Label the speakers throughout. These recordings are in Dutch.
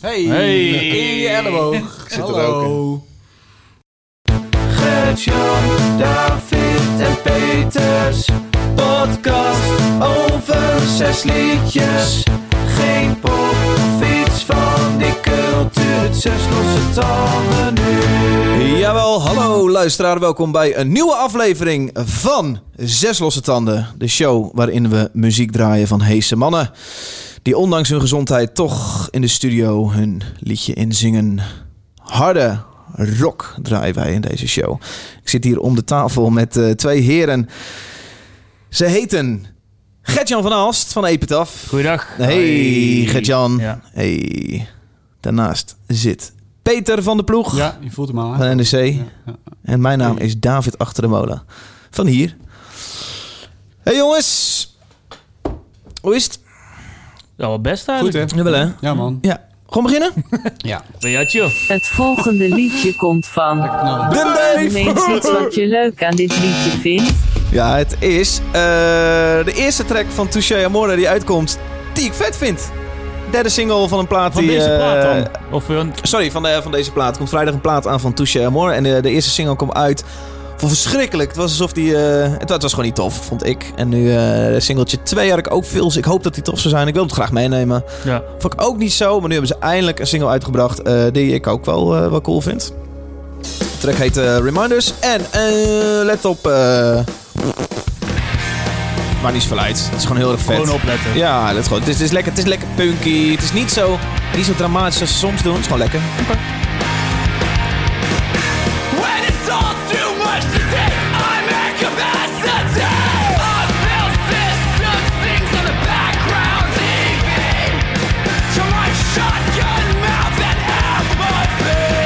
Speaker 1: Hey,
Speaker 2: Hey.
Speaker 1: in je elleboog.
Speaker 3: Zit er
Speaker 1: Hallo.
Speaker 4: Gert-Jan, David en Peters. Podcast over zes liedjes. Geen pop, fiets van die cultuur. Zes losse tanden nu.
Speaker 3: Jawel, hallo luisteraar. Welkom bij een nieuwe aflevering van Zes Losse Tanden. De show waarin we muziek draaien van heese mannen. Die ondanks hun gezondheid toch in de studio hun liedje inzingen. Harde rock draaien wij in deze show. Ik zit hier om de tafel met eh, twee heren. Ze heten Gertjan van Aalst van Epitaf.
Speaker 2: Goeiedag.
Speaker 3: Hey Gertjan.
Speaker 2: Ja.
Speaker 3: Hey. Daarnaast zit Peter van de Ploeg.
Speaker 1: Ja, je voelt hem aan.
Speaker 3: Van NEC.
Speaker 1: Ja, ja.
Speaker 3: En mijn naam is David Achter de Molen. Van hier. Hey jongens. Hoe is het?
Speaker 2: Nou, wel best
Speaker 1: Goed,
Speaker 2: eigenlijk.
Speaker 1: hè?
Speaker 3: Jawel hè?
Speaker 1: Ja, man.
Speaker 3: Ja. Gewoon beginnen?
Speaker 1: Ja.
Speaker 2: Ben jij het, joh?
Speaker 5: Het volgende liedje komt van.
Speaker 1: Nou,
Speaker 3: De
Speaker 5: Noem eens iets wat je leuk aan dit liedje vindt.
Speaker 3: Ja, het is eh, de eerste track van Touche Amore die uitkomt. Die ik vet vind. Derde single van een plaat
Speaker 2: Van
Speaker 3: die...
Speaker 2: deze plaat
Speaker 3: eh,
Speaker 2: dan? Of van
Speaker 3: Sorry, van, de, van deze plaat. Er komt vrijdag een plaat aan van Touche Amor. En de, de eerste single kwam uit. Vond verschrikkelijk. Het was alsof die... eh, het, het was gewoon niet tof, vond ik. En nu eh singeltje 2 had ik ook veel. Dus ik hoop dat die tof zou zijn. Ik wil het graag meenemen.
Speaker 2: Ja.
Speaker 3: Vond ik ook niet zo. Maar nu hebben ze eindelijk een single uitgebracht. eh, die ik ook wel, eh, wel cool vind. De track heet eh, Reminders. En eh, let op... eh, maar niet verleid. Het is gewoon heel erg vet.
Speaker 2: Gewoon opletten.
Speaker 3: Ja, dat is gewoon. Het is, het is lekker, het is lekker punky. Het is niet zo, niet zo dramatisch als ze soms doen. Het is gewoon lekker.
Speaker 4: When it's all too much to take, I'm incapacitated. I feel system things on the background TV. To my shotgun mouth and apathy.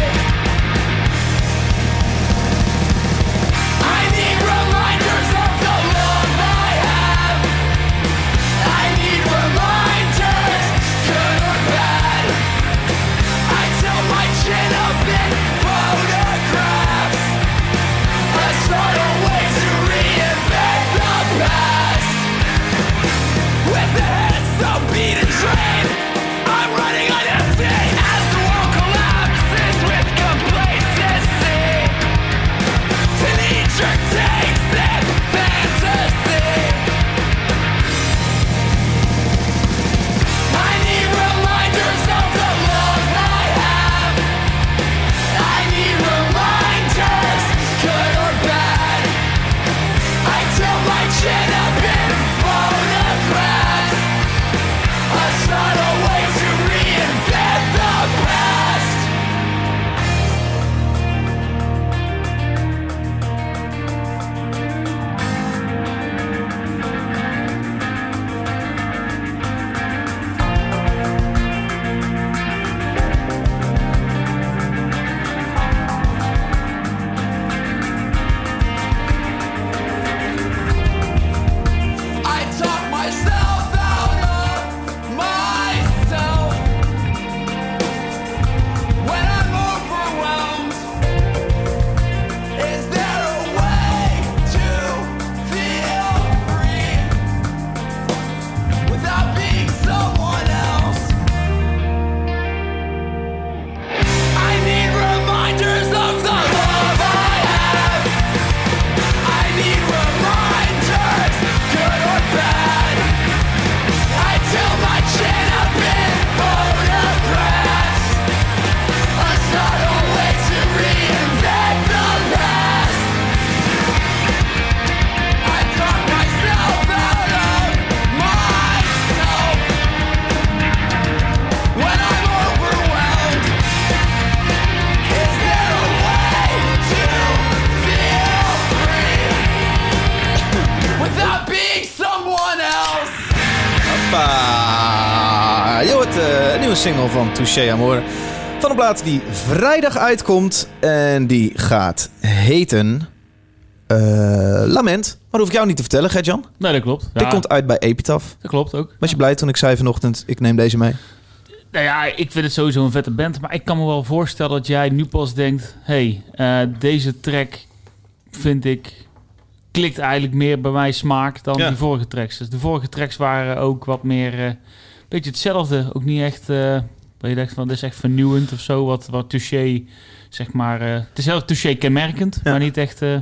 Speaker 4: I need reminders of the love I have. I need reminders, good or bad. I tilt my chin up in photographs. A subtle way to reinvent the past. With the head so beaten train, I'm running on empty as the world collapses with complacency. To nature takes that fantasy. I need reminders of the love I have. I need reminders, good or bad. I tilt my chin up in photographs. A subtle way to reinvent the past. I talk myself out of myself when I'm overwhelmed. Is there a way to feel free without being someone else? I need reminders of the love I have. I need reminders, good or bad. I tilt my chin up in photographs. A subtle way to reinvent the past. I talk myself out of myself when I'm overwhelmed. Is there a way to feel free without being someone else?
Speaker 3: Hoppa. Je hoort eh, een nieuwe single van Touche Amor. Van een plaat die vrijdag uitkomt. En die gaat heten... eh, Lament. Maar dat hoef ik jou niet te vertellen, Gert-Jan.
Speaker 2: Nee, dat klopt. Ja,
Speaker 3: Dit komt uit bij Epitaph.
Speaker 2: Dat klopt ook.
Speaker 3: Was je blij toen ik zei vanochtend, ik neem deze mee?
Speaker 2: Nou ja, ik vind het sowieso een vette band. Maar ik kan me wel voorstellen dat jij nu pas denkt... hey, eh, deze track vind ik... klikt eigenlijk meer bij mijn smaak dan
Speaker 3: Ja.
Speaker 2: die vorige tracks. Dus de vorige tracks waren ook wat meer... eh, een beetje hetzelfde. Ook niet echt... eh, Dat je dacht van, dit is echt vernieuwend of zo. Wat, wat Touché, zeg maar... eh, het is heel Touché kenmerkend, maar niet echt... eh,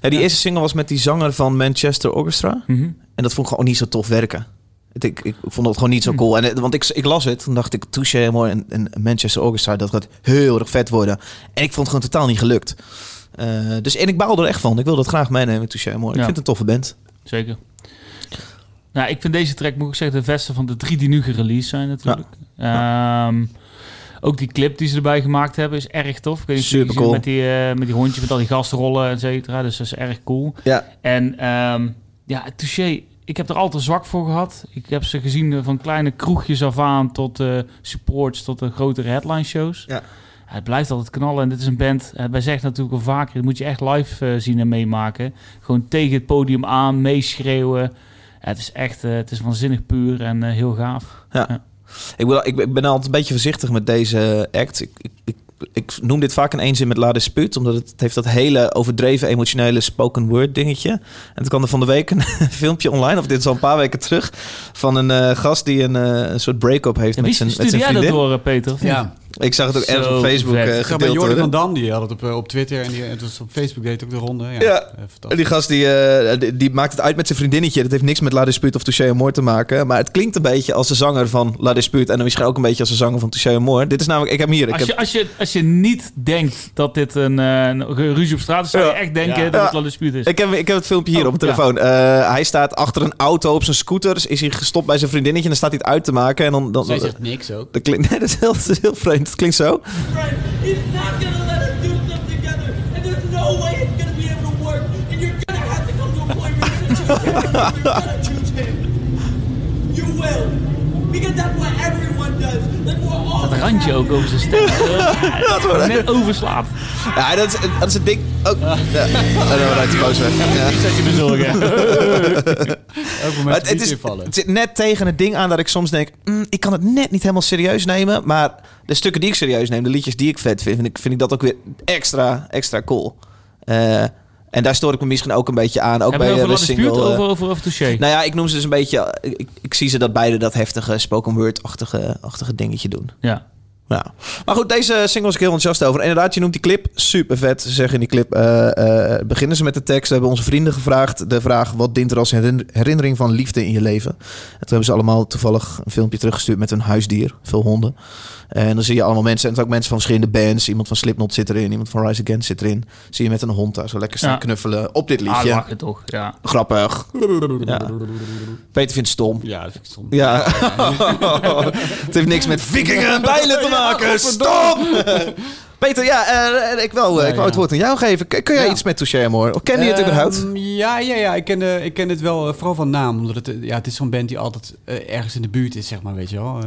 Speaker 3: Ja, die eerste single was met die zanger van Manchester Orchestra.
Speaker 2: mhm.
Speaker 3: En dat vond ik gewoon niet zo tof werken. Het- Ik, ik vond dat gewoon niet zo cool. En, eh, want ik, ik las het, toen dacht ik, Touche mooi en, en Manchester Orchestra, dat gaat heel erg vet worden. En ik vond het gewoon totaal niet gelukt. Eh, dus, en ik baal er echt van. Ik wil dat graag meenemen, Touche mooi. Ik
Speaker 2: Ja.
Speaker 3: vind het een toffe band.
Speaker 2: Zeker. Nou, ik vind deze track, moet ik zeggen, de beste van de drie die nu gereleased zijn natuurlijk. Ehm, ook die clip die ze erbij gemaakt hebben is erg tof. Ik weet niet of jullie
Speaker 3: Supercool.
Speaker 2: gezien Met die, eh, met die hondje, met al die gasrollen, et cetera. Dus dat is erg cool.
Speaker 3: Ja.
Speaker 2: En ehm, ja, Touché, ik heb er altijd zwak voor gehad. Ik heb ze gezien eh, van kleine kroegjes af aan tot eh, supports, tot de grotere headline shows.
Speaker 3: Ja.
Speaker 2: Het blijft altijd knallen. En dit is een band, eh, wij zeggen natuurlijk al vaker, dat moet je echt live eh, zien en meemaken. Gewoon tegen het podium aan, meeschreeuwen. Ja, het is echt, eh, het is waanzinnig puur en eh, heel gaaf.
Speaker 3: Ik, wil, ik ben- ik ben altijd een beetje voorzichtig met deze act. Ik, ik, ik, ik noem dit vaak in één zin met La Dispute, omdat het, het heeft dat hele overdreven emotionele spoken word dingetje. En toen kwam er van de week een filmpje online, of dit is al een paar weken terug, van een eh, gast die een, eh, een soort break-up heeft
Speaker 2: En
Speaker 3: met
Speaker 2: wie
Speaker 3: zijn, met
Speaker 2: stuurde
Speaker 3: zijn
Speaker 2: jij dat
Speaker 3: vriendin.
Speaker 2: door, eh, Peter? of niet?
Speaker 1: Ja,
Speaker 3: Ik zag het ook ergens
Speaker 2: Zo
Speaker 3: op Facebook
Speaker 2: vet.
Speaker 3: eh,
Speaker 1: ik zag bij
Speaker 3: gedeeld
Speaker 1: Jordi van
Speaker 3: worden.
Speaker 1: Dam, die had het op, eh, op Twitter en die, het was op Facebook deed ook de ronde. Ja,
Speaker 3: Ja.
Speaker 1: eh,
Speaker 3: En
Speaker 1: fantastisch.
Speaker 3: die gast die, eh, die, die maakt het uit met zijn vriendinnetje. Dat heeft niks met La Dispute of Touché Amor te maken. Maar het klinkt een beetje als de zanger van La Dispute. En dan misschien ook een beetje als de zanger van Touché Amor. Dit is namelijk... Ik heb hem hier. Ik
Speaker 2: Als
Speaker 3: heb,
Speaker 2: je, als, je, als je niet denkt dat dit een, eh, een ruzie op straat is, zou je
Speaker 3: Ja.
Speaker 2: echt denken
Speaker 3: Ja.
Speaker 2: dat het
Speaker 3: Ja.
Speaker 2: wel een dispuut is.
Speaker 3: Ik heb, ik heb het filmpje hier
Speaker 2: Dus- Oh,
Speaker 3: op mijn telefoon. Eh, hij staat achter een auto op zijn scooters. Is hij gestopt bij zijn vriendinnetje. En dan staat hij het uit te maken. En dan, dan,
Speaker 1: Zij zegt niks ook.
Speaker 3: dat, klinkt, nee, dat, is heel, dat is heel vreemd. Het klinkt zo.
Speaker 6: friend. He's not gonna let us do stuff together, and there's no way it's gonna be able to work. And you're gonna have to come to a point where you're gonna choose him. You're gonna choose him. You will, because that's what everyone does. Like we're all.
Speaker 2: Dat randje ook over zijn stem. Eh, net overslaat.
Speaker 3: Ja, dat is, dat is een ding. Oh,
Speaker 2: Ah.
Speaker 3: ja. Oh, dan raakt hij boos weg. Ja.
Speaker 2: Zet je bezorgen.
Speaker 1: Elk moment
Speaker 3: Maar het, het is,
Speaker 1: vallen.
Speaker 3: het zit net tegen het ding aan dat ik soms denk... mm, ik kan het net niet helemaal serieus nemen. Maar de stukken die ik serieus neem, de liedjes die ik vet vind... vind ik, vind ik dat ook weer extra, extra cool. Eh, en daar stoor ik me misschien ook een beetje aan. Ook
Speaker 2: Hebben
Speaker 3: bij eh,
Speaker 2: we over
Speaker 3: de
Speaker 2: wat
Speaker 3: single...
Speaker 2: dispuut
Speaker 3: eh,
Speaker 2: over, over, over touché?
Speaker 3: Nou ja, ik noem ze dus een beetje. Ik, ik zie ze dat beide dat heftige spoken word-achtige achtige dingetje doen.
Speaker 2: Ja.
Speaker 3: Nou. Maar goed, deze single was ik heel enthousiast over. En Inderdaad, je noemt die clip super vet. Ze zeggen in die clip: eh, eh, beginnen ze met de tekst. We hebben onze vrienden gevraagd. De vraag: wat dient er als herin- herinnering van liefde in je leven? En toen hebben ze allemaal toevallig een filmpje teruggestuurd met hun huisdier. Veel honden. En dan zie je allemaal mensen. En het zijn ook mensen van verschillende bands. Iemand van Slipknot zit erin. Iemand van Rise Against zit erin. Zie je met een hond daar zo lekker staan
Speaker 2: Ja.
Speaker 3: knuffelen op dit
Speaker 2: Ah,
Speaker 3: liedje.
Speaker 2: lachen toch. Ja.
Speaker 3: Grappig. Ja. Peter vindt het stom.
Speaker 1: Ja, dat vind ik stom.
Speaker 3: Ja. het heeft niks met vikingen en bijlen te maken. Stop! Peter, ja, eh, ik wil, eh, ik wil
Speaker 1: ja.
Speaker 3: het woord aan jou geven. K- Kun jij
Speaker 1: Ja.
Speaker 3: iets met Touché Amor? Of ken je het
Speaker 2: Eh,
Speaker 1: Ehm,
Speaker 3: überhaupt?
Speaker 1: Ja, ja, ja. Ik ken, eh, ik ken het wel eh, vooral van naam. Omdat het, eh, ja, het is zo'n band die altijd eh, ergens in de buurt is, zeg maar, weet je wel. Eh,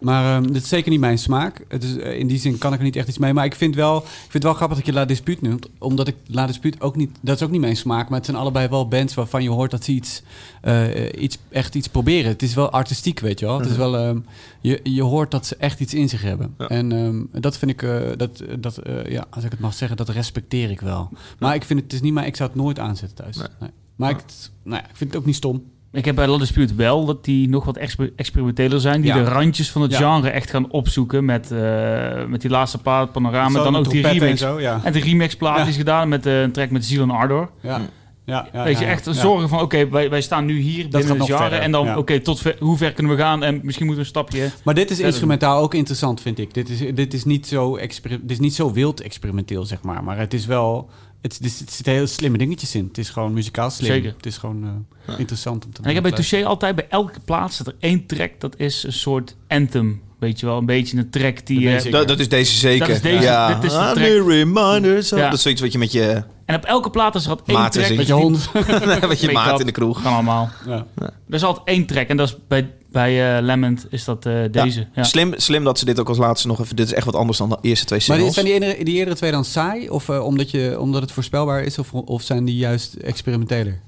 Speaker 1: maar ehm dit is zeker niet mijn smaak. Het is, eh, in die zin kan ik er niet echt iets mee. Maar ik vind, wel, ik vind het wel grappig dat je La Dispute noemt. Omdat ik La Dispute ook niet... Dat is ook niet mijn smaak. Maar het zijn allebei wel bands waarvan je hoort dat ze iets, eh, eh, iets, echt iets proberen. Het is wel artistiek, weet je wel. Het is wel, ehm, je, je hoort dat ze echt iets in zich hebben. En ehm, dat vind ik... eh, dat, dat, eh, ja, als ik het mag zeggen, dat respecteer ik wel. Maar ik vind het, het is niet maar ik zou het nooit aanzetten thuis. Nee. Maar ik, het- nou ja, ik vind het ook niet stom.
Speaker 2: Ik heb bij Love Dispute wel dat die nog wat exper- experimenteler zijn. Die
Speaker 1: Ja.
Speaker 2: de randjes van het
Speaker 1: Ja.
Speaker 2: genre echt gaan opzoeken. Met, eh, met die laatste plaat, Panorama.
Speaker 1: Zo,
Speaker 2: Dan ook die
Speaker 1: trompetten
Speaker 2: remix.
Speaker 1: en zo, ja.
Speaker 2: En de remixplaat
Speaker 1: Ja.
Speaker 2: die is gedaan met eh, een track met Ziel en Ardor.
Speaker 1: Ja. Ja, ja,
Speaker 2: Weet je,
Speaker 1: ja,
Speaker 2: echt
Speaker 1: ja.
Speaker 2: zorgen van, oké, wij, wij staan nu hier binnen
Speaker 1: gaat
Speaker 2: het
Speaker 1: nog
Speaker 2: genre.
Speaker 1: verder,
Speaker 2: En dan,
Speaker 1: ja.
Speaker 2: oké, tot ver- hoe ver kunnen we gaan? En misschien moeten we een stapje...
Speaker 1: Maar dit is
Speaker 2: Verder.
Speaker 1: instrumentaal ook interessant, vind ik. Dit is, dit is, niet, zo exper- dit is niet zo wild experimenteel, zeg maar. Maar het is wel... Het, het, het zitten heel slimme dingetjes in. Het is gewoon muzikaal slim.
Speaker 2: Zeker.
Speaker 1: Het is gewoon eh, interessant om te
Speaker 2: En ik heb bij
Speaker 1: luisteren.
Speaker 2: Touché altijd bij elke plaats dat er één track, dat is een soort anthem. Weet je wel, een beetje een track die...
Speaker 1: Dat
Speaker 2: eh,
Speaker 1: weet ik.
Speaker 3: Dat, dat is deze zeker.
Speaker 2: Dat is deze.
Speaker 3: Ja.
Speaker 2: Dit is de
Speaker 3: Ah,
Speaker 2: track.
Speaker 3: the reminders of-
Speaker 2: Ja.
Speaker 3: Dat is zoiets wat je met je,
Speaker 2: en op elke plaat is er altijd één
Speaker 3: Maat is
Speaker 2: track.
Speaker 3: het.
Speaker 1: Met je hond.
Speaker 3: met je maat in de kroeg.
Speaker 2: Gaan allemaal.
Speaker 1: ja.
Speaker 2: Er is altijd één track en dat is bij, bij eh, Lament is dat eh, deze. Ja.
Speaker 3: Slim, slim dat ze dit ook als laatste nog even... Dit is echt wat anders dan de eerste twee
Speaker 1: Maar
Speaker 3: singles.
Speaker 1: die- zijn die, eerdere- die eerdere twee dan saai? Of eh, omdat, je, omdat het voorspelbaar is? Of, of zijn die juist experimenteler?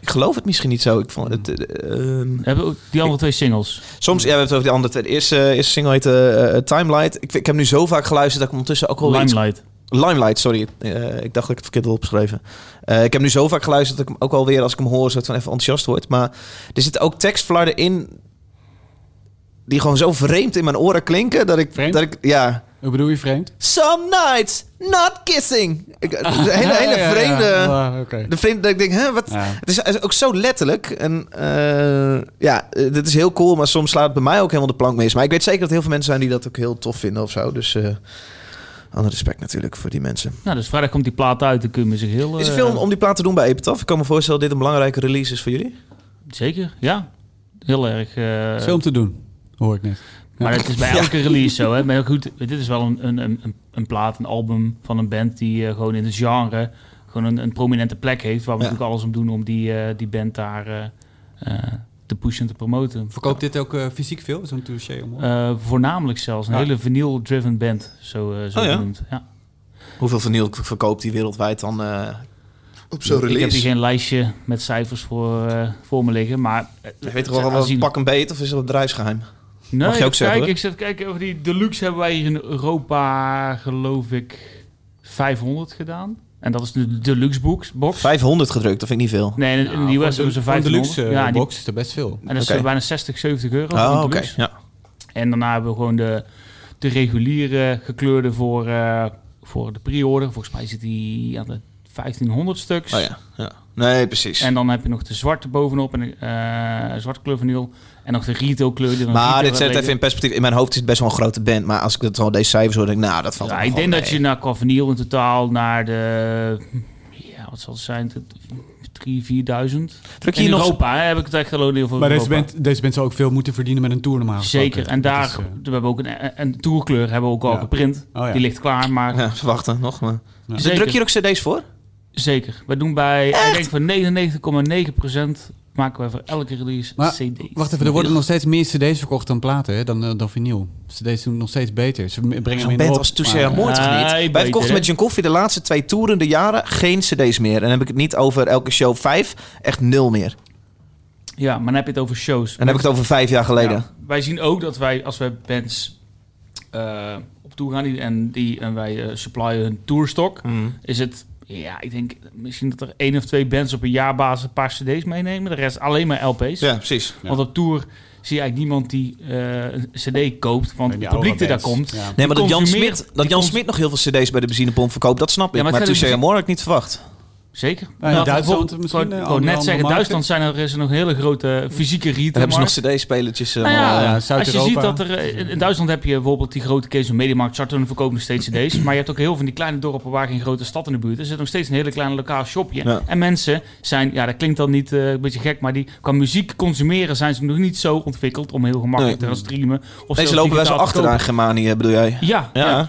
Speaker 3: Ik geloof het misschien niet zo. Ik vond het... eh, ehm,
Speaker 2: We hebben ook die andere twee singles.
Speaker 3: Soms, ja, we hebben het over die andere. De eerste, eerste single heet eh, eh, Timelight. Ik, vind- ik heb nu zo vaak geluisterd dat ik ondertussen ook wel weer iets
Speaker 2: Limelight.
Speaker 3: Limelight, sorry. Eh, ik dacht dat ik het verkeerd had opgeschreven. Eh, ik heb nu zo vaak geluisterd dat ik hem ook alweer, als ik hem hoor, soort van even enthousiast word. Maar er zitten ook tekstflarden in die gewoon zo vreemd in mijn oren klinken dat ik,
Speaker 1: Vreemd?
Speaker 3: dat ik ja.
Speaker 1: Hoe bedoel je vreemd?
Speaker 3: Some nights not kissing. Ik, een hele, hele
Speaker 1: Ja, ja, ja.
Speaker 3: vreemde.
Speaker 1: Ah, oké.
Speaker 3: De vreemde dat ik denk, hè, wat?
Speaker 1: Ja.
Speaker 3: Het is- het is ook zo letterlijk. En eh, ja, eh, dit is heel cool, maar soms slaat het bij mij ook helemaal de plank mis. Maar ik weet zeker dat heel veel mensen zijn die dat ook heel tof vinden of zo. Dus eh alle respect natuurlijk voor die mensen.
Speaker 2: Nou, dus vrijdag komt die plaat uit. Dan kun je zich heel...
Speaker 3: Is er
Speaker 2: eh,
Speaker 3: veel om- om die plaat te doen bij Epitaph? Ik kan me voorstellen dat dit een belangrijke release is voor jullie.
Speaker 2: Zeker, ja. Heel erg... eh,
Speaker 1: Veel om te doen, hoor ik net.
Speaker 2: Maar dat is bij elke release zo. Hè? Maar goed, dit is wel een, een, een, een plaat, een album van een band die eh, gewoon in het genre gewoon een, een prominente plek heeft. Waar we
Speaker 3: Ja.
Speaker 2: natuurlijk alles om doen om die, eh, die band daar eh, eh, te pushen en te promoten.
Speaker 1: Verkoopt dit ook eh, fysiek veel, zo'n touché omhoog?
Speaker 2: Eh, voornamelijk zelfs een
Speaker 1: Ja.
Speaker 2: hele vinyl-driven band, zo, eh, zo
Speaker 3: Oh ja?
Speaker 2: genoemd. Ja.
Speaker 3: Hoeveel vinyl verkoopt die wereldwijd dan eh, op zo'n
Speaker 2: Ik heb hier
Speaker 3: release?
Speaker 2: geen lijstje met cijfers voor, eh, voor me liggen, maar... eh,
Speaker 3: Ik weet toch wel wat
Speaker 2: aanzienlijk.
Speaker 3: pak een beet of is dat bedrijfsgeheim?
Speaker 2: Nee,
Speaker 3: Mag je ook
Speaker 2: even
Speaker 3: zeggen,
Speaker 2: kijken,
Speaker 3: hoor.
Speaker 2: ik zat kijken over die deluxe hebben wij hier in Europa, geloof ik, 500 gedaan. En dat is de deluxe box. box.
Speaker 3: 500 gedrukt, dat vind ik niet veel.
Speaker 2: Nee, Eh, in, in Ah, de US hebben ze 500.
Speaker 1: deluxe eh,
Speaker 2: ja, en die-
Speaker 1: box is er best veel.
Speaker 2: en dat is eh,
Speaker 3: Oké.
Speaker 2: bijna 60, 70 euro. voor
Speaker 3: Oh,
Speaker 2: een
Speaker 3: oké.
Speaker 2: deluxe.
Speaker 3: Ja.
Speaker 2: En daarna hebben we gewoon de, de reguliere gekleurde voor, eh, voor de pre-order. Volgens mij zit die aan de 1500 stuks.
Speaker 3: Oh ja. ja. Nee, precies.
Speaker 2: En dan heb je nog de zwarte bovenop en eh zwarte kleur vinyl. En nog de retail kleur. die dan
Speaker 3: Maar
Speaker 2: retail
Speaker 3: dit zet het
Speaker 2: label.
Speaker 3: even in perspectief. In mijn hoofd is het best wel een grote band. Maar als ik dat al deze cijfers hoor, denk ik, nou, dat valt
Speaker 2: Ja,
Speaker 3: wel
Speaker 2: ik denk
Speaker 3: gewoon
Speaker 2: dat
Speaker 3: mee.
Speaker 2: je naar Cavanil in totaal naar de... Ja, wat zal het zijn? De 3.000, 4.000.
Speaker 3: Druk je
Speaker 2: In
Speaker 3: hier nog...
Speaker 2: Europa, hè, heb ik het echt geloofd over
Speaker 1: Maar deze
Speaker 2: Europa.
Speaker 1: band, deze band zal ook veel moeten verdienen met een tour normaal gesproken.
Speaker 2: Zeker. En
Speaker 1: Dat
Speaker 2: daar
Speaker 1: is, eh,
Speaker 2: we hebben ook een, een tourkleur hebben we ook al
Speaker 1: Ja.
Speaker 2: geprint.
Speaker 1: Oh ja.
Speaker 2: Die ligt klaar, maar
Speaker 3: Ja, ze wachten nog. Maar... Dus
Speaker 2: Zeker.
Speaker 3: druk je hier ook cd's voor?
Speaker 2: zeker. We doen bij, ik denk van 99,9% maken we voor elke release
Speaker 1: Maar,
Speaker 2: CD.
Speaker 1: Wacht even, er worden nog steeds meer cd's verkocht dan platen, hè? Dan, eh, dan vinyl. Cd's doen het nog steeds beter. Ze brengen hem
Speaker 3: Zo'n
Speaker 1: minder
Speaker 3: band
Speaker 1: op,
Speaker 3: als
Speaker 1: maar,
Speaker 3: Touche
Speaker 1: eh,
Speaker 3: Mooi toch
Speaker 2: Nee,
Speaker 3: niet? Wij
Speaker 2: beter,
Speaker 3: verkochten met
Speaker 2: hè?
Speaker 3: John Coffee de laatste twee toerende jaren geen cd's meer. En dan heb ik het niet over elke show vijf. Echt nul meer. En
Speaker 2: Ja, maar dan heb je het over shows.
Speaker 3: dan heb ik het over vijf jaar geleden.
Speaker 2: Ja, wij zien ook dat wij, als we bands eh, op toe gaan die- en, die, en wij eh, supplyen hun tourstok,
Speaker 3: Mm.
Speaker 2: is het, ja, ik denk misschien dat er één of twee bands op een jaarbasis een paar cd's meenemen. De rest alleen maar LP's.
Speaker 3: Ja, precies.
Speaker 2: Want op tour zie je eigenlijk niemand die eh, een cd koopt, want
Speaker 1: die
Speaker 2: het
Speaker 1: oude
Speaker 2: publiek die daar
Speaker 1: bands.
Speaker 2: komt...
Speaker 1: Ja.
Speaker 3: Nee, maar dat Jan,
Speaker 2: consumeert-
Speaker 3: Smit, dat Jan
Speaker 2: cons-
Speaker 3: Smit nog heel veel cd's bij de benzinepomp verkoopt, dat snap ik.
Speaker 2: Ja, maar
Speaker 3: maar
Speaker 2: het gaat
Speaker 3: Touche
Speaker 2: even-
Speaker 3: Amor had ik niet verwacht.
Speaker 2: Zeker.
Speaker 1: in Duitsland misschien,
Speaker 2: Ik
Speaker 1: eh,
Speaker 2: wou
Speaker 1: andere-
Speaker 2: net
Speaker 1: andere
Speaker 2: zeggen,
Speaker 1: markten.
Speaker 2: Duitsland zijn er, is er nog een hele grote fysieke
Speaker 3: Dan
Speaker 2: retail.
Speaker 3: hebben ze nog cd-spelertjes. eh,
Speaker 2: Nou ja,
Speaker 3: allemaal, eh,
Speaker 1: ja,
Speaker 2: als je
Speaker 1: Zuid-Europa.
Speaker 2: ziet dat er... eh, In in Duitsland heb je bijvoorbeeld die grote case van Mediamarkt, Charton verkoopt nog steeds cd's. Maar je hebt ook heel veel van die kleine dorpen waar geen grote stad in de buurt is. Er zit nog steeds een hele kleine lokaal shopje.
Speaker 3: Ja.
Speaker 2: En mensen zijn, ja dat klinkt dan niet eh, een beetje gek, maar die qua muziek consumeren zijn ze nog niet zo ontwikkeld om heel gemakkelijk
Speaker 3: Nee.
Speaker 2: te gaan streamen.
Speaker 3: Nee,
Speaker 2: Of zelfs
Speaker 3: ze lopen best wel
Speaker 2: digitaal te
Speaker 3: achteraan, Germanië bedoel jij?
Speaker 2: kopen. Ja, ja.
Speaker 3: ja.
Speaker 2: En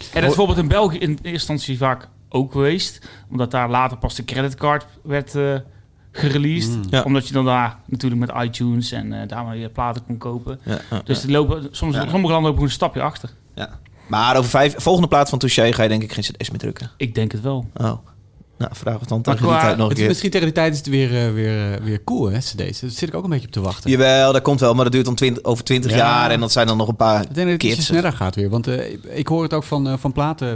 Speaker 2: dat is bijvoorbeeld in België in eerste instantie vaak ook geweest. Omdat daar later pas de creditcard werd eh gereleased.
Speaker 3: Mm. Ja.
Speaker 2: Omdat je dan daar natuurlijk met iTunes en eh, daar maar je platen kon kopen.
Speaker 3: ja, ja.
Speaker 2: Dus die lopen, soms, sommige landen lopen gewoon een stapje achter.
Speaker 3: Ja. Maar over vijf, volgende plaat van Touché ga je denk ik geen cd's meer drukken.
Speaker 2: Ik denk het wel.
Speaker 3: Oh. Nou, vraag het dan
Speaker 2: Maar
Speaker 3: tegen die
Speaker 2: qua-
Speaker 3: tijd nog een
Speaker 1: Het is
Speaker 3: keer.
Speaker 1: misschien tegen die tijd is het weer, eh, weer, eh, weer cool, hè, cd's. Daar zit ik ook een beetje op te wachten.
Speaker 3: Jawel, dat komt wel, maar dat duurt dan 20 over 20
Speaker 1: Ja.
Speaker 3: jaar en dat zijn dan nog een paar
Speaker 1: Ik denk dat het ietsje
Speaker 3: kids.
Speaker 1: sneller gaat weer. Want eh, ik- ik hoor het ook van, eh, van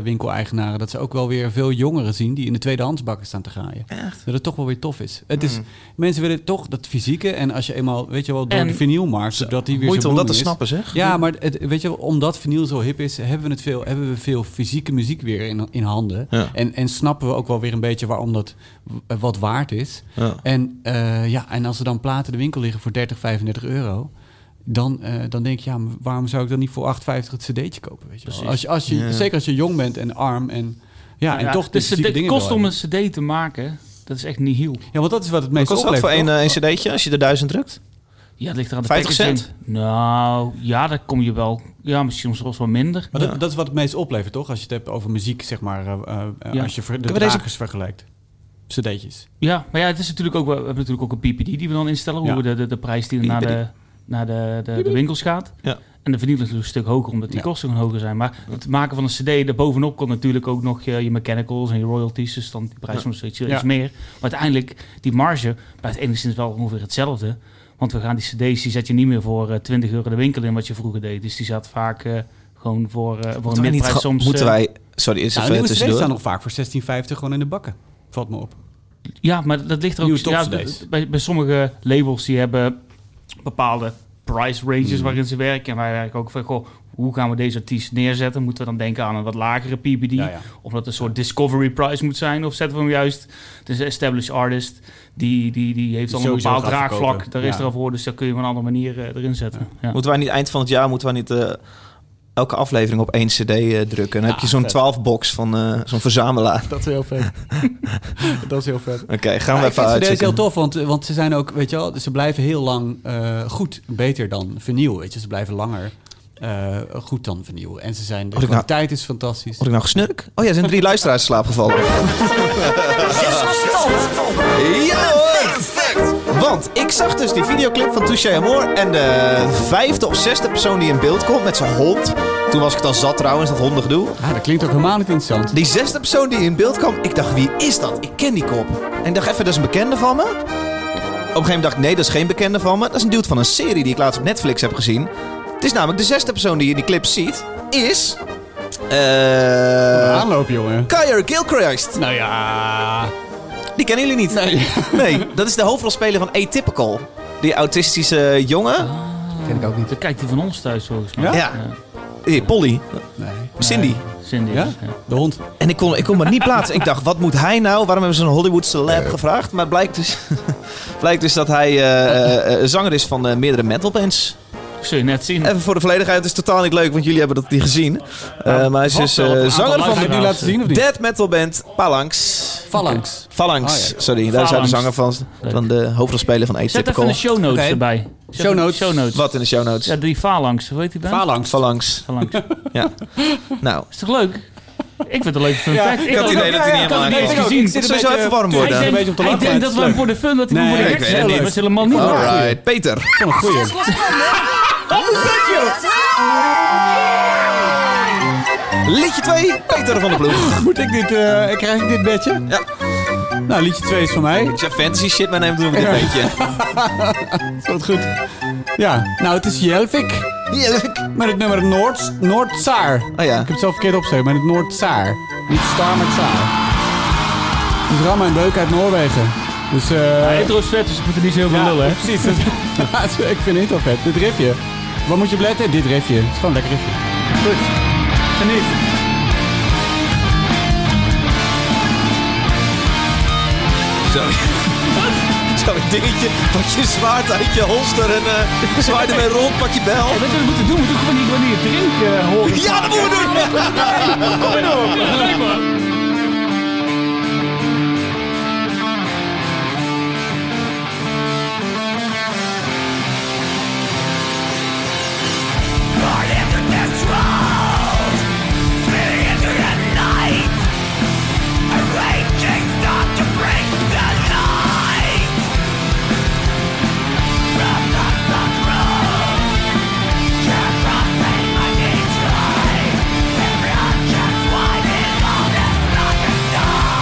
Speaker 1: platenwinkel-eigenaren... dat ze ook wel weer veel jongeren zien... die in de tweedehandsbakken staan te graaien. Dat het toch wel weer tof is. Het
Speaker 3: Hmm.
Speaker 1: is mensen willen toch dat fysieke... en als je eenmaal, weet je wel, door
Speaker 2: En-
Speaker 1: de vinylmarkt... dat die weer
Speaker 3: Moeite
Speaker 1: zo
Speaker 3: om dat te
Speaker 1: booming
Speaker 3: snappen,
Speaker 1: is.
Speaker 3: zeg.
Speaker 1: Ja, maar het, weet je wel, omdat vinyl zo hip is... hebben we, het veel, hebben we veel fysieke muziek weer in, in handen.
Speaker 3: Ja.
Speaker 1: En, en snappen we ook wel weer een beetje waarom dat w- wat waard is.
Speaker 3: Ja.
Speaker 1: En, eh, ja, en als er dan platen in de winkel liggen voor 30, 35 euro... Dan, eh, dan denk je, ja, maar waarom zou ik dan niet voor 8,50 het cd'tje kopen? Weet je wel?
Speaker 2: Precies.
Speaker 1: Als je, als je,
Speaker 3: Ja.
Speaker 1: Zeker als je jong bent en arm en, ja, en
Speaker 2: Ja, dus
Speaker 1: toch de
Speaker 2: de cd,
Speaker 1: fysieke dingen
Speaker 2: kost
Speaker 1: wil
Speaker 2: om een
Speaker 1: hebben.
Speaker 2: cd te maken, dat is echt niet heel.
Speaker 1: Ja, want dat is wat het
Speaker 3: Wat
Speaker 1: meest
Speaker 3: kost dat
Speaker 1: oplevert.
Speaker 3: voor één
Speaker 1: toch?
Speaker 3: eh, een cd'tje als je er duizend drukt?
Speaker 2: Ja, het ligt er aan de
Speaker 3: 50
Speaker 2: packaging.
Speaker 3: cent?
Speaker 2: Nou, ja, daar kom je wel. Ja, misschien soms wel
Speaker 3: eh,
Speaker 2: minder.
Speaker 1: Maar dat, dat is wat het meest oplevert, toch? Als je het hebt over muziek, zeg maar, eh, eh,
Speaker 2: Ja.
Speaker 1: als je ver- de
Speaker 3: Kunnen we deze-
Speaker 1: dragers vergelijkt. Cd'tjes.
Speaker 2: Ja, maar ja, het is natuurlijk ook, we hebben natuurlijk ook een PPD die we dan instellen.
Speaker 1: Ja.
Speaker 2: Hoe we de, de, de prijs die naar de, naar de, de, de winkels gaat.
Speaker 3: Ja.
Speaker 2: En de vinyl is natuurlijk een stuk hoger, omdat die
Speaker 1: Ja.
Speaker 2: kosten gewoon hoger zijn. Maar het maken van een cd, daarbovenop komt natuurlijk ook nog je, je mechanicals en je royalties. Dus dan die prijs soms iets, iets
Speaker 1: Ja.
Speaker 2: meer. Maar uiteindelijk, die marge blijft enigszins wel ongeveer hetzelfde. Want we gaan die cd's, die zet je niet meer voor eh, 20 euro de winkel in, wat je vroeger deed. Dus die zat vaak eh, gewoon voor, eh, voor een
Speaker 3: Moeten wij, niet gewoon-
Speaker 2: minprijs soms.
Speaker 3: moeten
Speaker 2: eh,
Speaker 3: wij... Sorry, is
Speaker 1: Nou,
Speaker 3: even eh,
Speaker 1: nieuwe cd's
Speaker 3: tussendoor.
Speaker 1: staan nog vaak voor 16,50 gewoon in de bakken. Valt me op.
Speaker 2: Ja, maar dat ligt er ook...
Speaker 1: Nieuwe
Speaker 2: Ja,
Speaker 1: top-cd's.
Speaker 2: bij, bij sommige labels die hebben bepaalde price
Speaker 1: Hmm.
Speaker 2: ranges waarin ze werken. En wij werken ook van, goh, hoe gaan we deze artiest neerzetten? Moeten we dan denken aan een wat lagere PBD?
Speaker 1: Ja, ja.
Speaker 2: Of dat een soort discovery price moet zijn? Of zetten we hem juist, het is een established artist, die, die, die heeft al een
Speaker 1: sowieso
Speaker 2: bepaald
Speaker 1: gaat
Speaker 2: draagvlak.
Speaker 1: verkopen.
Speaker 2: Daar is
Speaker 1: Ja.
Speaker 2: er al voor, dus daar kun je op een andere manier eh, erin zetten. Ja.
Speaker 3: Moeten wij niet eind van het jaar moeten wij niet eh, elke aflevering op één CD eh, drukken? Dan heb je zo'n 12-box van eh, zo'n verzamelaar.
Speaker 1: Dat is heel vet. dat is heel vet.
Speaker 3: Oké, gaan we
Speaker 1: Ja, ik
Speaker 3: even
Speaker 1: vind deze heel
Speaker 3: uitzoeken.
Speaker 1: tof, want, want ze zijn ook, weet je wel, ze blijven heel lang eh, goed, beter dan vernieuwen. Weet je, ze blijven langer eh, goed dan vernieuwen. En ze zijn, de
Speaker 3: Wat ik nou-
Speaker 1: kwaliteit is fantastisch.
Speaker 3: Word ik nou gesnurk? Oh ja, er zijn drie luisteraars in slaap gevallen. Ja hoor! Want ik zag dus die videoclip van Touche Amor en de vijfde of zesde persoon die in beeld komt met zijn hond. Toen was ik het al zat trouwens, dat hondengedoe.
Speaker 1: Ah, dat klinkt ook helemaal niet interessant.
Speaker 3: Die zesde persoon die in beeld kwam, ik dacht, wie is dat? Ik ken die kop. En ik dacht even, dat is een bekende van me. Op een gegeven moment dacht ik, nee, dat is geen bekende van me. Dat is een dude van een serie die ik laatst op Netflix heb gezien. Het is namelijk de zesde persoon die je in die clip ziet, is... eh
Speaker 1: Aanloop, jongen.
Speaker 3: Kyer Gilchrist.
Speaker 1: Nou ja,
Speaker 3: Die kennen jullie niet. Nee. dat is de hoofdrolspeler van Atypical. Die autistische jongen.
Speaker 1: ken ik ook niet.
Speaker 2: Dan kijkt hij van ons thuis volgens mij.
Speaker 3: Ja? Eh, Polly.
Speaker 1: Nee.
Speaker 3: Cindy.
Speaker 2: Cindy.
Speaker 1: Ja?
Speaker 2: Ja?
Speaker 1: De hond.
Speaker 3: En ik kon, ik kon me niet plaatsen. Ik dacht, wat moet hij nou? Waarom hebben ze een Hollywood celeb gevraagd? Maar het blijkt dus, blijkt dus dat hij eh, eh, zanger is van eh, meerdere metalbands.
Speaker 2: Zul je net zien.
Speaker 3: Even voor de volledigheid, het is totaal niet leuk, want jullie hebben dat niet gezien. Eh, maar hij is dus eh,
Speaker 2: wel op een aantal
Speaker 3: zanger
Speaker 1: Ga
Speaker 3: van
Speaker 1: je het nu laten zien of niet?
Speaker 3: dead metalband Palangs.
Speaker 1: Phalanx.
Speaker 3: Phalanx,
Speaker 1: Oh, ja.
Speaker 3: sorry. Daar is hij de
Speaker 2: Phalanx.
Speaker 3: zanger van, van de hoofdrolspeler van
Speaker 2: Zet even
Speaker 3: Atypical.
Speaker 2: de show notes
Speaker 1: Oké.
Speaker 2: erbij. Zet
Speaker 1: Show
Speaker 2: even de
Speaker 1: notes.
Speaker 2: Show notes.
Speaker 3: Wat in de show notes?
Speaker 2: Ja, die phalanx. Hoe heet die band?
Speaker 1: Phalanx.
Speaker 3: Phalanx.
Speaker 2: Phalanx.
Speaker 3: Ja. Nou,
Speaker 2: Is toch leuk? Ik vind het een leuk fun fact.
Speaker 3: ik had het idee dat hij niet helemaal
Speaker 2: had
Speaker 3: aankwam.
Speaker 2: het niet eens
Speaker 1: Ik
Speaker 2: gezien.
Speaker 1: zit
Speaker 3: Het zou
Speaker 1: een
Speaker 3: even
Speaker 1: beetje-
Speaker 3: warm
Speaker 2: Hij
Speaker 3: worden.
Speaker 1: eh, een
Speaker 2: denkt-
Speaker 1: beetje op de
Speaker 2: Hij
Speaker 1: laagte.
Speaker 2: denkt dat we hem voor de fun dat hij hem
Speaker 1: Nee,
Speaker 2: voor de
Speaker 1: ik
Speaker 2: gek
Speaker 1: weet
Speaker 3: het
Speaker 2: zetten.
Speaker 3: niet.
Speaker 2: Dat is helemaal niet waar.
Speaker 3: Alright, Peter.
Speaker 1: Van een goeie.
Speaker 3: Liedje 2, Peter van de Ploeg.
Speaker 1: Moet ik dit, eh, krijg ik dit bedje?
Speaker 3: Ja.
Speaker 1: Nou, liedje 2 is van mij.
Speaker 3: Ik zeg fantasy shit, maar neem het met dit beetje.
Speaker 1: Wat goed. Ja, nou, het is Jelvik.
Speaker 3: Heerlijk.
Speaker 1: Met het nummer Noord, Noordzaar.
Speaker 3: Oh ja.
Speaker 1: Ik heb het zelf verkeerd opgeschreven, maar het Noordzaar. Niet Star, maar Zaar. Het is Ramma en Beuk uit Noorwegen. Dus eh...
Speaker 2: Ja, Intro is vet, dus we moeten niet zo heel veel
Speaker 1: ja,
Speaker 2: lullen. hè.
Speaker 1: precies. Ja, ik vind het heel vet. Dit riffje. Waar moet je op letten? Dit riffje. Het is gewoon een lekker riffje. Goed. Geniet.
Speaker 3: Zo. Zo'n dingetje, pak je zwaard uit je holster en eh zwaar ermee rond, pak je bel.
Speaker 2: Weet je wat we moeten doen? We moeten gewoon die eh, wanneer drinken horen.
Speaker 3: Ja, dat moeten we doen!
Speaker 4: Just one in all that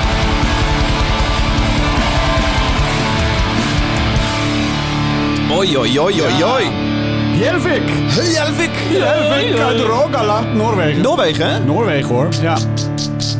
Speaker 3: Oi, oi, oi, oi, oi.
Speaker 1: Jervik!
Speaker 3: Jelvik.
Speaker 1: Jervik uit Rogala. Noorwegen.
Speaker 3: Noorwegen, hè?
Speaker 1: Noorwegen hoor. Ja.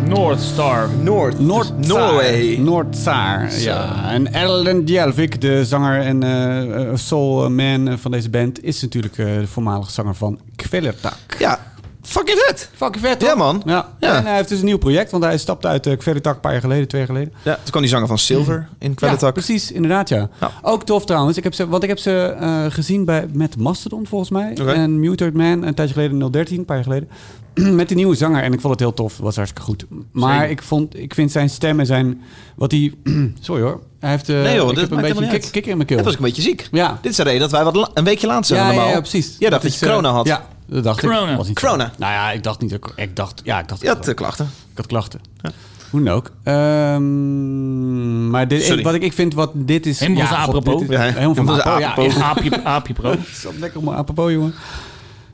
Speaker 2: North Star.
Speaker 3: Noord.
Speaker 1: Noord
Speaker 3: Norway.
Speaker 1: Noordzaar. Ja. En Erlen Djelvik, de zanger en eh, eh, soulman van deze band, is natuurlijk eh, de voormalige zanger van Kveldertak.
Speaker 3: Ja, fuck is het?
Speaker 1: Fucking vet,
Speaker 3: Ja,
Speaker 1: hoor.
Speaker 3: man.
Speaker 1: Ja.
Speaker 3: Ja.
Speaker 1: En hij heeft dus een nieuw project, want hij stapte uit uh, Kveldertak een paar jaar geleden, twee jaar geleden.
Speaker 3: Ja, toen kwam die zanger van Silver in Kwelletak.
Speaker 1: Ja, precies, inderdaad, ja.
Speaker 3: Ja.
Speaker 1: Ook tof trouwens. Ik heb ze, want ik heb ze eh, gezien bij, met Mastodon, volgens mij.
Speaker 3: Oké.
Speaker 1: En Muted Man, een tijdje geleden, 013, een paar jaar geleden. met die nieuwe zanger. En ik vond het heel tof. was hartstikke goed. Maar
Speaker 2: Zeker.
Speaker 1: ik, vond, ik vind zijn stem en zijn... Wat hij... sorry hoor. Hij heeft... eh,
Speaker 3: Nee, joh,
Speaker 1: ik
Speaker 3: dat
Speaker 1: heb een
Speaker 3: maakt
Speaker 1: beetje
Speaker 3: helemaal
Speaker 1: kick,
Speaker 3: niet
Speaker 1: kikker in mijn keel.
Speaker 3: Dat was ik een beetje ziek.
Speaker 1: Ja.
Speaker 3: Dit is de reden dat wij wat la- een weekje laat zijn
Speaker 1: ja,
Speaker 3: dan
Speaker 1: ja,
Speaker 3: normaal.
Speaker 1: ja, precies.
Speaker 3: Jij dacht dat,
Speaker 1: is,
Speaker 3: je corona
Speaker 1: eh,
Speaker 3: had.
Speaker 1: Ja, dat dacht
Speaker 2: Corona.
Speaker 1: ik. Was niet zo.
Speaker 3: Corona.
Speaker 1: Nou ja, ik dacht niet. dat ik- Ik dacht... Ja, ik dacht...
Speaker 3: Je had eh, klachten.
Speaker 1: Ik had klachten. Hoe dan ook. Ehm, maar dit,
Speaker 3: Sorry.
Speaker 1: wat ik, ik vind, wat dit is...
Speaker 2: Helemaal van
Speaker 1: god,
Speaker 2: apropos.
Speaker 1: dit is-
Speaker 3: Ja, hè?
Speaker 1: helemaal van
Speaker 3: Helemaal van
Speaker 1: apropos, ja.
Speaker 3: apropos.
Speaker 2: Aapje, aapje pro.
Speaker 1: Het zat lekker om apropos, jongen.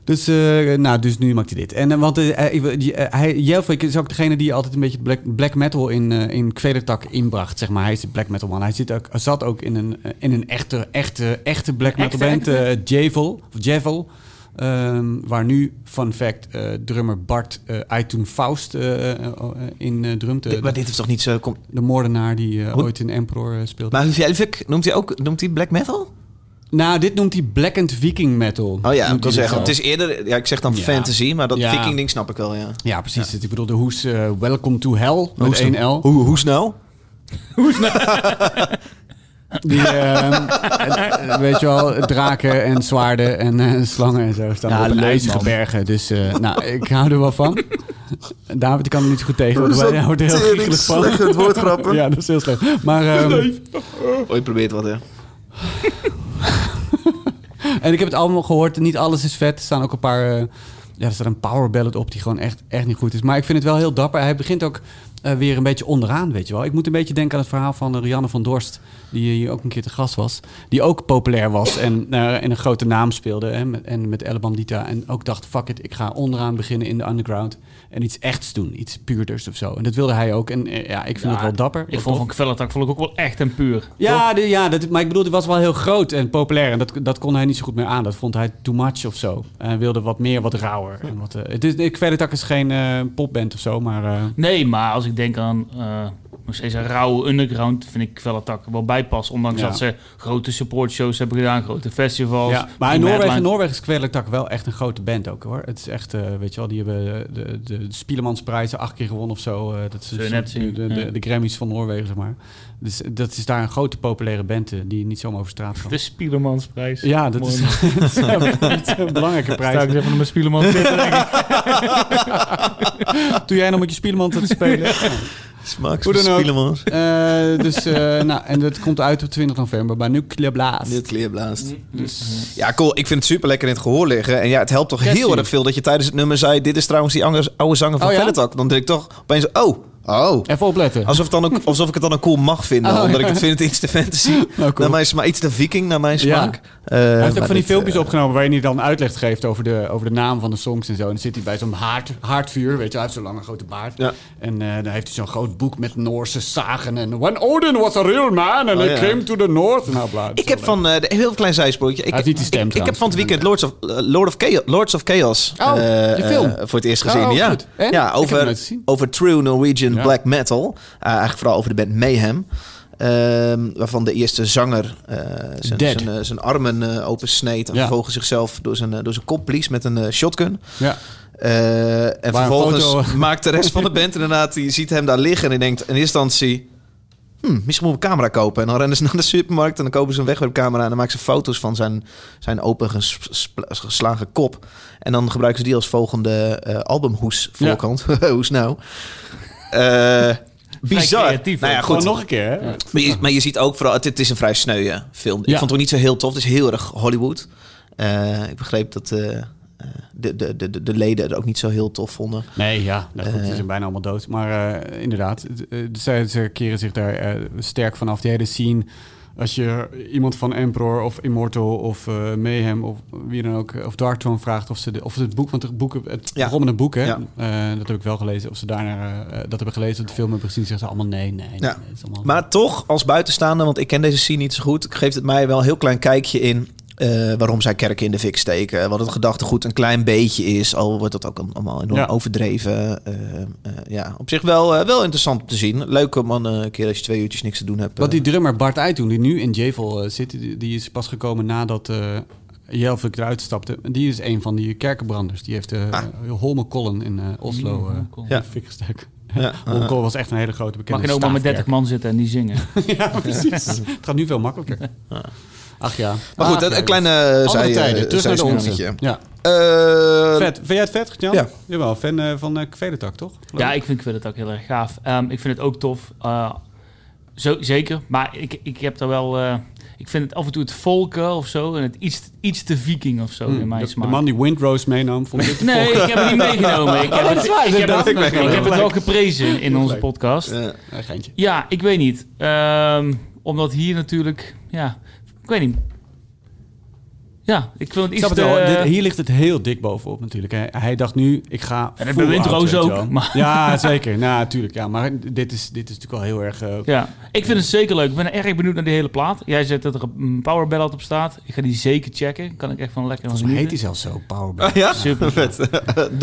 Speaker 1: Dus, eh, nou, dus nu maakt hij dit. En eh, want eh, hij- die, eh, hij, Jelfrik is ook degene die altijd een beetje black, black metal in, eh in Kwedertak inbracht. Zeg maar. Hij is de black metal man. Hij zit ook, zat ook in een, eh, in een echte, echte, echte black metal
Speaker 2: Echte,
Speaker 1: band, eh Javel. Of Javel ehm, waar nu, fun fact, eh, drummer Bart eh Aytun Faust eh, eh, eh, in eh, drumt. eh,
Speaker 3: Dit- maar dit is toch niet zo... Kom,
Speaker 1: de moordenaar die eh,
Speaker 3: Hoe-
Speaker 1: ooit in Emperor eh, speelde.
Speaker 3: maar Jelvik, noemt hij ook noemt hij black metal?
Speaker 1: nou, dit noemt hij blackened viking metal.
Speaker 3: Oh ja,
Speaker 1: Noemt
Speaker 3: ik wil
Speaker 1: hij dit
Speaker 3: zeggen. Het
Speaker 1: zelf.
Speaker 3: is eerder... Ja, ik zeg dan
Speaker 1: Ja.
Speaker 3: fantasy, maar dat
Speaker 1: Ja.
Speaker 3: viking ding snap ik wel, ja.
Speaker 1: Ja, precies. Ik bedoel, de hoes eh, Welcome to Hell
Speaker 3: Hoe
Speaker 1: met
Speaker 3: snel?
Speaker 1: één L.
Speaker 3: Hoe, hoe snel?
Speaker 1: Die, ehm, eh, weet je wel, draken en zwaarden en eh, slangen en zo staan
Speaker 2: Ja,
Speaker 1: op een
Speaker 2: leuk,
Speaker 1: ijzige
Speaker 2: man.
Speaker 1: bergen. Dus eh, nou, ik hou er wel van. David ik kan er niet zo goed tegen, want wij houden er heel giechelig van.
Speaker 3: het woordgrappen.
Speaker 1: Ja, dat is heel slecht. Maar, ehm,
Speaker 3: Ooit probeert wat, hè.
Speaker 1: en ik heb het allemaal gehoord. Niet alles is vet. Er staan ook een paar... eh, ja, er staat een power ballad op die gewoon echt, echt niet goed is. Maar ik vind het wel heel dapper. Hij begint ook eh, weer een beetje onderaan, weet je wel. Ik moet een beetje denken aan het verhaal van eh, Rianne van Dorst... die hier ook een keer te gast was. Die ook populair was en, eh, en een grote naam speelde. Hè, met, en met Elle Bandita. En ook dacht, fuck it, ik ga onderaan beginnen in de underground... en iets echts doen, iets puurders of zo. En dat wilde hij ook. En eh, ja, ik vind het wel dapper.
Speaker 2: Ik
Speaker 1: wel
Speaker 2: vond
Speaker 1: tof.
Speaker 2: van Kveldertak vond ik ook wel echt en puur.
Speaker 1: Ja, de- ja dat, maar ik bedoel, die was wel heel groot en populair. En dat, dat kon hij niet zo goed meer aan. Dat vond hij too much of zo. Hij wilde wat meer, wat rauwer. En wat, eh, het is, ik verder tak is geen eh, popband of zo, maar... eh,
Speaker 2: Nee, maar als ik denk aan eh, nog steeds een rauwe underground, vind ik Kveldertak er wel bijpas. Ondanks
Speaker 1: Ja.
Speaker 2: dat ze grote supportshows hebben gedaan, grote festivals.
Speaker 1: ja. Maar
Speaker 2: prima
Speaker 1: in Noorwegen,
Speaker 2: headline.
Speaker 1: Noorwegen is Kwedelik tak wel echt een grote band ook, hoor. Het is echt, eh, weet je wel, die hebben eh, de, de, de Spielemannsprijzen acht keer gewonnen of zo. eh, dat is
Speaker 2: Zul je
Speaker 1: een
Speaker 2: net
Speaker 1: soort-
Speaker 2: zien,
Speaker 1: de, de,
Speaker 2: ja.
Speaker 1: de Grammys van Noorwegen, zeg maar. Dus dat is daar een grote populaire band eh, die je niet zomaar over straat kan.
Speaker 2: De Spielermansprijs.
Speaker 1: Ja, dat
Speaker 2: Mooi,
Speaker 1: is,
Speaker 2: man.
Speaker 1: dat is een belangrijke
Speaker 2: Sta
Speaker 1: prijs.
Speaker 2: ik eens even naar mijn Spielerman
Speaker 1: Toen jij nog met je Spieleman zat te spelen.
Speaker 3: Smaks,
Speaker 1: Hoe dan ook.
Speaker 3: Spielemans.
Speaker 1: Eh, dus, eh, nou, en dat komt uit op 20 november bij Nuclear Blast.
Speaker 3: Nuclear blast.
Speaker 1: Mm,
Speaker 3: Ja, cool. Ik vind het super lekker in het gehoor liggen. En ja, het helpt toch
Speaker 1: dus- Catchy.
Speaker 3: heel erg veel dat je tijdens het nummer zei... dit is trouwens die oude, oude zanger van
Speaker 1: Oh ja?
Speaker 3: Pelletak. Dan denk ik toch opeens... oh, oh.
Speaker 1: Even opletten.
Speaker 3: Alsof, het dan ook, alsof ik het dan ook cool mag vinden.
Speaker 1: Oh,
Speaker 3: omdat
Speaker 1: ja. Nou,
Speaker 3: ik het vind iets te fantasy.
Speaker 1: cool.
Speaker 3: naar mijn sma- iets te viking, naar mijn
Speaker 1: Ja.
Speaker 3: smaak. Eh,
Speaker 1: hij heeft ook van die filmpjes opgenomen waarin hij dan uitleg geeft over de, over de naam van de songs en zo. En dan zit hij bij zo'n haard, haardvuur, weet je, hij heeft zo'n lange grote baard.
Speaker 3: Ja.
Speaker 1: En eh dan heeft hij zo'n groot boek met Noorse zagen. En When Odin was a real man and
Speaker 3: Oh,
Speaker 1: he
Speaker 3: ja.
Speaker 1: came to the north. Nou, bla, dat is
Speaker 3: Ik heb
Speaker 1: wel leuk.
Speaker 3: van, eh, de- heel klein zijspoortje. Ik,
Speaker 1: Hij heeft niet die stem
Speaker 3: ik, ik heb
Speaker 1: trouwens.
Speaker 3: van het weekend Lords of, eh, Lord of Chaos, Lords of Chaos
Speaker 1: Oh,
Speaker 3: eh,
Speaker 1: die film.
Speaker 3: eh, voor het eerst
Speaker 1: Oh,
Speaker 3: gezien. ja.
Speaker 1: goed. En? Ik
Speaker 3: ja,
Speaker 1: heb hem
Speaker 3: over,
Speaker 1: nooit gezien.
Speaker 3: over true Norwegian
Speaker 1: Ja.
Speaker 3: black metal. Eh, eigenlijk vooral over de band Mayhem. Ehm, waarvan de eerste zanger eh, zijn,
Speaker 1: Dead.
Speaker 3: zijn, eh, zijn armen eh, opensneed. En
Speaker 1: Ja.
Speaker 3: vervolgens zichzelf door zijn, eh, door zijn kop blies met een eh, shotgun.
Speaker 1: Ja.
Speaker 3: Eh, en
Speaker 1: Waar een
Speaker 3: vervolgens
Speaker 1: foto-
Speaker 3: maakt de rest van de band inderdaad, die ziet hem daar liggen en die denkt in eerste instantie, "Hmm, misschien moet ik een camera kopen. En dan rennen ze naar de supermarkt en dan kopen ze een wegwerpcamera en dan maken ze foto's van zijn, zijn open ges- spl- geslagen kop. En dan gebruiken ze die als volgende eh, albumhoes voorkant. Hoes nou. Eh, bizar.
Speaker 2: creatief,
Speaker 3: nou ja,
Speaker 2: ook.
Speaker 1: Gewoon
Speaker 3: goed.
Speaker 1: Oh, nog een keer, hè? Ja.
Speaker 3: Maar je, maar je ziet ook vooral, het, het is een vrij sneuwe film. Ik
Speaker 1: Ja.
Speaker 3: vond het ook niet zo heel tof. Het is heel erg Hollywood. Eh, ik begreep dat eh, eh, de, de, de, de leden het ook niet zo heel tof vonden.
Speaker 1: Nee, ja, nou goed,
Speaker 3: Eh.
Speaker 1: ze zijn bijna allemaal dood. Maar eh, inderdaad, het, eh, ze, ze keren zich daar eh, sterk vanaf. Die hele scene, als je iemand van Emperor of Immortal of eh, Mayhem of wie dan ook, eh, of Dark Throne vraagt of ze, de, of ze het boek, want het, boek, het
Speaker 3: Ja.
Speaker 1: begon met een boek, hè?
Speaker 3: Ja.
Speaker 1: Eh, dat heb ik wel gelezen. Of ze daarna eh, dat hebben gelezen, dat de film hebben gezien, zeggen ze allemaal nee, nee.
Speaker 3: Ja.
Speaker 1: nee, nee, het is allemaal-
Speaker 3: Maar toch, als buitenstaander, want ik ken deze scene niet zo goed, geeft het mij wel een heel klein kijkje in eh, waarom zij kerken in de fik steken. Wat het gedachtegoed een klein beetje is. Al wordt dat ook een- allemaal enorm
Speaker 1: Ja.
Speaker 3: overdreven. Eh, eh, ja, op zich wel, eh, wel interessant om te zien. Leuk om dan, eh, een keer als je twee uurtjes niks te doen hebt.
Speaker 1: Wat
Speaker 3: eh,
Speaker 1: die drummer Bart Uithoen, die nu in Javel eh, zit, die, die is pas gekomen nadat eh Jelvik eruit stapte. En Die is een van die kerkenbranders. Die heeft eh Holmenkollen in eh, Oslo eh
Speaker 2: Holmenkollen.
Speaker 3: Ah. Ja.
Speaker 1: ja. fikgestek.
Speaker 3: Ja.
Speaker 1: Holmenkollen was echt een hele grote bekende
Speaker 2: Mag je ook maar met 30 man zitten en die zingen.
Speaker 1: staafkerk. ja, precies. Het gaat nu veel makkelijker. Ach ja.
Speaker 3: Maar goed,
Speaker 1: Ach,
Speaker 3: dat-
Speaker 1: ja.
Speaker 3: een kleine
Speaker 1: Andere
Speaker 3: zij,
Speaker 1: tijden, terug naar de onze.
Speaker 3: zijsnelletje.
Speaker 1: Ja.
Speaker 3: Eh,
Speaker 1: Vet. Vind jij het vet, Jan?
Speaker 3: Ja.
Speaker 1: Jawel, fan eh, van eh Kveletak, toch?
Speaker 2: Ja, ik vind, ik vind het ook heel erg gaaf. Ehm, ik vind het ook tof. Eh, zo, zeker. Maar ik, ik heb daar wel... eh, ik vind het af en toe het volken of zo. En het iets, iets te viking of zo in
Speaker 1: De-
Speaker 2: mijn
Speaker 1: Hmm, de,
Speaker 2: smaak.
Speaker 1: man die Windrose meenam, vond ik
Speaker 2: nee, ik heb het niet meegenomen. Ik heb het, ik heb
Speaker 1: Oh, Dat
Speaker 2: het,
Speaker 1: heb
Speaker 2: ik
Speaker 1: ik
Speaker 2: heb het
Speaker 1: meegenomen.
Speaker 2: wel geprezen in onze
Speaker 1: leuk.
Speaker 2: podcast.
Speaker 3: eh,
Speaker 1: een geintje.
Speaker 2: Ja, ik weet niet. Ehm, omdat hier natuurlijk... Ja, ik weet niet. Ja, ik vind het
Speaker 1: Ik
Speaker 2: iets
Speaker 1: snap het eh,
Speaker 2: te...
Speaker 1: wel. Dit- hier ligt het heel dik bovenop natuurlijk. Hij, hij dacht nu, ik ga
Speaker 2: En dat
Speaker 1: full
Speaker 2: bewint
Speaker 1: out,
Speaker 2: Roos
Speaker 1: weet je
Speaker 2: ook,
Speaker 1: wel.
Speaker 2: maar-
Speaker 1: Ja, zeker. Nou, natuurlijk. Ja, maar dit is, dit is natuurlijk wel heel erg... eh,
Speaker 2: Ja, ik vind het zeker leuk. Ik ben erg benieuwd naar die hele plaat. Jij zegt dat er een power ballad op staat. Ik ga die zeker checken. Kan ik echt van lekker
Speaker 1: Volgens
Speaker 2: van
Speaker 1: mij heet hij
Speaker 2: genieten.
Speaker 1: zelfs zo, Powerball.
Speaker 3: ja?
Speaker 2: Super.
Speaker 3: Vet.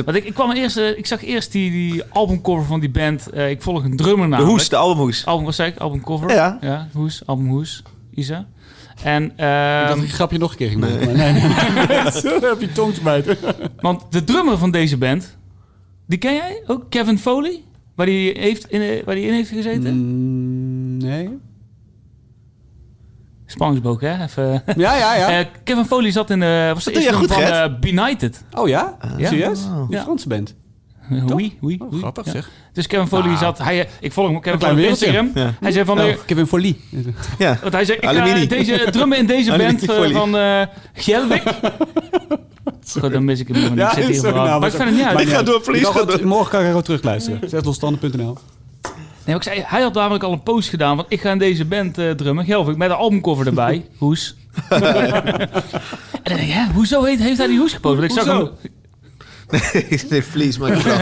Speaker 2: Want ik, ik, kwam eerst, eh, ik zag eerst die, die albumcover van die band. Eh, ik volg een drummer
Speaker 3: De
Speaker 2: namelijk.
Speaker 3: hoes, de albumhoes.
Speaker 2: Album, wat zei ik? Albumcover?
Speaker 3: Ja.
Speaker 2: Ja, hoes. Album hoes. Isa. En,
Speaker 1: Ik dacht
Speaker 2: ehm,
Speaker 1: dat ik een grapje nog een keer ging maken. maar Nee, nee, nee. Zo heb je tong te bijten.
Speaker 2: want de drummer van deze band, die ken jij ook? Kevin Foley? Waar die, heeft in, eh, waar die in heeft gezeten?
Speaker 1: Mm, Nee?
Speaker 2: Spanningsboek, hè? Even.
Speaker 1: Ja, ja, ja.
Speaker 2: Eh, Kevin Foley zat in de... Was de
Speaker 3: doe jij
Speaker 2: eerste
Speaker 3: goed,
Speaker 2: van
Speaker 3: Gert.
Speaker 2: eh, Benighted.
Speaker 1: Oh ja?
Speaker 2: Ja.
Speaker 1: Serieus?
Speaker 3: Oh.
Speaker 1: Die
Speaker 2: Ja.
Speaker 1: Franse band. Toch?
Speaker 2: Wie, wie,
Speaker 1: Oh, grappig zeg.
Speaker 2: Dus Kevin Foley
Speaker 1: Nou.
Speaker 2: zat, hij, ik volg hem Kevin
Speaker 1: Een klein
Speaker 2: Foley op
Speaker 1: wereldje.
Speaker 2: Instagram. Hij zei van, eh,
Speaker 1: Oh, Kevin Folie.
Speaker 3: Ja.
Speaker 2: want hij zei, ik ga
Speaker 3: Aluminium.
Speaker 2: deze drummen in deze
Speaker 3: Aluminium
Speaker 2: band eh,
Speaker 3: Foley.
Speaker 2: van eh Gjelwik. Goed, dan mis ik hem. want
Speaker 1: Ja,
Speaker 2: ik zit hier
Speaker 1: sorry,
Speaker 2: vooral.
Speaker 1: nou,
Speaker 2: maar ik
Speaker 1: maar
Speaker 2: vind het niet uit.
Speaker 3: Ik ga door,
Speaker 1: Je
Speaker 3: please.
Speaker 1: kan
Speaker 3: ga
Speaker 1: gewoon-
Speaker 3: door.
Speaker 1: Morgen kan ik gewoon terugluisteren. Zeslosstanden.nl
Speaker 2: Nee, maar ik zei, hij had namelijk al een post gedaan van, ik ga in deze band eh, drummen. Gjelwik, met een albumcover erbij. hoes. en dan denk ik, hè, hoezo heeft, heeft hij die hoes gepost? Want ik zag hem,
Speaker 1: Hoezo?
Speaker 3: Nee, please, maar ik grap.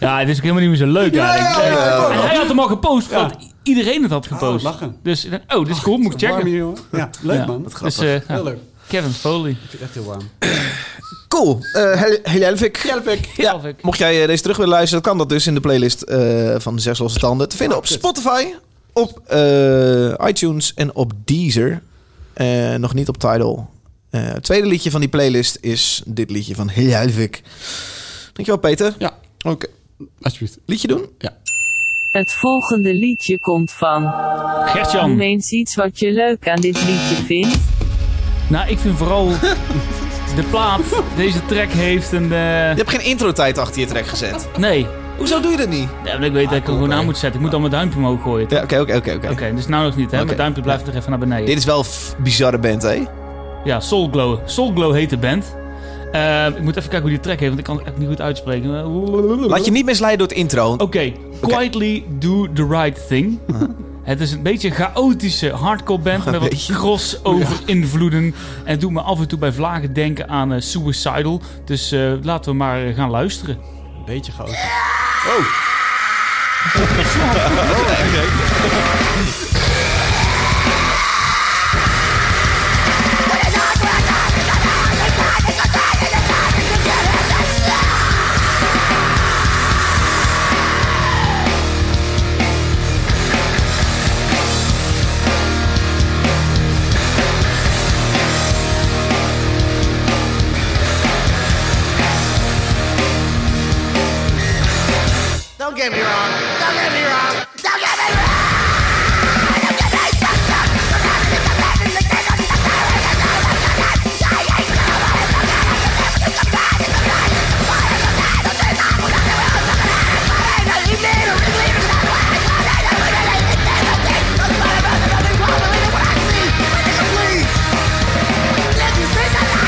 Speaker 2: ja, het is ook helemaal niet meer zo leuk eigenlijk.
Speaker 3: ja,
Speaker 2: En hij had hem al gepost, want iedereen het had gepost.
Speaker 1: lachen.
Speaker 2: Dus, ik dacht, oh, dit is cool, moet ik checken.
Speaker 1: Oh, Warm hier, hoor. Ja, leuk man.
Speaker 2: Wat grappig. Dus, eh,
Speaker 1: Heel
Speaker 2: ja,
Speaker 1: leuk.
Speaker 2: Kevin Foley.
Speaker 1: Ik vind het echt heel warm.
Speaker 3: Cool. Eh Hel- Heljelvik. Ja.
Speaker 2: Heljelvik.
Speaker 3: Mocht jij eh, deze terug willen luisteren, dan kan dat dus in de playlist eh, van Zes Losse Tanden. Te vinden op Spotify, op eh, iTunes en op Deezer. Eh, nog niet op Tidal. Eh, het tweede liedje van die playlist is dit liedje van Heljelvik. Dankjewel, Peter.
Speaker 1: Ja.
Speaker 3: Oké.
Speaker 1: Alsjeblieft.
Speaker 3: Liedje doen?
Speaker 5: Het volgende liedje komt
Speaker 1: Hm.
Speaker 5: van. Noem
Speaker 2: Gertjan.
Speaker 5: eens iets wat je leuk aan dit liedje vindt.
Speaker 2: Nou, ik vind vooral de plaat. Deze track heeft een. eh,
Speaker 3: Je hebt geen intro-tijd achter je track gezet.
Speaker 2: Nee,
Speaker 3: Hoezo doe je dat niet?
Speaker 2: Ja, maar ik weet dat ik er gewoon aan moet zetten. Ik moet al mijn duimpje omhoog gooien.
Speaker 3: Ja, oké, oké, oké, oké.
Speaker 2: Oké, dus nou nog niet, hè?
Speaker 3: Oké.
Speaker 2: Mijn duimpje blijft nog even naar beneden.
Speaker 3: Dit is wel een bizarre band, hè?
Speaker 2: Ja, Soul Glow. Soul Glow heet de band. Eh, ik moet even kijken hoe die track heet, want ik kan het echt niet goed uitspreken.
Speaker 3: Laat je niet misleiden door het intro.
Speaker 2: Oké, Quietly Do The Right Thing. Het is een beetje een chaotische hardcore band met wat
Speaker 3: beetje.
Speaker 2: crossover invloeden. En het doet me af en toe bij vlagen denken aan eh, Suicidal. Dus eh, laten we maar eh, gaan luisteren.
Speaker 1: Een beetje chaotisch.
Speaker 7: Don't get me wrong. Don't get me wrong. Don't get me wrong. Do you understand?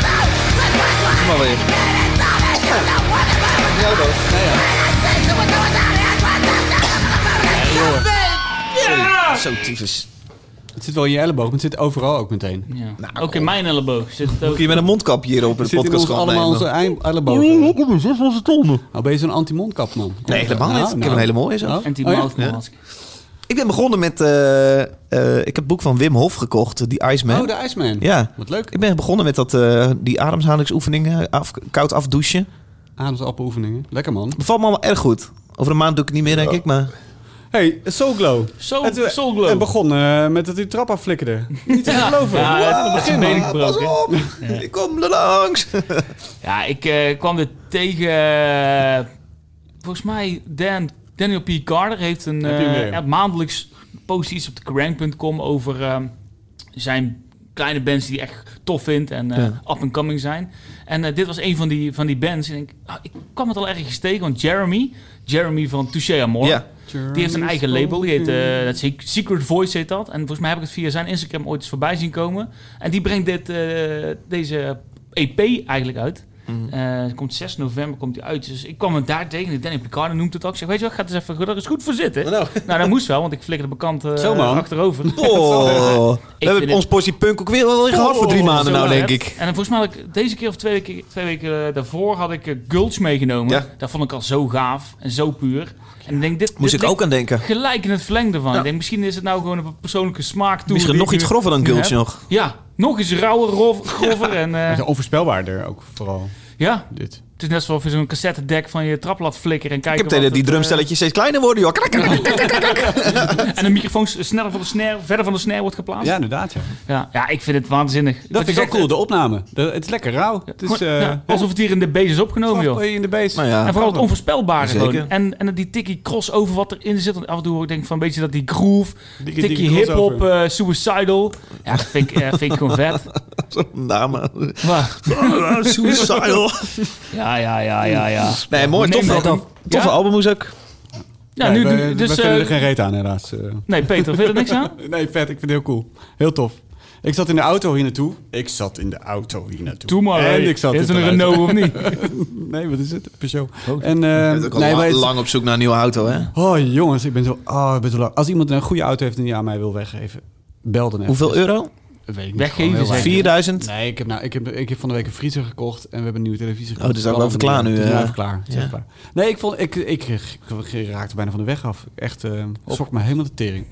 Speaker 3: Kom maar weer. Ja, hoor. Ja, ja. Zo tyfus.
Speaker 1: Het zit wel in je elleboog, maar het zit overal ook meteen. Het
Speaker 2: Ja. ook in mijn elleboog zit het ook.
Speaker 3: Kun je met een mondkapje hier op de
Speaker 1: zit in
Speaker 3: podcast
Speaker 1: ons
Speaker 3: gaan
Speaker 1: allemaal onze
Speaker 3: nemen?
Speaker 1: ei- elleboog.
Speaker 3: Kom eens, zes onze tonnen.
Speaker 1: Nou ben je zo'n anti-mondkap, man. Kom
Speaker 3: Nee,
Speaker 1: op,
Speaker 3: helemaal
Speaker 1: nou,
Speaker 3: niet. Ik heb
Speaker 1: nou.
Speaker 3: een hele mooie zo.
Speaker 1: Oh.
Speaker 2: En die
Speaker 1: ja?
Speaker 2: mouthmask.
Speaker 3: Ik ben begonnen met... eh, eh, ik heb het boek van Wim Hof gekocht, die Iceman.
Speaker 1: Oh, de IJsman.
Speaker 3: Ja.
Speaker 1: Wat leuk.
Speaker 3: Ik ben begonnen met dat, eh, die ademhalingsoefeningen, af, koud afdouchen.
Speaker 1: Ademsappeloefeningen. Lekker, man.
Speaker 3: Bevalt me allemaal erg goed. Over een maand doe ik het niet meer, denk ik, maar...
Speaker 1: Hey, Soulglow.
Speaker 2: Soul-
Speaker 1: Het, eh,
Speaker 2: Soulglow.
Speaker 1: Het begon eh, met dat die trap afflikkerde. Niet te geloven.
Speaker 2: Ja,
Speaker 1: Wow.
Speaker 2: dat is een
Speaker 1: Ah,
Speaker 2: been gebroken.
Speaker 3: op! Ik kom er langs!
Speaker 2: Ja, ik eh, kwam dit tegen. eh, volgens mij Dan, Daniel P. Carter heeft een
Speaker 1: Heb je hem
Speaker 2: eh,
Speaker 1: weer?
Speaker 2: ja, maandelijks post iets op de crank.com over ehm, zijn kleine bands die hij echt tof vindt en eh, up and coming zijn. En eh, dit was een van die, van die bands. En ik, ah, ik kwam het al ergens tegen, want Jeremy, Jeremy van Touche Amor,
Speaker 3: Ja.
Speaker 2: die heeft een eigen label. Die heet, eh, dat is Secret Voice heet dat. En volgens mij heb ik het via zijn Instagram ooit eens voorbij zien komen. En die brengt dit, eh, deze EP eigenlijk uit.
Speaker 3: Mhm.
Speaker 2: Eh, het komt 6 november komt die uit. Dus ik kwam hem daar tegen. Danny Picard noemt het ook. Ik zeg, weet je wat, ik ga er eens even er eens goed voor zitten. Nou, dat moest wel, want ik flikkerde bekant eh,
Speaker 1: Zo, man.
Speaker 2: achterover.
Speaker 3: Oh, we
Speaker 2: vind
Speaker 3: hebben
Speaker 2: het- Oh,
Speaker 3: ons portie punk ook weer wel weer gehad voor drie maanden
Speaker 2: Zo
Speaker 3: nou,
Speaker 2: hard.
Speaker 3: denk ik.
Speaker 2: En dan volgens mij had ik deze keer of twee weken, twee weken eh, daarvoor had ik eh, Gulch meegenomen.
Speaker 3: Ja. Dat
Speaker 2: Dat vond ik al zo gaaf en zo puur. En ik denk, dit,
Speaker 3: Moest
Speaker 2: dit
Speaker 3: ik ook
Speaker 2: ligt
Speaker 3: aan denken.
Speaker 2: gelijk in het verlengde van. Ik denk, misschien is het nou gewoon een persoonlijke smaak toe.
Speaker 3: Misschien
Speaker 2: die
Speaker 3: nog
Speaker 2: ik
Speaker 3: iets
Speaker 2: nu-
Speaker 3: grover dan
Speaker 2: nu
Speaker 3: Gulch
Speaker 2: heb.
Speaker 3: nog.
Speaker 2: Ja, nog eens rauwer, rof- grover. En, eh,
Speaker 1: Het is onvoorspelbaarder ook, vooral.
Speaker 2: ja,
Speaker 1: Dit.
Speaker 2: het is net zoals je zo'n cassettedek van je trap laat flikkeren en
Speaker 3: Ik
Speaker 2: kijken
Speaker 3: heb tegen
Speaker 2: wat
Speaker 3: die
Speaker 2: het, eh,
Speaker 3: drumstelletjes steeds kleiner worden, joh. Krak, krak, krak.
Speaker 2: en de microfoon s- sneller van de snare, verder van de snare wordt geplaatst. Ja,
Speaker 1: Ja, inderdaad. Ja.
Speaker 2: ja, ik vind het waanzinnig.
Speaker 1: Dat
Speaker 2: Wat je
Speaker 1: vind ik ook
Speaker 2: zegt,
Speaker 1: cool, de opname. De- het is lekker rauw.
Speaker 2: eh,
Speaker 1: Het is
Speaker 2: gewoon-
Speaker 1: eh, oh
Speaker 2: ja, alsof het hier in de base is opgenomen, joh.
Speaker 1: Hop, in de base.
Speaker 3: Maar Nou ja.
Speaker 2: En vooral het onvoorspelbare
Speaker 3: Zeker.
Speaker 2: gewoon. En, en die tikkie crossover wat erin zit. Want af en toe denk ik van een beetje dat die groove,
Speaker 1: Dikke-
Speaker 2: tikkie
Speaker 1: dikke
Speaker 2: hip-hop,
Speaker 1: crossover.
Speaker 2: eh, suicidal. Ja, dat vind ik, eh, vind ik gewoon vet.
Speaker 3: Zo'n naam.
Speaker 2: Maar- Ah,
Speaker 3: Suicidal.
Speaker 2: ja, ja, ja, ja, ja.
Speaker 3: Nee, mooi.
Speaker 2: We
Speaker 3: Toffe,
Speaker 2: nemen het
Speaker 3: album.
Speaker 2: op.
Speaker 3: toffe
Speaker 2: Ja?
Speaker 3: albumhoes ook.
Speaker 2: Ja,
Speaker 1: Nee,
Speaker 2: nu,
Speaker 1: we,
Speaker 2: nu-
Speaker 1: we
Speaker 2: dus,
Speaker 1: vinden
Speaker 2: eh,
Speaker 1: er geen reet aan, helaas. eh.
Speaker 2: nee, Peter, vind je er niks aan?
Speaker 1: Nee, vet. Ik vind het heel cool. Heel tof. Ik zat in de auto hier naartoe. Ik zat in de auto hier naartoe.
Speaker 2: Doe maar,
Speaker 1: En
Speaker 2: hey.
Speaker 1: ik zat
Speaker 2: is
Speaker 1: dit
Speaker 2: er een Oh,
Speaker 1: te luisteren.
Speaker 2: Renault of niet?
Speaker 1: Nee, wat is het? Peugeot. En, eh,
Speaker 3: Je bent ook al
Speaker 1: nee,
Speaker 3: la-
Speaker 1: maar het-
Speaker 3: lang op zoek naar een nieuwe auto, hè?
Speaker 1: Oh jongens, ik ben zo, oh, ik ben zo lang. Als iemand een goede auto heeft en die aan mij wil weggeven, bel dan even.
Speaker 3: Hoeveel euro?
Speaker 1: Dat weet ik niet.
Speaker 2: Weggeven,
Speaker 1: Gewoon heel
Speaker 2: zeg je?
Speaker 1: weinig.
Speaker 3: 4000?
Speaker 1: Nee, ik heb, nou, ik, heb, ik heb van de week een vriezer gekocht en we hebben een nieuwe televisie gekocht.
Speaker 3: dat Oh, is ook wel even klaar nu, eh.
Speaker 1: Het is
Speaker 3: hè?
Speaker 1: even klaar. Het is
Speaker 3: Ja.
Speaker 1: even klaar. Nee, ik, vond, ik, ik, ik, ik raakte bijna van de weg af. Echt, eh schrok me helemaal de tering.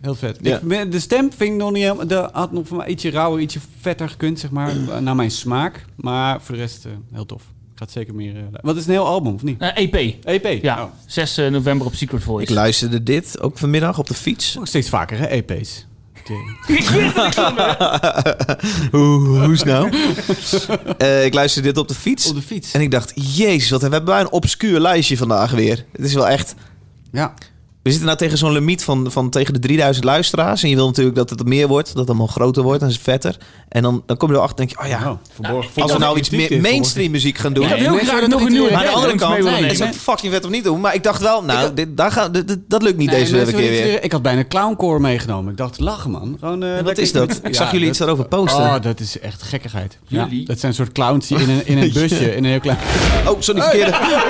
Speaker 1: Heel vet.
Speaker 3: Ja.
Speaker 1: Ik ben- de stem vind ik nog niet helemaal... De, had nog voor mij ietsje rauwer, ietsje vetter gekund, zeg maar. Naar mijn smaak. Maar voor de rest eh, heel tof. Gaat zeker meer... eh, lu- Want het is een heel album, of niet?
Speaker 2: Eh, EP.
Speaker 1: EP?
Speaker 2: Ja,
Speaker 1: Oh.
Speaker 2: 6 november op Secret
Speaker 3: Ik
Speaker 2: Voice.
Speaker 3: luisterde dit ook vanmiddag op de fiets.
Speaker 1: Ook steeds vaker, hè? E EP's.
Speaker 2: Ik weet het niet, man.
Speaker 3: Hoe hoe is het nou? Eh, ik luisterde dit op de fiets.
Speaker 1: Op de fiets.
Speaker 3: En ik dacht, jezus, wat hebben wij een obscuur lijstje vandaag weer. Het is wel echt...
Speaker 1: Ja.
Speaker 3: We zitten nou tegen zo'n limiet van, van tegen de 3000 luisteraars. En je wil natuurlijk dat het meer wordt, dat het allemaal groter wordt en vetter. En dan, dan kom je erachter en denk je, oh ja,
Speaker 1: Oh, verborgen.
Speaker 3: als we nou iets meer mainstream muziek gaan doen...
Speaker 2: Ik had heel
Speaker 1: Nee,
Speaker 2: graag
Speaker 1: mensen
Speaker 2: nog een
Speaker 1: willen
Speaker 2: nieuwe
Speaker 1: dat
Speaker 3: maar aan de
Speaker 1: nee,
Speaker 3: andere kant,
Speaker 2: Rolling Stones mee willen
Speaker 3: nee, is
Speaker 2: nemen.
Speaker 3: dat fucking vet om niet te doen. Maar ik dacht wel, nou, dit, daar gaan, dit- dit- dat lukt niet
Speaker 1: Nee,
Speaker 3: deze
Speaker 1: mensen
Speaker 3: keer
Speaker 1: willen iets
Speaker 3: weer.
Speaker 1: Ik had bijna clowncore meegenomen. Ik dacht, lachen man. Gewoon, eh,
Speaker 3: En wat
Speaker 1: lekker-
Speaker 3: is dat? Ik zag
Speaker 1: Ja,
Speaker 3: jullie iets
Speaker 1: dat-
Speaker 3: daarover posten.
Speaker 1: Oh, dat is echt gekkigheid. Ja.
Speaker 2: Jullie?
Speaker 1: Dat zijn soort clowns die in een, in een busje, in een heel klein...
Speaker 3: Oh, sorry, verkeerde.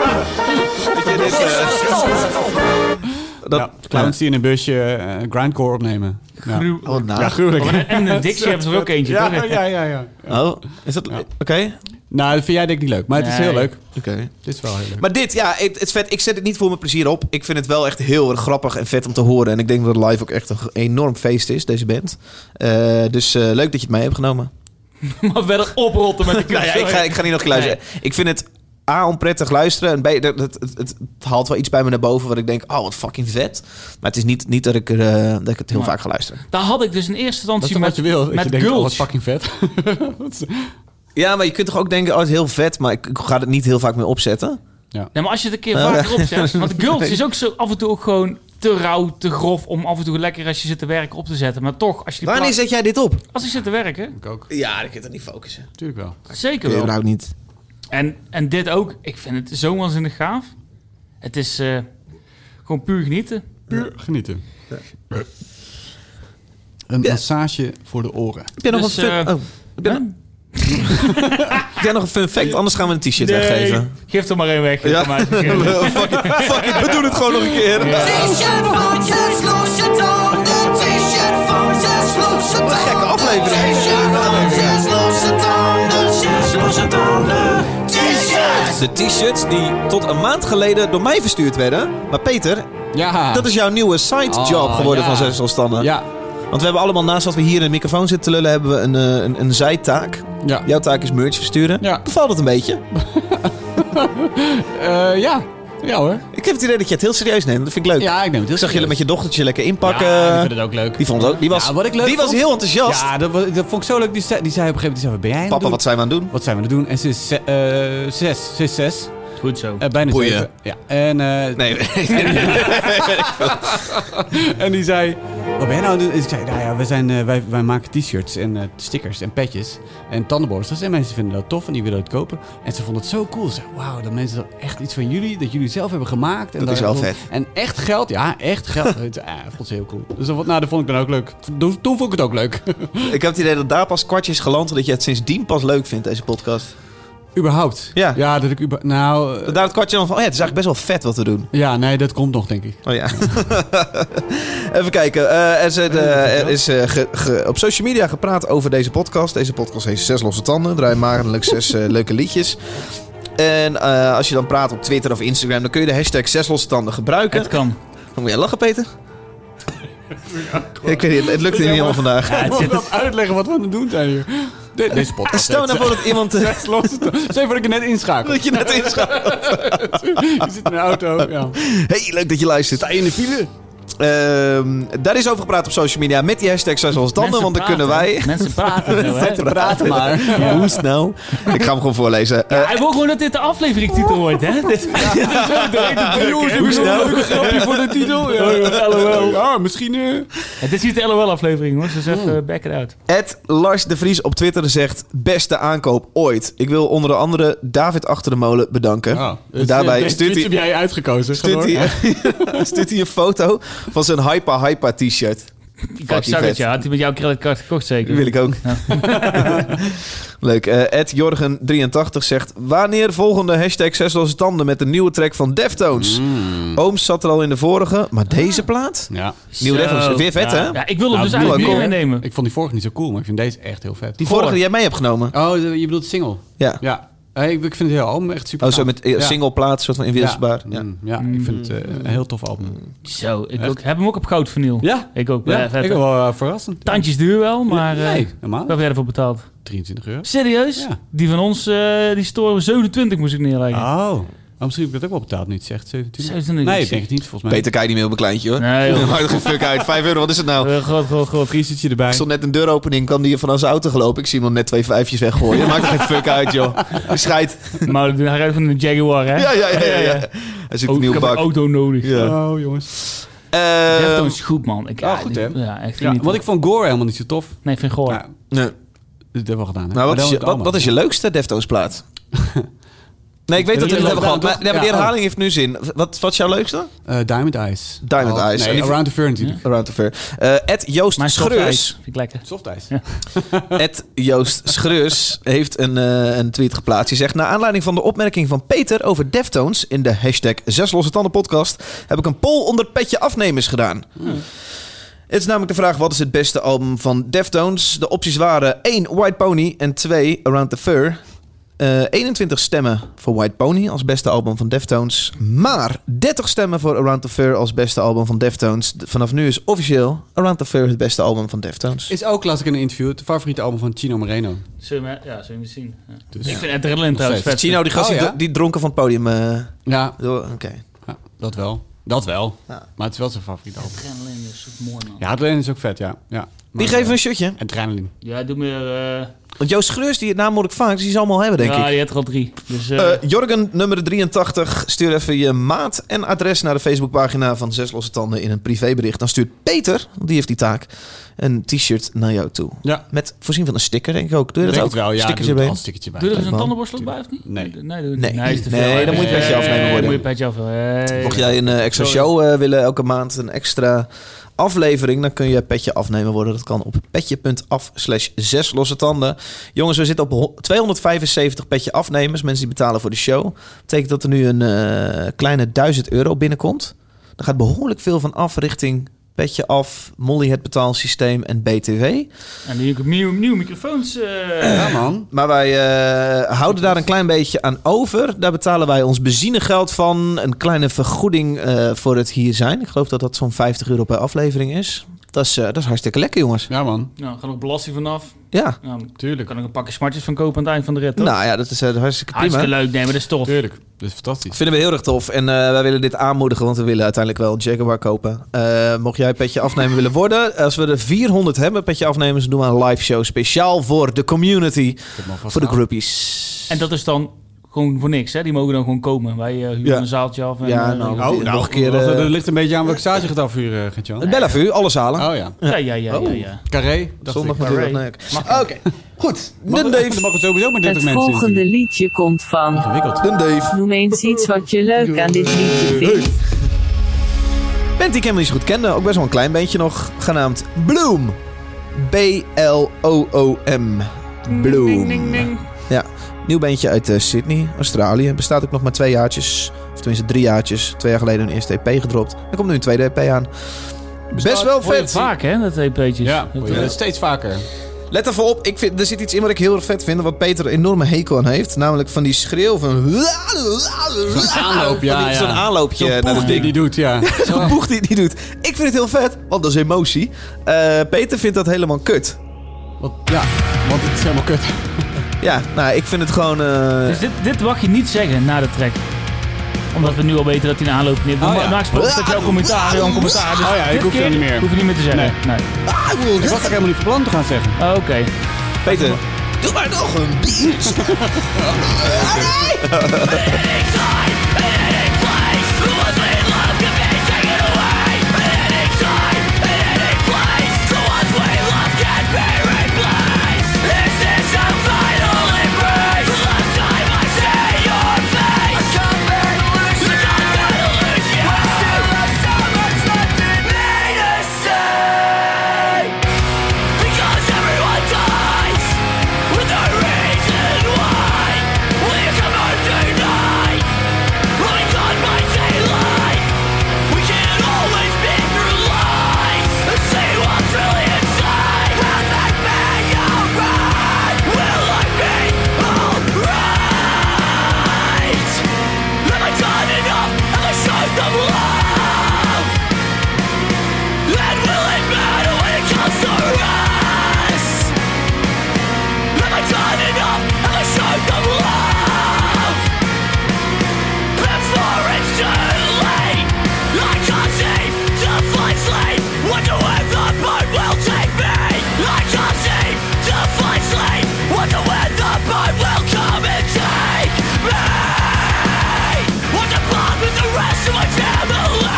Speaker 3: Dat je dit, eh, dat,
Speaker 1: Ja, clowns die in een busje eh, grindcore opnemen. Ja,
Speaker 2: Gruwelijk.
Speaker 3: Oh, nou.
Speaker 1: ja gruwelijk.
Speaker 2: En- En een dikje hebben ze er ook eentje,
Speaker 1: Ja,
Speaker 2: toch?
Speaker 1: ja, ja, ja.
Speaker 3: Oh, is dat... Oké.
Speaker 1: Nou, dat vind jij denk ik niet leuk. Maar het is
Speaker 2: Nee.
Speaker 1: heel leuk.
Speaker 3: Oké.
Speaker 1: Dit is wel heel leuk.
Speaker 3: Maar dit, ja, het, het is vet. Ik zet het niet voor mijn plezier op. Ik vind het wel echt heel erg grappig en vet om te horen. En ik denk dat het live ook echt een enorm feest is, deze band. Eh, dus eh, leuk dat je het mee hebt genomen.
Speaker 2: Maar verder oprotten met de
Speaker 3: Nou ja, ik ga, ik ga niet nog een keer luisteren. Ik vind het A, onprettig luisteren. En B, dat- dat- het, het, het haalt wel iets bij me naar boven... wat ik denk, oh, wat fucking vet. Maar het is niet, niet dat, ik er, eh, dat ik het heel
Speaker 2: Maar-
Speaker 3: vaak ga luisteren.
Speaker 2: Daar had ik dus in eerste
Speaker 1: Dat is
Speaker 2: instantie
Speaker 1: toch
Speaker 2: met,
Speaker 1: wat je wil. Dat
Speaker 2: met
Speaker 1: je denkt, oh,
Speaker 2: Gulch.
Speaker 1: wat fucking vet.
Speaker 3: Ja, maar je kunt toch ook denken, oh, het is heel vet... maar ik, ik ga het niet heel vaak meer opzetten.
Speaker 2: Nee, maar als je het een keer vaker opzet. Want Gulch is ook zo af en toe ook gewoon te rauw, te grof om af en toe lekker als je zit te werken op te zetten. Maar toch, als je die
Speaker 3: Wanneer
Speaker 2: plaat-
Speaker 3: zet jij dit op?
Speaker 2: als ik zit te werken,
Speaker 1: ik ook.
Speaker 3: Ja, dan kun je toch niet focussen.
Speaker 1: Tuurlijk wel.
Speaker 2: zeker
Speaker 1: nou,
Speaker 3: Ik
Speaker 2: wel.
Speaker 3: überhaupt niet.
Speaker 2: En, en dit ook, ik vind het zo waanzinnig gaaf. Het is eh, gewoon puur genieten.
Speaker 1: Puur genieten. Een massage voor de oren.
Speaker 3: Heb je nog
Speaker 2: Dus,
Speaker 3: wat...
Speaker 2: eh,
Speaker 3: fun- oh, ik ben-
Speaker 2: Ja?
Speaker 3: Heb jij nog een fun fact? Anders gaan we een t-shirt weggeven.
Speaker 2: Geef er maar één weg. Ja. Maar
Speaker 3: fuck, it, fuck it, we doen het gewoon nog een keer.
Speaker 4: T-shirt van Zesloze Tanden. T-shirt van Zesloze Tanden.
Speaker 3: gekke aflevering.
Speaker 4: T-shirt van Zesloze Tanden. Zesloze Tanden. T-shirt.
Speaker 3: De t-shirts die tot een maand geleden door mij verstuurd werden. Maar Peter,
Speaker 1: Ja.
Speaker 3: dat is jouw nieuwe side job
Speaker 1: Oh,
Speaker 3: geworden
Speaker 1: ja.
Speaker 3: van Zes Losstanden.
Speaker 1: Ja.
Speaker 3: Want we hebben allemaal, naast dat we hier in de microfoon zitten te lullen, hebben we een, eh, een, een zijtaak.
Speaker 1: Ja.
Speaker 3: Jouw taak is merch versturen.
Speaker 1: Ja.
Speaker 3: Bevalt het een beetje?
Speaker 1: Eh, ja. Ja hoor.
Speaker 3: Ik heb het idee dat je het heel serieus neemt. Dat vind ik leuk.
Speaker 1: Ja, ik neem het heel
Speaker 3: Ik zag jullie met je dochtertje lekker inpakken.
Speaker 1: Ja, ik vind het ook leuk.
Speaker 3: Die vond het ook. Die was,
Speaker 1: Ja, wat ik leuk
Speaker 3: die was
Speaker 1: vond-
Speaker 3: heel enthousiast.
Speaker 1: Ja, dat, was- dat vond ik zo leuk. Die zei, die zei op een gegeven moment, die zei, wat ben jij aan het
Speaker 3: Papa,
Speaker 1: doen?
Speaker 3: wat zijn we aan het doen?
Speaker 1: Wat zijn we aan het doen? En ze is ze- eh, zes. Ze is zes.
Speaker 2: Goed zo.
Speaker 1: Eh, bijna
Speaker 3: Boeien.
Speaker 1: zeven. Ja. En, eh,
Speaker 3: Nee,
Speaker 1: en die zei, wat ben jij nou aan het doen? En ik zei, nou ja, wij, zijn, eh, wij, wij maken t-shirts en eh, stickers en petjes en tandenborstels. En mensen vinden dat tof en die willen het kopen. En ze vonden het zo cool. Ze zei, wauw, dat mensen dat echt iets van jullie, dat jullie zelf hebben gemaakt. En
Speaker 3: Dat is wel vet.
Speaker 1: En echt geld, ja, echt geld. Het- ah, dat vond ze heel cool. Dus dat, vond- nou, dat vond ik dan ook leuk. Toen, toen vond ik het ook leuk.
Speaker 3: ik heb het idee dat daar pas kwartjes geland en dat je het sindsdien pas leuk vindt, deze podcast.
Speaker 1: Überhaupt.
Speaker 3: Ja.
Speaker 1: Ja, dat ik uber... Nou, eh,
Speaker 3: Dat daar het kwartje dan van, oh ja, het is eigenlijk best wel vet wat we doen.
Speaker 1: ja, nee, dat komt nog, denk ik.
Speaker 3: Oh ja. Even kijken. Eh, er is, eh, de- er is eh, ge- ge- op social media gepraat over deze podcast. Deze podcast heet Zes Losse Tanden. Draai maandelijks zes eh, leuke liedjes. En eh, als je dan praat op Twitter of Instagram, dan kun je de hashtag Zes Losse Tanden gebruiken.
Speaker 2: Het kan.
Speaker 3: Dan moet jij lachen, Peter. ik weet niet, het- het lukt hier niet helemaal vandaag.
Speaker 2: Ja, het
Speaker 1: Ik
Speaker 2: zit-
Speaker 1: moet dat uitleggen wat we aan het doen zijn hier. De- deze podcast.
Speaker 3: Stel nou voor dat iemand... eh,
Speaker 1: Zes losse tanden. Zeg voor dat ik het net inschakel.
Speaker 3: dat je net inschakelt.
Speaker 1: Je zit in een auto. Ja.
Speaker 3: Hey, leuk dat je luistert. Sta je in de file? daar is over gepraat op social media met die hashtag Zes Losse Tanden,
Speaker 2: Mensen
Speaker 3: want dan kunnen
Speaker 2: praten.
Speaker 3: wij...
Speaker 2: Mensen praten. zo, hè.
Speaker 1: Zet te praten maar.
Speaker 3: Hoe is het nou? Ik ga hem gewoon voorlezen. Eh,
Speaker 2: Hij wil gewoon dat dit de afleveringtitel wordt, hè? Dit dit is ook dood.
Speaker 1: Jongens,
Speaker 3: Oh. Hoe is het nou?
Speaker 1: grapje voor de titel. Ja, Ja, misschien... eh,
Speaker 2: Het is niet de LOL-aflevering, hoor. Dus even eh, back it out.
Speaker 3: Ed Lars de Vries op Twitter zegt: Beste aankoop ooit. Ik wil onder de andere David achter de molen bedanken.
Speaker 1: oh, dus,
Speaker 3: Daarbij
Speaker 1: eh,
Speaker 3: stuurt
Speaker 1: dit heb
Speaker 3: hij,
Speaker 1: jij uitgekozen. Ga
Speaker 3: stuurt,
Speaker 1: door.
Speaker 3: hij, stuurt hij een foto van zijn Hypa Hypa t-shirt.
Speaker 2: Ik zag
Speaker 3: vet.
Speaker 2: het, ja. Had hij met jouw creditcard gekocht, zeker?
Speaker 3: Die wil ik ook. Leuk. Eh, Ed Jorgen83 zegt: Wanneer volgende hashtag Zesloze Tanden met de nieuwe track van Deftones? Ooms zat er al in de vorige, maar deze plaat?
Speaker 1: Ja.
Speaker 3: Nieuwe
Speaker 2: Ah. Zo.
Speaker 3: Deftones, weer vet
Speaker 2: ja.
Speaker 3: hè?
Speaker 2: Ja, ik wil hem
Speaker 1: Nou,
Speaker 2: dus eigenlijk
Speaker 3: nieuwe
Speaker 2: meer meenemen.
Speaker 1: Ik vond die vorige niet zo cool, maar ik vind deze echt heel vet.
Speaker 3: Die vorige
Speaker 2: Voor.
Speaker 3: die jij mee hebt genomen.
Speaker 1: Oh, je bedoelt de single?
Speaker 3: Ja.
Speaker 1: Ja. Eh, ik, ik vind het heel album echt super
Speaker 3: Oh, zo
Speaker 1: gaaf.
Speaker 3: met eh,
Speaker 1: Ja.
Speaker 3: single plaat, soort van inwisselbaar.
Speaker 1: Ja,
Speaker 3: Ja.
Speaker 1: Mm, ja, ik vind het eh, een heel tof album.
Speaker 2: Zo, ik ook, heb hem ook op goud verniel.
Speaker 1: Ja?
Speaker 2: Ik ook.
Speaker 1: Ja,
Speaker 2: eh, vet.
Speaker 1: ik wel eh, verrassend.
Speaker 2: Tandjes duur wel, maar... eh
Speaker 1: Nee,
Speaker 2: Wat
Speaker 1: normaal.
Speaker 2: heb jij ervoor betaald?
Speaker 1: 23 euro.
Speaker 2: Serieus?
Speaker 1: Ja.
Speaker 2: Die van ons, eh, die storen we 27 moest ik neerleggen.
Speaker 3: Ah.
Speaker 1: Oh. Oh, misschien heb ik dat ook wel betaald nu het zegt. 27?
Speaker 2: 27,
Speaker 1: Nee,
Speaker 2: ik
Speaker 1: ik denk het niet. Volgens mij.
Speaker 3: Peter, kijk niet meer op een kleintje hoor.
Speaker 2: Nee, joh.
Speaker 3: Maakt geen fuck uit. 5 euro, wat is het nou?
Speaker 2: Eh, god, god, god.
Speaker 1: Friesertje erbij.
Speaker 3: Ik stond net een deuropening, kwam die van zijn auto gelopen. Ik zie iemand net twee vijfjes weggooien. Maakt er geen fuck uit, joh. Scheid.
Speaker 2: Maar hij rijdt van een Jaguar, hè?
Speaker 3: Ja, ja, ja, ja. ja. Hij zoekt
Speaker 2: Oh,
Speaker 3: een
Speaker 2: ik
Speaker 3: nieuwe
Speaker 2: heb een
Speaker 3: bak.
Speaker 2: auto nodig.
Speaker 3: Ja.
Speaker 1: Oh, jongens.
Speaker 3: Ehm,
Speaker 2: Deftones is goed, man. Ik,
Speaker 1: Ah,
Speaker 2: ja,
Speaker 1: goed,
Speaker 2: dit-
Speaker 1: hè?
Speaker 2: Ja, echt
Speaker 1: Ja,
Speaker 2: niet.
Speaker 1: want ik vond Gore helemaal niet zo tof.
Speaker 2: Nee, vind goor.
Speaker 1: Ja,
Speaker 3: nee.
Speaker 1: dat hebben we gedaan. hè.
Speaker 3: Nou,
Speaker 1: Maar
Speaker 3: wat
Speaker 1: dan
Speaker 3: is, je,
Speaker 1: het
Speaker 3: wat,
Speaker 1: allemaal.
Speaker 3: wat is je leukste Deftones plaat? Nee, ik weet dat we dit hebben gehad. Maar, nee, maar die
Speaker 1: Ja.
Speaker 3: herhaling heeft nu zin. Wat, wat is jouw leukste?
Speaker 1: Eh, Diamond Eyes. Oh,
Speaker 3: Diamond Eyes. En
Speaker 1: Nee,
Speaker 3: die-
Speaker 1: Around the Fern natuurlijk.
Speaker 3: Around the Fair. Eh, Ed Joost
Speaker 2: Mijn
Speaker 3: Schreurs.
Speaker 2: schurfijs vind ik lekker.
Speaker 1: Soft Eyes.
Speaker 3: Ed Joost Schreurs heeft een, eh, een tweet geplaatst. Die zegt... Naar aanleiding van de opmerking van Peter over Deftones... in de hashtag Zes Losse Tanden podcast... heb ik een poll onder petje afnemers gedaan. Het is namelijk de vraag... wat is het beste album van Deftones? De opties waren 1. White Pony en 2. Around the Fur... Eh, 21 stemmen voor White Pony als beste album van Deftones. Maar 30 stemmen voor Around the Fur als beste album van Deftones. D- Vanaf nu is officieel Around the Fur het beste album van Deftones.
Speaker 1: Is ook, las ik in een interview, het favoriete album van Chino Moreno.
Speaker 2: Zullen we, ja, zullen we zien. Ja.
Speaker 1: Dus-
Speaker 2: Ik vind Adrenaline trouwens
Speaker 1: steeds.
Speaker 2: vet.
Speaker 3: Chino, die gast
Speaker 1: Oh,
Speaker 3: die,
Speaker 1: ja?
Speaker 3: dro- die dronken van het podium. eh,
Speaker 1: Ja,
Speaker 3: door- Oké.
Speaker 1: ja, dat wel. Dat wel.
Speaker 3: Ja.
Speaker 1: Maar het is wel zijn favoriete album.
Speaker 2: Adrenaline is ook mooi, man.
Speaker 1: Ja, Adrenaline is ook vet, ja. ja. eh,
Speaker 3: Die geven een shutje.
Speaker 1: Adrenaline.
Speaker 2: Ja, doe meer... eh
Speaker 3: Want Joost Schreurs, die het naam hoor ik vaak, dus die zal allemaal hebben, denk
Speaker 2: ja,
Speaker 3: ik.
Speaker 2: die had er al drie. Dus, eh,
Speaker 3: Eh, Jorgen, nummer 83, stuur even je maat en adres naar de Facebookpagina van Zes Losse Tanden in een privébericht. Dan stuurt Peter, want die heeft die taak, een t-shirt naar jou toe.
Speaker 1: Ja.
Speaker 3: Met voorzien van een sticker, denk ik ook. Doe je dat
Speaker 1: Denk
Speaker 3: ook?
Speaker 1: het wel, ja.
Speaker 3: Stickers
Speaker 1: doe er
Speaker 3: erbij.
Speaker 1: al een stickertje bij.
Speaker 2: Doe er eens
Speaker 3: Leuk,
Speaker 2: een
Speaker 3: man.
Speaker 2: tandenborstel bij of niet?
Speaker 1: Nee.
Speaker 2: Nee, doe het
Speaker 3: Nee.
Speaker 2: niet. is te veel.
Speaker 3: Nee, dan moet je
Speaker 2: Nee,
Speaker 3: petje afnemen worden.
Speaker 2: moet je petje afnemen. Hey.
Speaker 3: Mocht jij een eh, extra
Speaker 2: Sorry.
Speaker 3: show eh, willen, elke maand een extra aflevering, dan kun je petje afnemen worden. Dat kan op petje.af slash zes losse tanden. Jongens, we zitten op ho- 275 petje afnemers. Mensen die betalen voor de show. Betekent dat er nu een eh, kleine 1000 euro binnenkomt. Daar gaat behoorlijk veel van af richting petje af, Molly het betaalsysteem en BTW.
Speaker 2: En nu heb ik nieuwe, nieuwe microfoons. eh,
Speaker 1: Ja, man.
Speaker 3: Maar wij eh, houden daar een klein beetje aan over. Daar betalen wij ons benzinegeld van. Een kleine vergoeding eh, voor het hier zijn. Ik geloof dat dat zo'n 50 euro per aflevering is. Dat is, eh, dat is hartstikke lekker, jongens.
Speaker 1: Ja, man.
Speaker 2: nou, gaat ook belasting vanaf.
Speaker 3: Ja.
Speaker 2: Nou, daar
Speaker 1: Tuurlijk.
Speaker 2: kan ik een pakje smartjes van kopen aan het eind van de rit. toch? Ah,
Speaker 3: Nou ja, dat is eh, hartstikke prima.
Speaker 2: Hartstikke leuk, nee, maar dat is tof.
Speaker 1: Tuurlijk. Dat is fantastisch.
Speaker 3: Vinden we heel erg tof. En eh, wij willen dit aanmoedigen, want we willen uiteindelijk wel een Jaguar kopen. Eh, mocht jij petje afnemen willen worden, als we er 400 hebben, petje afnemers, doen we een live show speciaal voor de community. Voor de groupies.
Speaker 2: En dat is dan gewoon voor niks, hè? Die mogen dan gewoon komen. Wij eh, huren
Speaker 3: Ja.
Speaker 2: een zaaltje af. En,
Speaker 3: Ja, nou,
Speaker 2: eh, ja,
Speaker 1: Oh,
Speaker 3: Nog
Speaker 1: nou,
Speaker 3: een keer,
Speaker 1: dat-
Speaker 3: eh,
Speaker 1: dat ligt een beetje aan welke stage je gaat afvuren, eh, Gertjan.
Speaker 3: Het Bellevue, alle zalen.
Speaker 1: Oh ja.
Speaker 2: ja, ja, ja. ja,
Speaker 3: Oh.
Speaker 2: ja.
Speaker 1: Carré. dacht
Speaker 3: Zondag
Speaker 1: ik.
Speaker 3: moet
Speaker 2: Parade.
Speaker 3: dat leuk.
Speaker 2: Mag
Speaker 3: Oké, goed.
Speaker 1: Mag,
Speaker 3: Den Dave.
Speaker 1: er mag het sowieso maar 30
Speaker 5: Het
Speaker 1: mensen. in
Speaker 5: volgende
Speaker 1: natuurlijk.
Speaker 5: liedje komt van.
Speaker 1: Ingewikkeld.
Speaker 3: Den Dave.
Speaker 5: Noem eens iets wat je leuk aan dit liedje vindt.
Speaker 3: Band die ik helemaal niet zo goed kende, ook best wel een klein bandje nog, genaamd Bloom. B-L-O-O-M. Bloom. Ja, nieuw bandje uit eh, Sydney, Australië. Bestaat ook nog maar twee jaartjes, of tenminste drie jaartjes. Twee jaar geleden hun eerste EP gedropt. Er komt nu een tweede EP aan. Best wel
Speaker 2: Hoor je het
Speaker 3: vet.
Speaker 2: vaak, hè? Dat EP'tjes.
Speaker 1: Ja,
Speaker 2: Dat,
Speaker 1: hoor je
Speaker 2: eh,
Speaker 1: dat steeds vaker.
Speaker 3: Let even op, ik vind, er zit iets in wat ik heel erg vet vind, wat Peter een enorme hekel aan heeft. Namelijk van die schreeuw van... Zo'n
Speaker 1: aanloop, ja, ja.
Speaker 3: Zo'n aanloopje
Speaker 1: Zo'n
Speaker 3: naar
Speaker 1: poef
Speaker 3: het
Speaker 1: die
Speaker 3: ding.
Speaker 1: die doet, ja.
Speaker 3: Zo'n boeg die het niet doet. Ik vind het heel vet, want dat is emotie. Eh, Peter vindt dat helemaal kut.
Speaker 1: Want, ja, want het is helemaal kut.
Speaker 3: Ja, nou, ik vind het gewoon... eh,
Speaker 2: Dus dit, dit mag je niet zeggen na de track. Omdat we nu al weten dat hij een aanloop neemt.
Speaker 1: Oh,
Speaker 2: Maar
Speaker 1: ja.
Speaker 2: Normaal gesproken staat jouw commentaar, jouw commentaar. Dus
Speaker 1: Oh ja, ik
Speaker 2: dit
Speaker 1: hoef dat
Speaker 2: keer
Speaker 1: niet meer.
Speaker 2: Hoef je niet meer te zeggen. Nee.
Speaker 1: Ik was ook helemaal niet van plan te gaan zeggen.
Speaker 2: Oh, Oké.
Speaker 3: Peter, doe maar nog een biertje.
Speaker 4: Because everyone dies with no reason why. Will you come out tonight? Running on by daylight. We can't always be through lies and see what's really inside. Will that be alright? Will I be alright? Have I done enough? Have I showed them love? And will it matter when it comes to us? Have I done enough? Have I shown them love? Before it's too late I can't see the flashlight Wonder where the moon will take me I can't see the flashlight Wonder where the moon will come and take me Want to bond with the rest of my family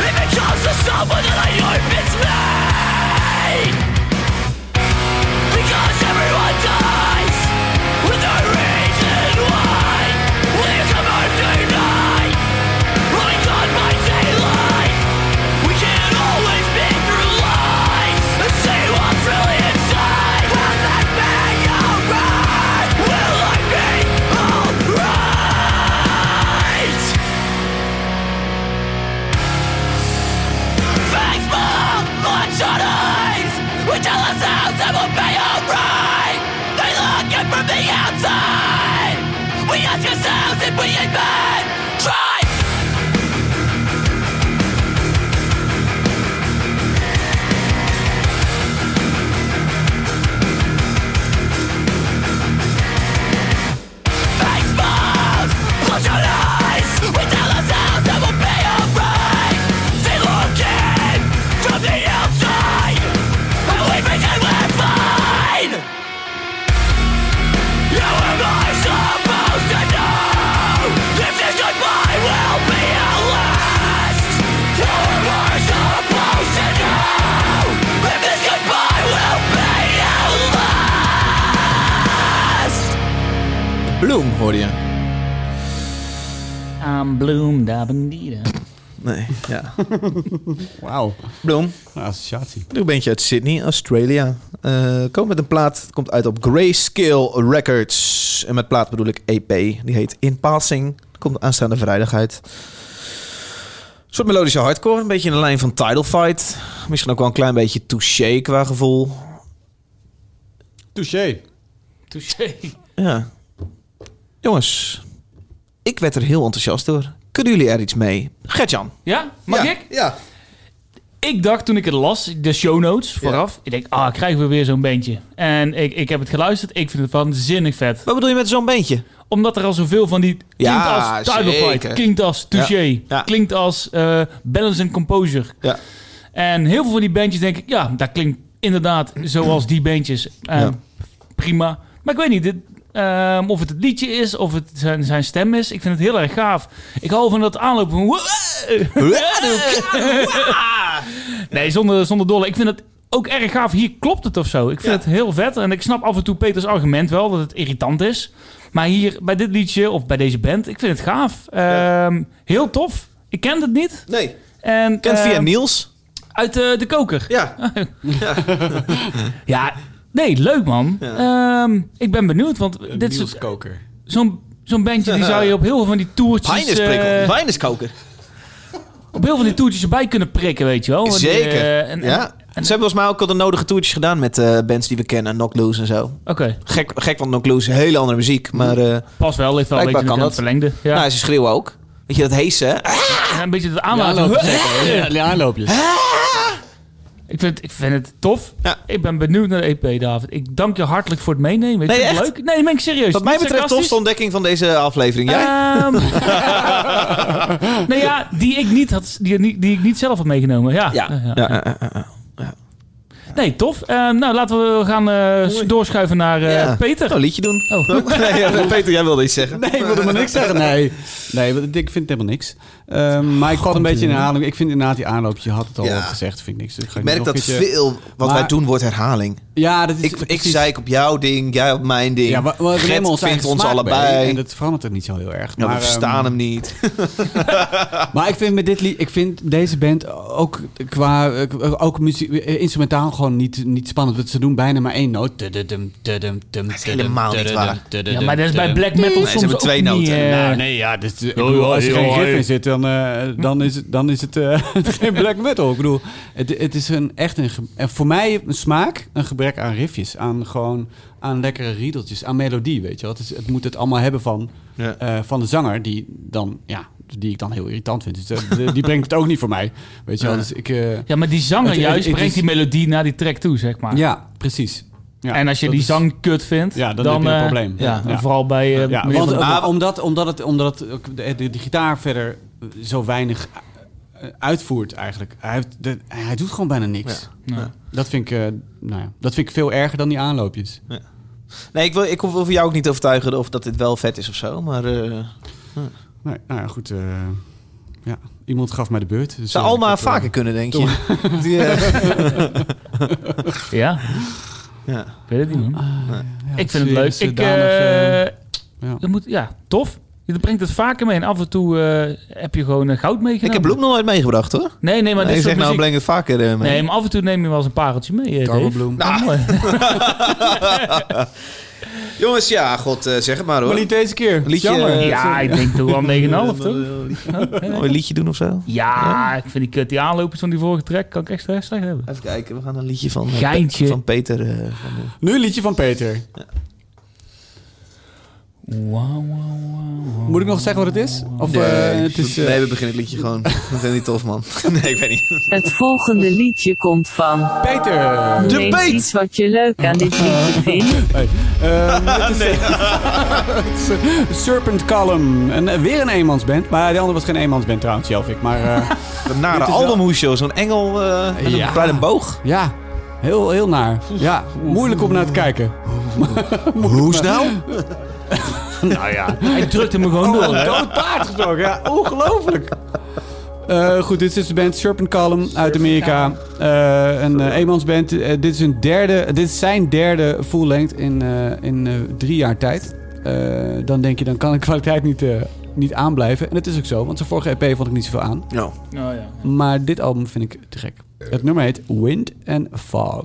Speaker 4: if it comes to someone that I hope it's me Because everyone dies With no reason why Will you come home tonight? Running on by daylight We can't always be through lies And see what's really inside Will that be alright? Will I be alright? Facebook, electronics We tell ourselves it will be alright They look in from the outside We ask ourselves if we even try Facebook, electronics We tell ourselves it will be alright They look in from the outside And we think that we're fine How am I supposed to know If this goodbye will be our last? How am I supposed to know If this goodbye will be our last?
Speaker 3: Bloem, hoor je.
Speaker 2: I'm Bloom, da bandida.
Speaker 3: Nee, ja.
Speaker 1: Wauw.
Speaker 3: Bloem,
Speaker 1: Een associatie.
Speaker 3: een bandje uit Sydney, Australia. Eh komt met een plaat, het komt uit op Grayscale Records. En met plaat bedoel ik EP. Die heet In Passing. Komt aanstaande vrijdag uit. Een soort melodische hardcore, een beetje in de lijn van Tidal Fight. Misschien ook wel een klein beetje touché qua gevoel.
Speaker 1: Touché.
Speaker 2: Touché.
Speaker 3: Ja. Jongens, ik werd er heel enthousiast door. Kunnen jullie er iets mee? Gertjan.
Speaker 2: Ja? Mag
Speaker 3: Ja,
Speaker 2: ik?
Speaker 3: Ja.
Speaker 2: Ik dacht toen ik het las, de show notes vooraf. Ik denk, ah, krijgen we weer zo'n bandje. En ik, ik heb het geluisterd. Ik vind het waanzinnig vet.
Speaker 3: Wat bedoel je met zo'n beentje?
Speaker 2: Omdat er al zoveel van die klinkt
Speaker 3: Ja,
Speaker 2: als Tidal
Speaker 3: zeker.
Speaker 2: Fight, klinkt als Touché,
Speaker 3: Ja.
Speaker 2: klinkt als eh, Balance and Composure.
Speaker 3: Ja.
Speaker 2: En heel veel van die bandjes denk ik, ja, dat klinkt inderdaad zoals die bandjes. Eh,
Speaker 3: Ja.
Speaker 2: Prima. Maar ik weet niet, dit, ehm, of het het liedje is, of het zijn, zijn stem is. Ik vind het heel erg gaaf. Ik hou van dat aanlopen van... Nee, zonder, zonder dolle. Ik vind het ook erg gaaf. Hier klopt het of zo. Ik vind
Speaker 3: Ja.
Speaker 2: het heel vet. En ik snap af en toe Peters argument wel dat het irritant is. Maar hier bij dit liedje of bij deze band, ik vind het gaaf. Ehm, heel tof. Ik ken het niet.
Speaker 3: Nee.
Speaker 2: En,
Speaker 3: Kent via
Speaker 2: ehm,
Speaker 3: Niels?
Speaker 2: Uit eh, de koker.
Speaker 3: Ja.
Speaker 2: Ja, nee, leuk man. Ehm, ik ben benieuwd, want dit
Speaker 1: Niels
Speaker 2: is
Speaker 1: Koker.
Speaker 2: zo'n zo'n bandje die zou je op heel veel van die toertjes, eh,
Speaker 3: Wijn is koker.
Speaker 2: op heel veel van die toertjes erbij kunnen prikken, weet je wel. Want, eh,
Speaker 3: Zeker.
Speaker 2: en-
Speaker 3: ja.
Speaker 2: en-
Speaker 3: Ze hebben volgens mij ook al de nodige toertjes gedaan met eh, bands die we kennen. Knock Loose en zo.
Speaker 2: Oké,
Speaker 3: Gek, gek want Knock Loose, hele andere muziek. Maar eh
Speaker 2: pas wel, ligt wel een beetje
Speaker 3: Blijkbaar
Speaker 2: in
Speaker 3: kan
Speaker 2: het verlengde. Ja.
Speaker 3: nou, ze schreeuwen ook. Weet je, dat hees hè?
Speaker 2: Ja, een beetje het
Speaker 1: Ja,
Speaker 2: aanlaten.
Speaker 1: aanloopjes. zeker. Ja, die aanloopjes.
Speaker 2: ik, vind, ik vind het tof.
Speaker 3: Ja.
Speaker 2: Ik ben benieuwd naar de EP, David. Ik dank je hartelijk voor het meenemen. Ik
Speaker 3: Nee,
Speaker 2: vind het
Speaker 3: echt?
Speaker 2: leuk. Nee, dat ben ik serieus.
Speaker 3: Wat mij
Speaker 2: Niet
Speaker 3: betreft
Speaker 2: sarcastisch.
Speaker 3: tofste ontdekking van deze aflevering. Jij?
Speaker 2: Ehm, nou ja, die ik niet had, die, ik niet- die ik niet zelf had meegenomen. Ja.
Speaker 3: ja.
Speaker 2: Ja, ja.
Speaker 3: Ja, eh, eh, eh.
Speaker 2: Nee, tof. Ehm, nou, laten we gaan eh,
Speaker 3: Mooi.
Speaker 2: doorschuiven naar eh,
Speaker 3: Ja.
Speaker 2: Peter.
Speaker 3: Nou, een liedje doen.
Speaker 2: Oh.
Speaker 3: Nee, ja, Peter, jij wilde iets zeggen.
Speaker 1: Nee, ik wilde maar niks zeggen. Nee, nee want ik vind het helemaal niks. Ehm, maar ik val een beetje in herhaling. Ik vind inderdaad die aanloopjes, je had het al
Speaker 3: Ja.
Speaker 1: gezegd, vind ik niks. Dus ga
Speaker 3: Ik
Speaker 1: niet
Speaker 3: merk dat
Speaker 1: nog een keertje-
Speaker 3: veel wat
Speaker 1: Maar-
Speaker 3: wij doen wordt herhaling.
Speaker 1: Ja, dat is
Speaker 3: Ik, ik
Speaker 1: precies.
Speaker 3: zeik op jouw ding, jij op mijn ding.
Speaker 1: Ja, we, we
Speaker 3: Gert
Speaker 1: nemen ons
Speaker 3: vindt
Speaker 1: eigen
Speaker 3: ons
Speaker 1: smaak
Speaker 3: allebei.
Speaker 1: mee en dat verandert het niet zo heel erg.
Speaker 3: Ja,
Speaker 1: maar,
Speaker 3: we verstaan
Speaker 1: ehm,
Speaker 3: hem niet.
Speaker 1: Maar ik vind met dit lied, ik vind deze band ook qua eh, ook muziek, eh, instrumentaal gewoon niet, niet spannend. Want ze doen bijna maar één noot. Tududum, tudum, tudum,
Speaker 3: is helemaal niet
Speaker 1: tududum,
Speaker 3: waar.
Speaker 2: Ja,
Speaker 1: tududum,
Speaker 2: maar dat is bij
Speaker 1: tudum.
Speaker 2: black metal soms
Speaker 3: hebben twee
Speaker 2: ook niet,
Speaker 3: noten.
Speaker 2: eh,
Speaker 1: Nou, nee, ja, dus, ik bedoel, als er
Speaker 2: joh,
Speaker 1: geen riff
Speaker 2: hey.
Speaker 1: in zit, dan, eh, dan is het, dan is het eh, geen black metal. Ik bedoel, het, het is een, echt een, ge- en voor mij een smaak, een gebrek aan riffjes. Aan gewoon, aan lekkere riedeltjes, aan melodie, weet je wel. Het, is, het moet het allemaal hebben van,
Speaker 3: Ja.
Speaker 1: eh, van de zanger, die dan, ja, die ik dan heel irritant vind. Dus, eh, de- die brengt het ook niet voor mij, weet je wel.
Speaker 3: Ja.
Speaker 1: Dus ik, eh,
Speaker 2: Ja, maar die zanger
Speaker 1: Het- het-
Speaker 2: juist
Speaker 1: het
Speaker 2: brengt
Speaker 1: is-
Speaker 2: die melodie naar die track toe, zeg maar.
Speaker 1: ja, precies. Ja,
Speaker 2: en als je
Speaker 1: dat
Speaker 2: die
Speaker 1: is-
Speaker 2: zang kut vindt,
Speaker 1: Ja, dan
Speaker 2: dan,
Speaker 1: heb je een
Speaker 2: eh,
Speaker 1: probleem.
Speaker 2: Ja,
Speaker 1: Ja.
Speaker 2: Vooral bij... eh,
Speaker 1: Ja,
Speaker 2: meneer
Speaker 1: want,
Speaker 2: Van-
Speaker 1: maar omdat, omdat, het, omdat het, ook de, de, de gitaar verder zo weinig eh, uitvoert eigenlijk. Hij, heeft de- hij doet gewoon bijna niks.
Speaker 2: Ja.
Speaker 1: Dat, vind ik, eh, nou ja, dat vind ik veel erger dan die aanloopjes.
Speaker 3: Nee, ik, wil, ik hoef hoef jou ook niet te overtuigen of dat dit wel vet is of zo. Maar eh
Speaker 1: Nee, nou ja, goed. eh, ja. Iemand gaf mij de beurt. Dus,
Speaker 3: zou
Speaker 1: eh,
Speaker 3: Alma
Speaker 1: ik heb, eh,
Speaker 3: vaker kunnen, denk je. Die, eh,
Speaker 2: Ja,
Speaker 3: ja.
Speaker 2: ik weet het niet, man.
Speaker 1: ja,
Speaker 2: ik vind het
Speaker 1: zeer
Speaker 2: leuk. Ik,
Speaker 1: zodanig, eh,
Speaker 2: eh,
Speaker 1: ja.
Speaker 2: dat moet, ja, tof. Je brengt het vaker mee en af en toe eh, heb je gewoon eh, goud meegenomen.
Speaker 3: Ik heb Bloem nog nooit meegebrcht, hoor.
Speaker 2: Nee, nee, maar
Speaker 3: nee,
Speaker 2: dit
Speaker 3: zeg
Speaker 2: soort
Speaker 3: nou,
Speaker 2: muziek...
Speaker 3: breng het vaker eh, mee.
Speaker 2: Nee, maar af en toe neem je wel eens een pareltje mee, eh,
Speaker 1: Karel
Speaker 2: Dave.
Speaker 1: Bloem. Ah,
Speaker 2: Nou, mooi.
Speaker 3: Jongens, ja, god, eh, zeg het maar, hoor.
Speaker 1: Maar niet deze keer.
Speaker 3: Liedje,
Speaker 1: Jammer.
Speaker 3: eh,
Speaker 2: ja, ik denk toch wel 9,5, toch?
Speaker 3: Mooi liedje doen of zo.
Speaker 2: Ja, ik vind die kut, die aanlopers van die vorige track kan ik echt slecht slecht hebben.
Speaker 3: Even kijken, we gaan een liedje van, eh,
Speaker 2: Geintje.
Speaker 3: van Peter. eh, gaan doen.
Speaker 1: Nu een liedje van Peter.
Speaker 2: Wauw, wauw, wauw.
Speaker 1: Moet ik nog zeggen wat het is? Of, eh, het is eh,
Speaker 3: nee, we beginnen het liedje gewoon. Dat vind ik niet tof, man. Nee, ik weet niet.
Speaker 5: Het volgende liedje komt van.
Speaker 1: Peter! eh,
Speaker 3: De
Speaker 5: Noem eens
Speaker 3: Beat.
Speaker 5: iets wat je leuk aan dit liedje vindt.
Speaker 1: Hey, ehm, het is, het is, eh, Serpent Column. En, eh, weer een eenmansband. Maar de andere was geen eenmansband trouwens, zelf ik. Maar eh,
Speaker 3: De nare
Speaker 1: Dit is wel-
Speaker 3: albumhoesje, zo'n engel eh met
Speaker 1: Ja.
Speaker 3: een, bij een boog.
Speaker 1: ja, heel, heel naar. Ja, moeilijk om naar te kijken.
Speaker 3: Hoe snel?
Speaker 1: nou ja.
Speaker 2: Hij drukt hem
Speaker 1: Oh,
Speaker 2: gewoon door. hè?
Speaker 1: Dood paard gesproken, ja. Ongelooflijk. Eh, goed, dit is de band Serpent Column uit Amerika. Eh, een eh, eenmansband. Eh, dit, is hun derde, dit is zijn derde full length in, eh, in eh, drie jaar tijd. Eh, dan denk je, dan kan de kwaliteit niet eh, niet aanblijven. En het is ook zo, want zijn vorige EP vond ik niet zoveel aan.
Speaker 3: Nou,
Speaker 2: Nou ja.
Speaker 1: Maar dit album vind ik te gek. Het nummer heet Wind and Fog.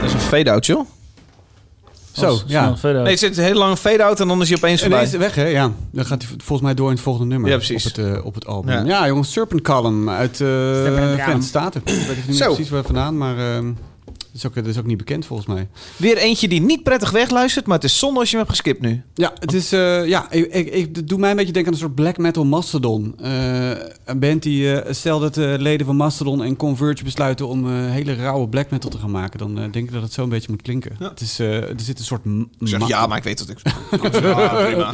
Speaker 3: dat is een fade-out, joh.
Speaker 1: Zo,
Speaker 2: Als-
Speaker 1: ja.
Speaker 2: snel verder.
Speaker 3: Nee, het zit een hele lange fade-out en dan is hij opeens
Speaker 1: En
Speaker 3: voorbij.
Speaker 1: is weg, hè? Ja. Dan gaat hij volgens mij door in het volgende nummer.
Speaker 3: Ja, precies.
Speaker 1: Op het, eh, op het album.
Speaker 3: Ja.
Speaker 1: Ja, jongens. Serpent Column uit eh
Speaker 2: Column.
Speaker 1: Verenigde Staten. Ik weet het niet
Speaker 3: Zo.
Speaker 1: precies waar vandaan, maar... ehm, dat is, ook, dat is ook niet bekend volgens mij.
Speaker 3: Weer eentje die niet prettig wegluistert, maar het is zonde als je hem hebt geskipt nu.
Speaker 1: Ja, het is, eh, ja ik, ik, ik- het doet mij een beetje denken aan een soort black metal Mastodon. Eh, een band die, eh, stel dat de leden van Mastodon en Converge besluiten om eh, hele rauwe black metal te gaan maken, dan eh, denk ik dat het zo een beetje moet klinken. Het is, eh, er zit een soort... m-
Speaker 3: Ik zeg
Speaker 1: ma-
Speaker 3: ja, maar ik weet dat ik... Ja, prima.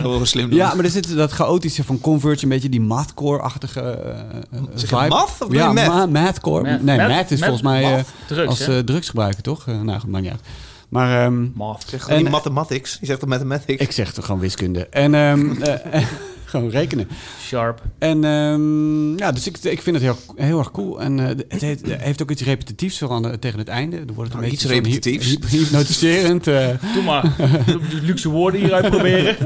Speaker 3: Heel slim doen.
Speaker 1: Ja, maar er zit dat chaotische van Converge, een beetje die mathcore-achtige eh, eh,
Speaker 3: Zeg je
Speaker 1: vibe.
Speaker 3: math of bedoel
Speaker 1: ja,
Speaker 3: je math?
Speaker 1: ma- mathcore.
Speaker 2: Math.
Speaker 1: nee,
Speaker 2: Math?
Speaker 1: math is
Speaker 2: Math?
Speaker 1: volgens mij eh,
Speaker 2: Math? Drugs,
Speaker 1: als
Speaker 2: hè?
Speaker 1: eh, drugsgebruiker, toch? Eh, nou, goed, maakt niet uit. Maar ehm,
Speaker 2: Maf.
Speaker 3: Zeg gewoon
Speaker 1: En-
Speaker 3: die mathematics. Je zegt dat mathematics.
Speaker 1: ik zeg toch gewoon wiskunde. En ehm, eh, gewoon rekenen.
Speaker 2: Sharp.
Speaker 1: En ehm, ja, dus ik, ik vind het heel, heel erg cool. En eh, het heeft, het heeft ook iets repetitiefs veranderd tegen het einde. Er wordt het
Speaker 3: Nou,
Speaker 1: een
Speaker 3: iets
Speaker 1: beetje zo'n hy-
Speaker 3: repetitiefs.
Speaker 1: hy- hypnotiserend. eh,
Speaker 2: Doe maar. De luxe woorden hieruit proberen.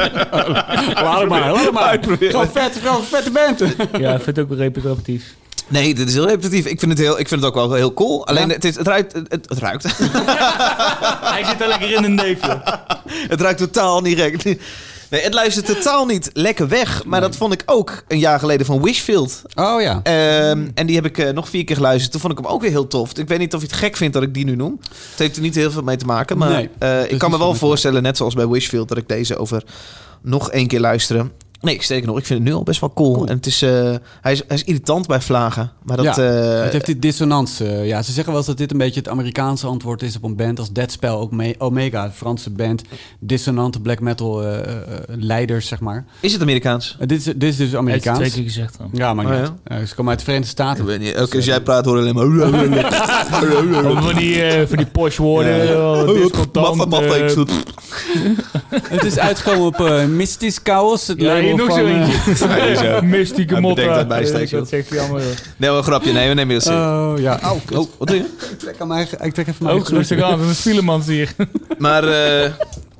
Speaker 1: laat het maar, laat het maar. Gewoon vet, gewoon vette band.
Speaker 2: Ja, ik vind het ook wel repetitief.
Speaker 3: Nee, dit is heel repetitief. Ik vind het, heel, ik vind het ook wel heel cool. Alleen het, is, het ruikt... Het, het ruikt.
Speaker 2: Hij zit er lekker in een neefje.
Speaker 3: Het ruikt totaal niet gek. Nee, het luistert totaal niet lekker weg. Maar dat vond ik ook een jaar geleden van Wishfield.
Speaker 1: Oh ja.
Speaker 3: Ehm, en die heb ik eh, nog vier keer geluisterd. Toen vond ik hem ook weer heel tof. Ik weet niet of je het gek vindt dat ik die nu noem. Het heeft er niet heel veel mee te maken. Maar
Speaker 1: Nee,
Speaker 3: eh,
Speaker 1: is
Speaker 3: ik kan me wel
Speaker 1: niet zo met-
Speaker 3: voorstellen, net zoals bij Wishfield, dat ik deze over nog één keer luisteren. Nee, sterker nog, ik vind het nu al best wel cool. En het is, eh, hij, is, hij is irritant bij vlagen. Maar dat,
Speaker 1: ja,
Speaker 3: eh,
Speaker 1: het heeft die dissonantie. eh, ja, ze zeggen wel eens dat dit een beetje het Amerikaanse antwoord is op een band als Deadspell, ook Me- Omega, een Franse band, dissonante black metal eh, eh, eh, leiders, zeg maar.
Speaker 3: is het Amerikaans?
Speaker 1: Eh, dit, is, dit is
Speaker 2: Heeft
Speaker 1: dus
Speaker 2: hij twee
Speaker 1: Amerikaans.
Speaker 2: keer gezegd dan.
Speaker 1: Ja, maar
Speaker 3: Oh,
Speaker 1: niet. Eh, ze komen uit de Verenigde Staten.
Speaker 3: niet. Elke keer als jij praat hoor je alleen maar...
Speaker 2: Van die, eh, van die posh woorden. eh, discontant,
Speaker 3: Maffa, maffa,
Speaker 2: eh,
Speaker 3: ik snoep.
Speaker 1: het is uitgekomen op eh Mystisch Chaos, het
Speaker 2: Ja,
Speaker 1: label
Speaker 2: hier nog
Speaker 1: van...
Speaker 2: zo
Speaker 1: eh,
Speaker 3: Nee,
Speaker 2: eentje.
Speaker 3: zo.
Speaker 2: Mystieke
Speaker 3: Hij
Speaker 2: motta.
Speaker 3: bedenkt dat bij steek,
Speaker 2: Eh,
Speaker 3: joh.
Speaker 2: Dat zegt hij allemaal. joh.
Speaker 3: Nee, wel een grapje. Nee, we nemen dat serieus.
Speaker 1: Oh, ja. Oh,
Speaker 3: Oh, wat doe je?
Speaker 1: ik, trek aan mijn, eigen- ik trek even mijn
Speaker 2: Ook
Speaker 1: eigen
Speaker 2: rustig aan, dat is Filemans hier.
Speaker 3: Maar eh,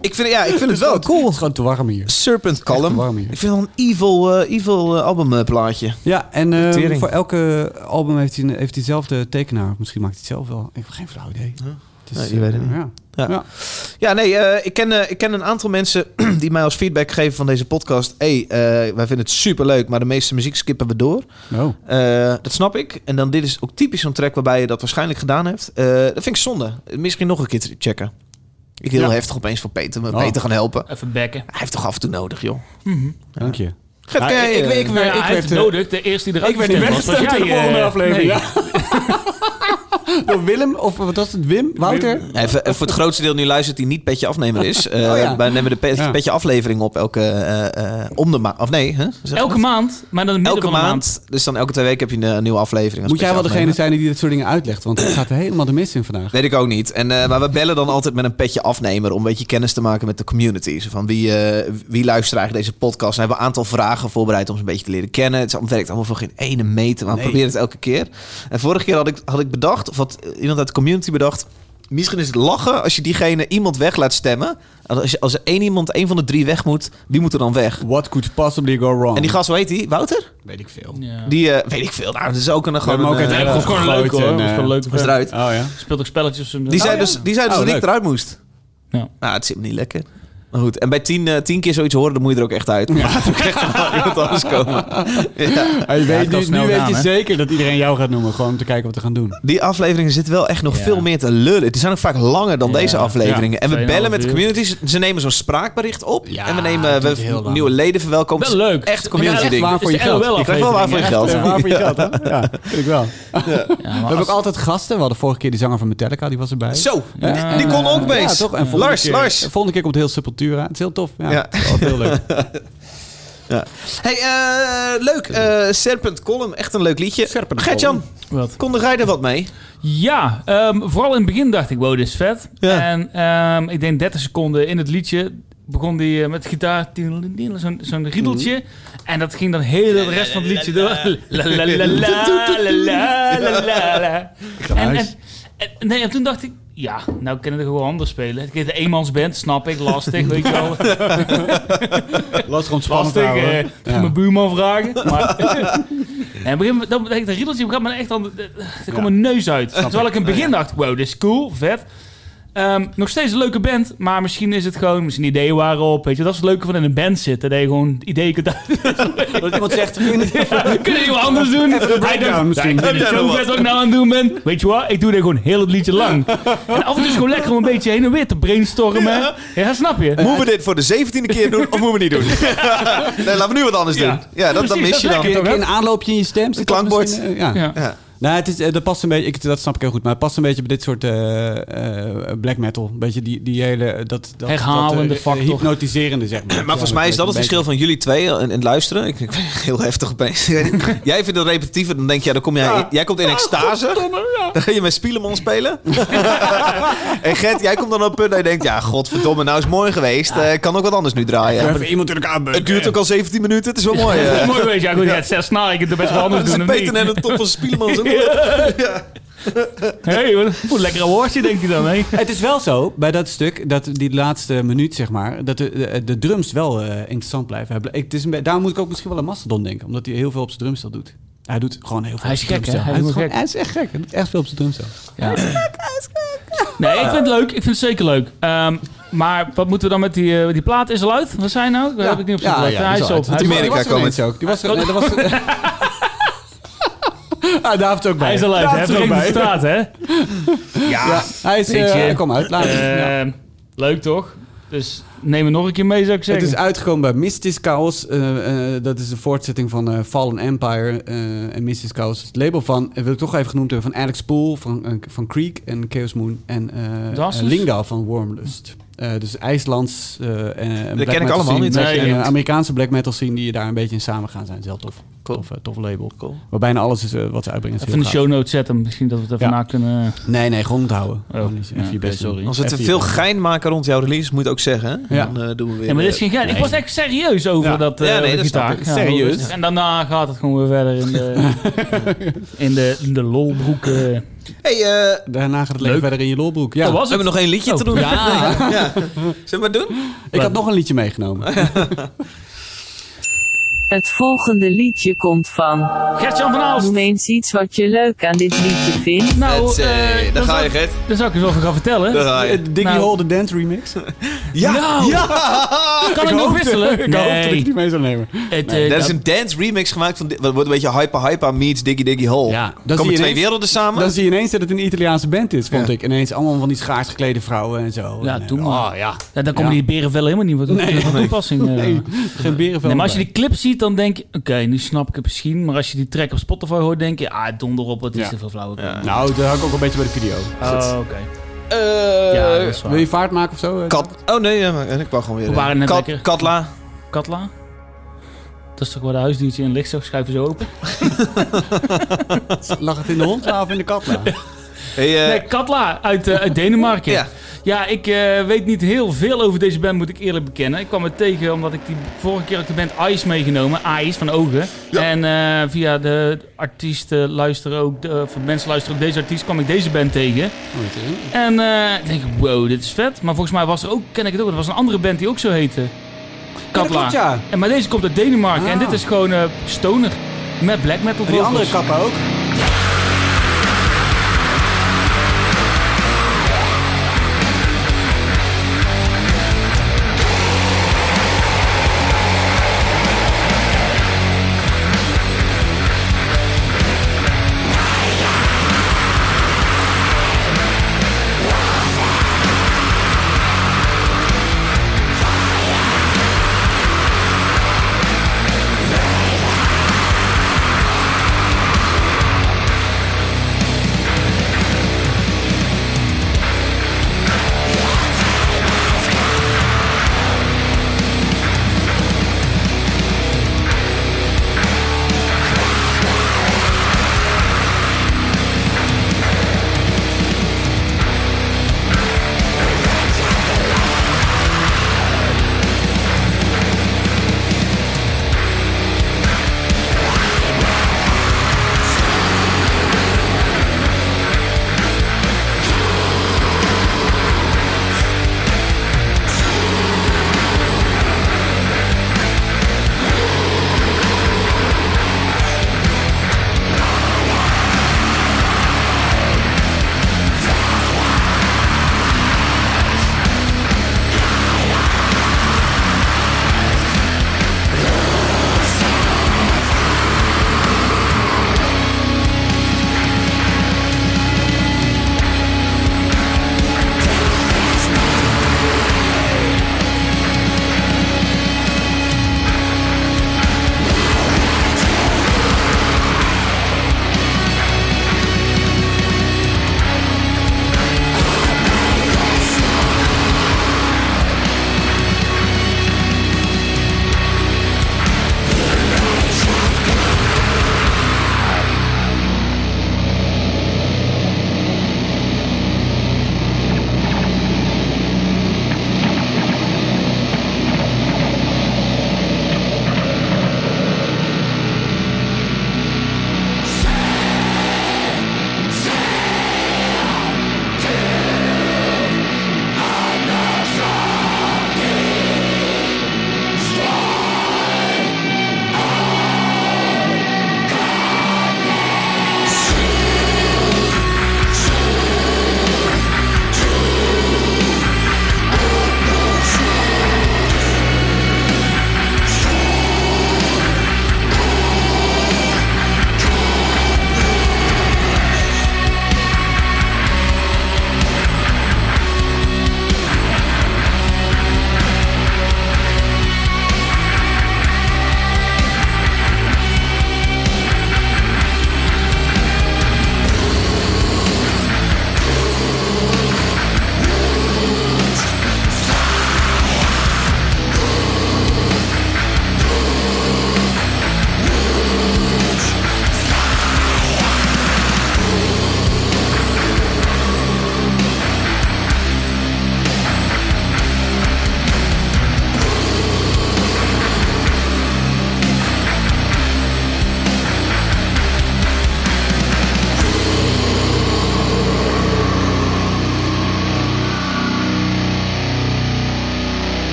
Speaker 3: ik, vind, ja, ik vind het wel
Speaker 1: Het
Speaker 3: cool.
Speaker 1: is gewoon te warm hier.
Speaker 3: Serpent Column.
Speaker 1: warm hier.
Speaker 3: Ik vind het wel een evil, eh, evil eh, albumplaatje.
Speaker 1: Ja, en eh,
Speaker 3: Tering.
Speaker 1: voor elke album heeft hij, een- heeft hij zelf de tekenaar. Misschien maakt hij het zelf wel. Ik heb geen flauw idee. Het is,
Speaker 3: Nee, je weet het
Speaker 1: eh,
Speaker 3: niet.
Speaker 1: Ja.
Speaker 3: Ja.
Speaker 1: Ja.
Speaker 3: Ja, nee, eh, ik, ken, eh, ik ken een aantal mensen die mij als feedback geven van deze podcast. hey, eh, wij vinden het superleuk, maar de meeste muziek skippen we door.
Speaker 1: Oh.
Speaker 3: Eh, dat snap ik. En dan dit is ook typisch zo'n track waarbij je dat waarschijnlijk gedaan hebt. Eh, dat vind ik zonde. Misschien nog een keer te checken. Ik heel
Speaker 1: Ja.
Speaker 3: heftig opeens voor Peter, maar
Speaker 1: Oh.
Speaker 3: Peter gaan helpen.
Speaker 2: Even bekken.
Speaker 3: Hij heeft toch af en toe nodig, joh.
Speaker 1: Dank je.
Speaker 3: Gert,
Speaker 1: Ja,
Speaker 3: ken jij,
Speaker 1: ik-
Speaker 3: eh,
Speaker 1: ik- ik-
Speaker 2: Nou ja,
Speaker 1: werd-
Speaker 2: hij heeft
Speaker 1: werd, eh,
Speaker 2: nodig, de eerste die eruit
Speaker 1: ik werd niet
Speaker 2: gestemd was, was
Speaker 1: weggestemd in de
Speaker 2: jij, eh,
Speaker 1: volgende aflevering.
Speaker 2: nee.
Speaker 1: ja. Door Willem, of wat was het? Wim? Wouter?
Speaker 3: Even, eh, voor het grootste deel nu luistert die niet petje afnemer is. Eh,
Speaker 1: Oh ja.
Speaker 3: Wij nemen de pe-
Speaker 1: Ja.
Speaker 3: petje aflevering op elke eh, eh, om de maand. Of nee, hè? Zeg je
Speaker 2: Elke
Speaker 3: dat?
Speaker 2: maand, maar dan in het
Speaker 3: elke
Speaker 2: midden van de maand.
Speaker 3: maand. Dus dan elke twee weken heb je een, een nieuwe aflevering. als
Speaker 1: Moet jij wel
Speaker 3: petje
Speaker 1: degene
Speaker 3: afnemer.
Speaker 1: zijn die dit soort dingen uitlegt? Want het gaat er helemaal de mis in vandaag.
Speaker 3: Weet ik ook niet. En, eh, maar we bellen dan altijd met een petje afnemer om een beetje kennis te maken met de community. Zo van wie, eh, wie luistert eigenlijk deze podcast? En hebben we een aantal vragen voorbereid om ze een beetje te leren kennen. Het is allemaal- werkt allemaal voor geen ene meter, maar we
Speaker 1: Nee.
Speaker 3: proberen het elke keer. En vorige keer had ik, had ik bedacht, of had iemand uit de community bedacht... Misschien is het lachen als je diegene iemand weg laat stemmen. Als, je, als er één iemand, één van de drie weg moet, wie moet er dan weg?
Speaker 1: What could possibly go wrong? Oh,
Speaker 3: En die gast, hoe heet die? Wouter?
Speaker 1: Weet ik veel.
Speaker 2: Ja.
Speaker 3: Die, eh, weet ik veel. Nou, dat is ook een... Gewoon
Speaker 1: hebben
Speaker 3: een,
Speaker 1: hem ook
Speaker 3: eh,
Speaker 1: uit-
Speaker 2: Nee, dat is gewoon leuk hoor.
Speaker 1: Gegooid en,
Speaker 2: Dat is gewoon
Speaker 1: eh,
Speaker 2: leuk.
Speaker 3: was eruit.
Speaker 1: Oh ja.
Speaker 2: Speelt ook spelletjes. en-
Speaker 3: Die
Speaker 2: Oh,
Speaker 3: zei
Speaker 2: ja.
Speaker 3: dus, die zei dus
Speaker 1: Oh,
Speaker 3: dat ik
Speaker 1: leuk.
Speaker 3: eruit moest.
Speaker 2: Ja.
Speaker 3: Nou, het zit me niet lekker. Maar goed, en bij tien, eh, tien keer zoiets horen, dan moet je er ook echt uit. Dan gaat er ook echt wel iemand anders komen. Ja.
Speaker 1: Hij weet
Speaker 2: het kan
Speaker 1: nu
Speaker 2: snel
Speaker 1: nu weet
Speaker 2: gaan,
Speaker 1: je
Speaker 2: hè?
Speaker 1: zeker dat iedereen jou gaat noemen. Gewoon om te kijken wat we gaan doen.
Speaker 3: Die afleveringen zitten wel echt nog
Speaker 2: Ja.
Speaker 3: veel meer te lullen. Die zijn ook vaak langer dan
Speaker 2: Ja.
Speaker 3: deze afleveringen.
Speaker 2: Ja,
Speaker 3: en we bellen met de
Speaker 2: tweeënhalf
Speaker 3: communities. Ze nemen zo'n spraakbericht op.
Speaker 1: Ja,
Speaker 3: en we nemen
Speaker 1: dat
Speaker 3: we
Speaker 1: duurt heel lang.
Speaker 3: nieuwe leden verwelkomen.
Speaker 2: Wel leuk.
Speaker 3: Echt
Speaker 1: Ja,
Speaker 3: community
Speaker 1: echt
Speaker 3: ding.
Speaker 1: waar voor je
Speaker 2: Is de
Speaker 1: geld.
Speaker 2: LOL
Speaker 3: Je krijgt wel waar voor je
Speaker 2: aflevering,
Speaker 3: geld.
Speaker 2: echt,
Speaker 1: Ja. Waar voor je geld, hè? Ja, vind ik wel.
Speaker 2: ja. Ja, maar
Speaker 1: We hebben
Speaker 2: als-
Speaker 1: ook altijd gasten. We hadden vorige keer die zanger van Metallica, die was erbij.
Speaker 3: Zo, die-
Speaker 1: Hè?
Speaker 3: die
Speaker 1: En,
Speaker 3: kon
Speaker 1: eh,
Speaker 3: ook mee.
Speaker 1: Ja, toch? En volgende
Speaker 3: Lars,
Speaker 1: keer,
Speaker 3: Lars.
Speaker 1: Volgende keer komt heel Sepultura. Het is heel tof. Ja,
Speaker 3: Ja.
Speaker 1: het is altijd heel leuk.
Speaker 3: Hey, eh, leuk. eh, Serpent Column, echt een leuk liedje.
Speaker 1: Serpent
Speaker 3: Gert-Jan,
Speaker 2: Wat?
Speaker 3: kondig jij er wat mee?
Speaker 2: Ja, ehm, vooral in het begin dacht ik, wow, dit is vet.
Speaker 3: Ja.
Speaker 2: En ehm, ik denk 30 seconden in het liedje begon die eh, met gitaar, tiendelindelindel, zo'n zo'n riedeltje. En dat ging dan heel de rest van het liedje door. La, la, la, la, la, la, la, la, la. En-
Speaker 1: huis.
Speaker 2: en- en- Nee, en toen dacht ik, ja, nou kunnen we gewoon anders spelen. Het is een eenmansband, snap ik, lastig, weet je wel.
Speaker 1: Lastig om spannend
Speaker 2: Lastig,
Speaker 1: te houden.
Speaker 2: eh,
Speaker 1: hoor.
Speaker 2: even mijn buurman vragen. Maar, nee, op een gegeven moment, dat, dat riedeltje gaat me echt aan... de- de- Er komt een neus uit. Terwijl ik in het begin dacht, wow, dit is cool, vet. Ehm, nog steeds een leuke band, maar misschien is het gewoon... Misschien ideeën waren op, weet je. Dat is het leuke van in een band zitten. Dat je gewoon ideeën kunt uit-
Speaker 1: Dat iemand zegt, "Vind je het
Speaker 2: Kunnen we anders doen? Hij
Speaker 1: breakdown
Speaker 2: dacht,
Speaker 1: misschien.
Speaker 2: "Ja, ik
Speaker 1: Heb
Speaker 2: vind
Speaker 1: jij
Speaker 2: het zo
Speaker 1: nog
Speaker 2: vet wat ik nou aan het doen ben. Weet je wat? Ik doe dit gewoon heel het liedje lang. En af en toe is het gewoon lekker om een beetje heen en weer te brainstormen. Ja, snap je?
Speaker 3: Moeten we dit voor de zeventiende keer doen of moeten we niet doen? nee, laten we nu wat anders
Speaker 2: Ja.
Speaker 3: doen. Ja, dat, dat
Speaker 2: Precies,
Speaker 3: mis je
Speaker 2: dat
Speaker 3: dan.
Speaker 2: lekker.
Speaker 1: Een keer een aanloopje in je stem. Een
Speaker 3: klankbord.
Speaker 1: ja.
Speaker 2: Ja.
Speaker 3: Ja.
Speaker 1: Nou, het is, eh, dat past een beetje, ik, dat snap ik heel goed, maar het past een beetje bij dit soort eh, eh, black metal. Een beetje die, die hele, eh, dat, dat,
Speaker 2: Herhalende
Speaker 1: dat, eh,
Speaker 2: factor.
Speaker 1: Hypnotiserende, zeg maar.
Speaker 3: Maar volgens mij is dat het verschil van jullie twee en, en luisteren. Ik, ik ben heel heftig opeens. jij vindt het repetitief en dan denk je, ja, dan kom jij, jij komt in extase. Dan ga je met Spielemon spelen. en Gert, jij komt dan op een punt dat je denkt, ja, godverdomme, nou is het mooi geweest. Eh, kan ook wat anders nu draaien.
Speaker 1: Even iemand in elkaar beuken.
Speaker 3: het duurt ook al 17 minuten, het is wel mooi.
Speaker 2: Dat
Speaker 3: eh.
Speaker 2: is mooi weet je. Ja, goed, ja, het zes snaren, ik kan het best wel anders
Speaker 3: Dat
Speaker 2: doen.
Speaker 3: is
Speaker 2: dan
Speaker 3: Peter en
Speaker 2: niet.
Speaker 3: de top van Spielemon. zo.
Speaker 2: Hé, hey, wat een lekker woordje, denkt hij dan, hè?
Speaker 1: Het is wel zo, bij dat stuk, dat die laatste minuut, zeg maar, dat de, de, de drums wel eh, interessant blijven. Hij bl- Ik, het is een be- daarom moet ik ook misschien wel aan Mastodon denken, omdat hij heel veel op zijn drumstel doet. Hij doet gewoon heel veel
Speaker 2: Hij
Speaker 1: op
Speaker 2: is
Speaker 1: zijn
Speaker 2: gek, hè? Hij
Speaker 1: drumstel. Hij, doet
Speaker 2: is
Speaker 1: gewoon-
Speaker 2: gek.
Speaker 1: hij is echt gek. Hij doet echt veel op zijn drumstel.
Speaker 2: Ja. Nee, ik vind het leuk. Ik vind het zeker leuk. Ehm, maar wat moeten we dan met die, eh, die plaat? Is al uit? Wat zijn nou? Daar heb ik niet op zitten. letten. hij is op. Hij is,
Speaker 3: Amerika
Speaker 1: Die was er
Speaker 3: komen.
Speaker 1: ineens ook. Die was er, nee, dat was Ah, daar heeft het ook bij.
Speaker 2: hij is al uit,
Speaker 1: Daar
Speaker 2: hè?
Speaker 1: heeft het ook
Speaker 2: Vergeet de
Speaker 1: bij.
Speaker 2: straat, hè?
Speaker 1: Ja, hij is...
Speaker 2: Weet
Speaker 1: eh,
Speaker 2: je. Eh,
Speaker 1: kom uit, laat het. Ja.
Speaker 2: Ehm, Leuk, toch? Dus neem me nog een keer mee, zou ik
Speaker 1: Het
Speaker 2: zeggen.
Speaker 1: is uitgekomen bij Mystic Chaos. Eh, eh, dat is een voortzetting van eh, Fallen Empire. eh, en Mystic Chaos is het label van, eh, wil ik toch even genoemd hebben, van Alex Pool van, eh, van Creek en Chaos Moon. En eh
Speaker 2: Dawson's?
Speaker 1: eh, Lingdal van Wormlust. Eh, dus IJslands eh, en- en black
Speaker 3: ken ik
Speaker 1: metal
Speaker 3: allemaal
Speaker 1: scene.
Speaker 3: niet,
Speaker 1: En,
Speaker 2: nee,
Speaker 1: eh,
Speaker 2: niet.
Speaker 1: Amerikaanse black metal scene die daar een beetje in samen gaan zijn. Dat is heel tof. Tof, eh, tof label.
Speaker 3: Cool.
Speaker 1: Maar bijna alles is, eh, wat ze uitbrengen is
Speaker 2: Even in de
Speaker 1: heel
Speaker 2: show notes zetten. Misschien dat we het even
Speaker 1: Ja.
Speaker 2: na kunnen...
Speaker 1: gaaf. Nee, nee, grond houden.
Speaker 2: Oh,
Speaker 1: Gewoon niet-
Speaker 2: ja,
Speaker 1: even je
Speaker 2: oké,
Speaker 1: best doen.
Speaker 2: sorry.
Speaker 3: Als we te
Speaker 1: Even je
Speaker 3: veel
Speaker 1: best
Speaker 3: gein maken rond jouw release, moet je het ook zeggen. Hè?
Speaker 1: Ja.
Speaker 3: Dan eh, doen we weer...
Speaker 2: Ja, maar dit is geen gein. Ik was echt serieus over
Speaker 1: Ja.
Speaker 2: dat eh
Speaker 3: Ja, nee,
Speaker 2: over
Speaker 3: dat snap
Speaker 2: gitaar.
Speaker 3: ik.
Speaker 2: Ja,
Speaker 1: Serieus.
Speaker 2: rustig. En daarna gaat het gewoon weer verder in de, in de, in de lolbroek. eh.
Speaker 3: hey, eh,
Speaker 1: doen. Daarna gaat het leven
Speaker 2: Leuk. Oh,
Speaker 1: verder in je lolbroek. Ja,
Speaker 2: Dat was
Speaker 3: we hebben
Speaker 2: het.
Speaker 3: nog één liedje te doen.
Speaker 1: ja.
Speaker 3: Ja. Zullen we maar doen?
Speaker 1: ik had nog een liedje meegenomen.
Speaker 5: Het volgende liedje komt van.
Speaker 2: Gertjan van Aalst.
Speaker 5: Noem eens iets wat je leuk aan dit liedje vindt.
Speaker 2: Nou,
Speaker 3: Het, eh, daar
Speaker 2: eh, dat
Speaker 3: ga je,
Speaker 2: zou-
Speaker 3: Gert.
Speaker 2: Dat zou ik eens over gaan vertellen.
Speaker 3: Daar ga je.
Speaker 1: Eh, Diggy
Speaker 2: Nou.
Speaker 1: Hole, de dance remix.
Speaker 3: Ja!
Speaker 2: Nou.
Speaker 3: ja!
Speaker 2: Kan ik, nog
Speaker 1: hoopte-
Speaker 2: wisselen?
Speaker 1: Ik hoopte dat
Speaker 2: nee.
Speaker 1: ik die mee zou nemen.
Speaker 2: Het, eh,
Speaker 3: Er
Speaker 2: dat-
Speaker 3: is een dance remix gemaakt van... dit- Wat wordt een beetje Hyper Hyper meets Diggy Diggy Hole.
Speaker 1: Ja, dan zie
Speaker 3: Komen
Speaker 1: je
Speaker 3: twee
Speaker 1: ineens-
Speaker 3: werelden samen?
Speaker 1: Dan zie je ineens dat het een Italiaanse band is, vond
Speaker 3: Ja.
Speaker 1: ik. Ineens allemaal van die schaars geklede vrouwen en zo.
Speaker 2: Ja,
Speaker 1: en, eh,
Speaker 2: doe maar.
Speaker 1: Oh, ja.
Speaker 2: Ja, dan komen
Speaker 1: Ja.
Speaker 2: die berenvellen helemaal niet wat op- van toepassing. eh.
Speaker 1: Nee, geen berenvel.
Speaker 2: Nee, maar als je die clip ziet, dan denk je... Oké, nu snap ik het misschien. Maar als je die track op Spotify hoort, denk je... Ah, donder op, wat is
Speaker 1: Ja.
Speaker 2: er voor flauwekul.
Speaker 3: Ja.
Speaker 1: Nou, daar hou ik ook een beetje bij de video.
Speaker 2: Oh, oké.
Speaker 3: Eh,
Speaker 2: Ja, dat is waar.
Speaker 1: Wil je vaart maken of zo? eh?
Speaker 3: Kat... Oh nee, ja, maar- ik wou gewoon weer...
Speaker 2: We
Speaker 3: eh,
Speaker 2: waren net
Speaker 3: Kat-
Speaker 2: lekker.
Speaker 3: Katla.
Speaker 2: Katla? Dat is toch waar de huisdiertje in ligt, zo schuiven ze open.
Speaker 1: Lag het in de hond of in de kat? Nou?
Speaker 3: Hey, eh,
Speaker 2: Nee, Katla uit, eh, uit Denemarken.
Speaker 3: Ja.
Speaker 2: ja. ik eh, weet niet heel veel over deze band, moet ik eerlijk bekennen. Ik kwam het tegen omdat ik die vorige keer ook de band Ice meegenomen. Ice van Ogen. En eh, via de artiesten luisteren ook, de, of mensen luisteren ook deze artiest, kwam ik deze band tegen.
Speaker 1: Oh, weet je.
Speaker 2: En eh, ik denk, wow, dit is vet. Maar volgens mij was er ook, ken ik het ook, er was een andere band die ook zo heette.
Speaker 1: dat
Speaker 2: Katla.
Speaker 1: klopt, ja.
Speaker 2: en, maar deze komt uit Denemarken en
Speaker 1: Ah.
Speaker 2: dit is gewoon eh, stoner. Met black metal
Speaker 1: En die
Speaker 2: vocals.
Speaker 1: andere kappa ook.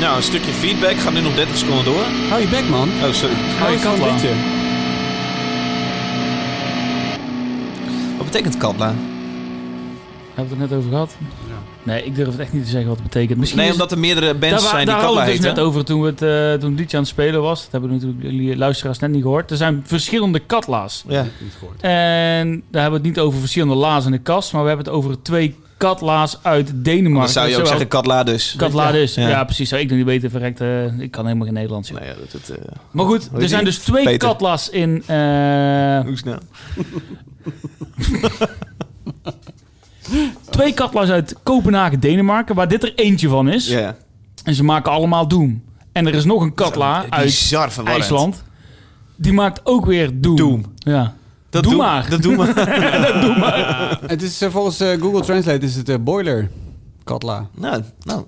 Speaker 3: Nou, een stukje feedback. Gaat nu nog 30 seconden door.
Speaker 1: Hou je bek, man.
Speaker 3: Oh, sorry.
Speaker 1: Hou je kant liedje.
Speaker 3: Wat betekent katla?
Speaker 2: Hebben we het er net over gehad? Nee, ik durf het echt niet te zeggen wat het betekent. Misschien
Speaker 3: Nee,
Speaker 2: is het-
Speaker 3: omdat er meerdere
Speaker 2: daar,
Speaker 3: bands
Speaker 2: wa-
Speaker 3: zijn die
Speaker 2: daar hadden
Speaker 3: katla
Speaker 2: we het dus
Speaker 3: heten.
Speaker 2: net over toen, we het, eh, toen het liedje aan het spelen was. Dat hebben natuurlijk jullie luisteraars net niet gehoord. Er zijn verschillende katla's.
Speaker 3: Ja.
Speaker 2: En daar hebben we het niet over verschillende la's in de kast, maar we hebben het over twee katla's uit Denemarken.
Speaker 3: Dan zou je
Speaker 2: Zo
Speaker 3: ook
Speaker 2: ook
Speaker 3: zeggen katla dus.
Speaker 2: katla dus.
Speaker 3: Ja.
Speaker 2: Ja. precies. Zou ik nog niet weten, verrekt. eh, ik kan helemaal geen Nederlands. joh.
Speaker 3: Nee, dat, dat, eh,
Speaker 2: Maar goed,
Speaker 3: Weet
Speaker 2: er zijn
Speaker 3: ik.
Speaker 2: dus twee
Speaker 3: Peter.
Speaker 2: katla's in... eh,
Speaker 3: hoe snel?
Speaker 2: twee katla's uit Kopenhagen, Denemarken, waar dit er eentje van is.
Speaker 3: Ja, ja.
Speaker 2: En ze maken allemaal Doom. En er is nog een katla
Speaker 1: Ah,
Speaker 2: uit
Speaker 3: Bizar verwarrend.
Speaker 2: IJsland. Die maakt ook weer Doom.
Speaker 3: Doom.
Speaker 2: Ja.
Speaker 3: Dat
Speaker 2: Doe
Speaker 3: doe-
Speaker 2: maar.
Speaker 3: Dat doe maar.
Speaker 1: Het is eh, volgens eh, Google Translate is het eh, boiler. Katla.
Speaker 3: Nou, nou.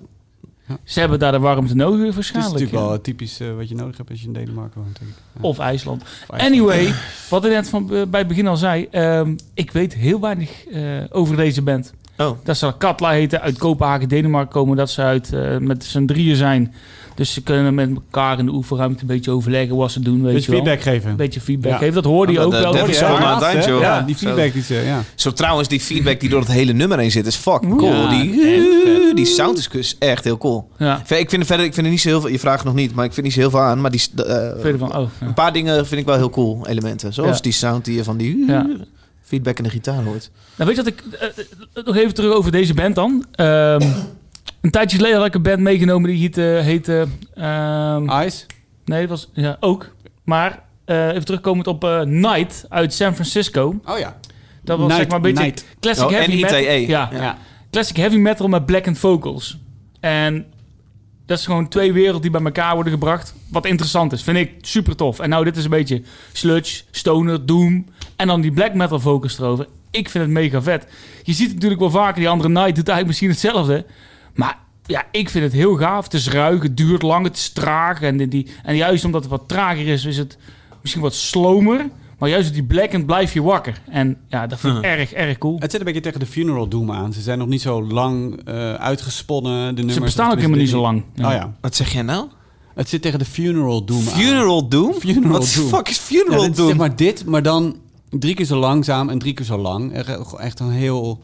Speaker 2: Ze hebben daar de warmte nodig weer
Speaker 1: Het is
Speaker 2: waarschijnlijk.
Speaker 1: natuurlijk
Speaker 2: ja.
Speaker 1: wel eh, typisch eh, wat je nodig hebt als je in Denemarken woont. Denk ik.
Speaker 2: Of IJsland.
Speaker 1: IJsland.
Speaker 2: Anyway, wat ik net van, eh, bij het begin al zei. ehm, ik weet heel weinig eh, over deze band.
Speaker 3: Oh.
Speaker 2: Dat ze Katla heten, uit Kopenhagen, Denemarken komen. Dat ze uit, eh, met z'n drieën zijn. Dus ze kunnen met elkaar in de oefenruimte een beetje overleggen wat ze doen. Weet
Speaker 1: Beetje
Speaker 2: je wel.
Speaker 1: feedback geven.
Speaker 2: Een beetje feedback
Speaker 1: Ja.
Speaker 2: geven. Dat hoorde je
Speaker 3: Dat-
Speaker 2: ook
Speaker 3: dat-
Speaker 2: wel.
Speaker 3: dat
Speaker 1: Oh,
Speaker 2: hoorde
Speaker 3: is
Speaker 2: je
Speaker 3: wel
Speaker 2: haar.
Speaker 3: maar- aan het eind,
Speaker 1: hè?
Speaker 3: joh.
Speaker 1: Ja,
Speaker 2: Ja,
Speaker 1: die
Speaker 3: zo.
Speaker 1: feedback die ze... Ja.
Speaker 3: Zo trouwens, die feedback die door het hele nummer heen zit is fuck cool.
Speaker 2: Ja,
Speaker 3: die, die sound is dus echt heel cool.
Speaker 2: Ja.
Speaker 3: Ver- Ik vind, er verder, ik vind er niet zo heel veel... Je vraagt nog niet, maar ik vind niet zo heel veel aan. Maar die, s- eh,
Speaker 2: Verder van, oh.
Speaker 3: een
Speaker 2: Ja.
Speaker 3: paar dingen vind ik wel heel cool elementen. Zoals
Speaker 2: Ja.
Speaker 3: die sound die je van die
Speaker 2: Ja.
Speaker 3: feedback in de gitaar hoort.
Speaker 2: Nou, weet je wat ik... eh, eh, nog even terug over deze band dan. Ehm, een tijdje geleden had ik een band meegenomen die heette... heette eh, ehm,
Speaker 1: Ice.
Speaker 2: Nee, dat was ja, ook. Maar eh, even terugkomend op eh Night uit San Francisco.
Speaker 1: Oh ja.
Speaker 2: Dat was
Speaker 1: Night,
Speaker 2: zeg maar een beetje
Speaker 1: Night.
Speaker 2: classic
Speaker 3: Oh,
Speaker 2: heavy metal.
Speaker 3: N.I.T.E..
Speaker 2: Ja,
Speaker 1: Ja.
Speaker 2: classic heavy metal met blackened vocals. En dat is gewoon twee werelden die bij elkaar worden gebracht. Wat interessant is, vind ik super tof. En nou, dit is een beetje sludge, stoner, doom. En dan die black metal vocals erover. Ik vind het mega vet. Je ziet het natuurlijk wel vaker, die andere Night doet eigenlijk misschien hetzelfde. Maar ja, ik vind het heel gaaf. Het is ruig, het duurt lang, het is traag. En, die- die, en juist omdat het wat trager is, is het misschien wat slomer. Maar juist op die blackend blijf je wakker. En ja, dat vind ik erg, erg cool.
Speaker 1: Het zit een beetje tegen de funeral doom aan. Ze zijn nog niet zo lang eh, uitgesponnen. De nummers,
Speaker 2: Ze
Speaker 1: of
Speaker 2: bestaan ook
Speaker 1: tenminste,
Speaker 2: helemaal niet
Speaker 1: dit-
Speaker 2: zo lang.
Speaker 1: Oh ja.
Speaker 3: Wat zeg jij nou?
Speaker 1: Het zit tegen de funeral doom aan.
Speaker 3: Funeral Doom?
Speaker 1: Funeral
Speaker 3: Wat
Speaker 1: Doom.
Speaker 3: fuck is
Speaker 1: Ja,
Speaker 3: Funeral
Speaker 1: dit is
Speaker 3: Doom?
Speaker 1: zeg maar dit, maar dan drie keer zo langzaam en drie keer zo lang. Echt- Echt een heel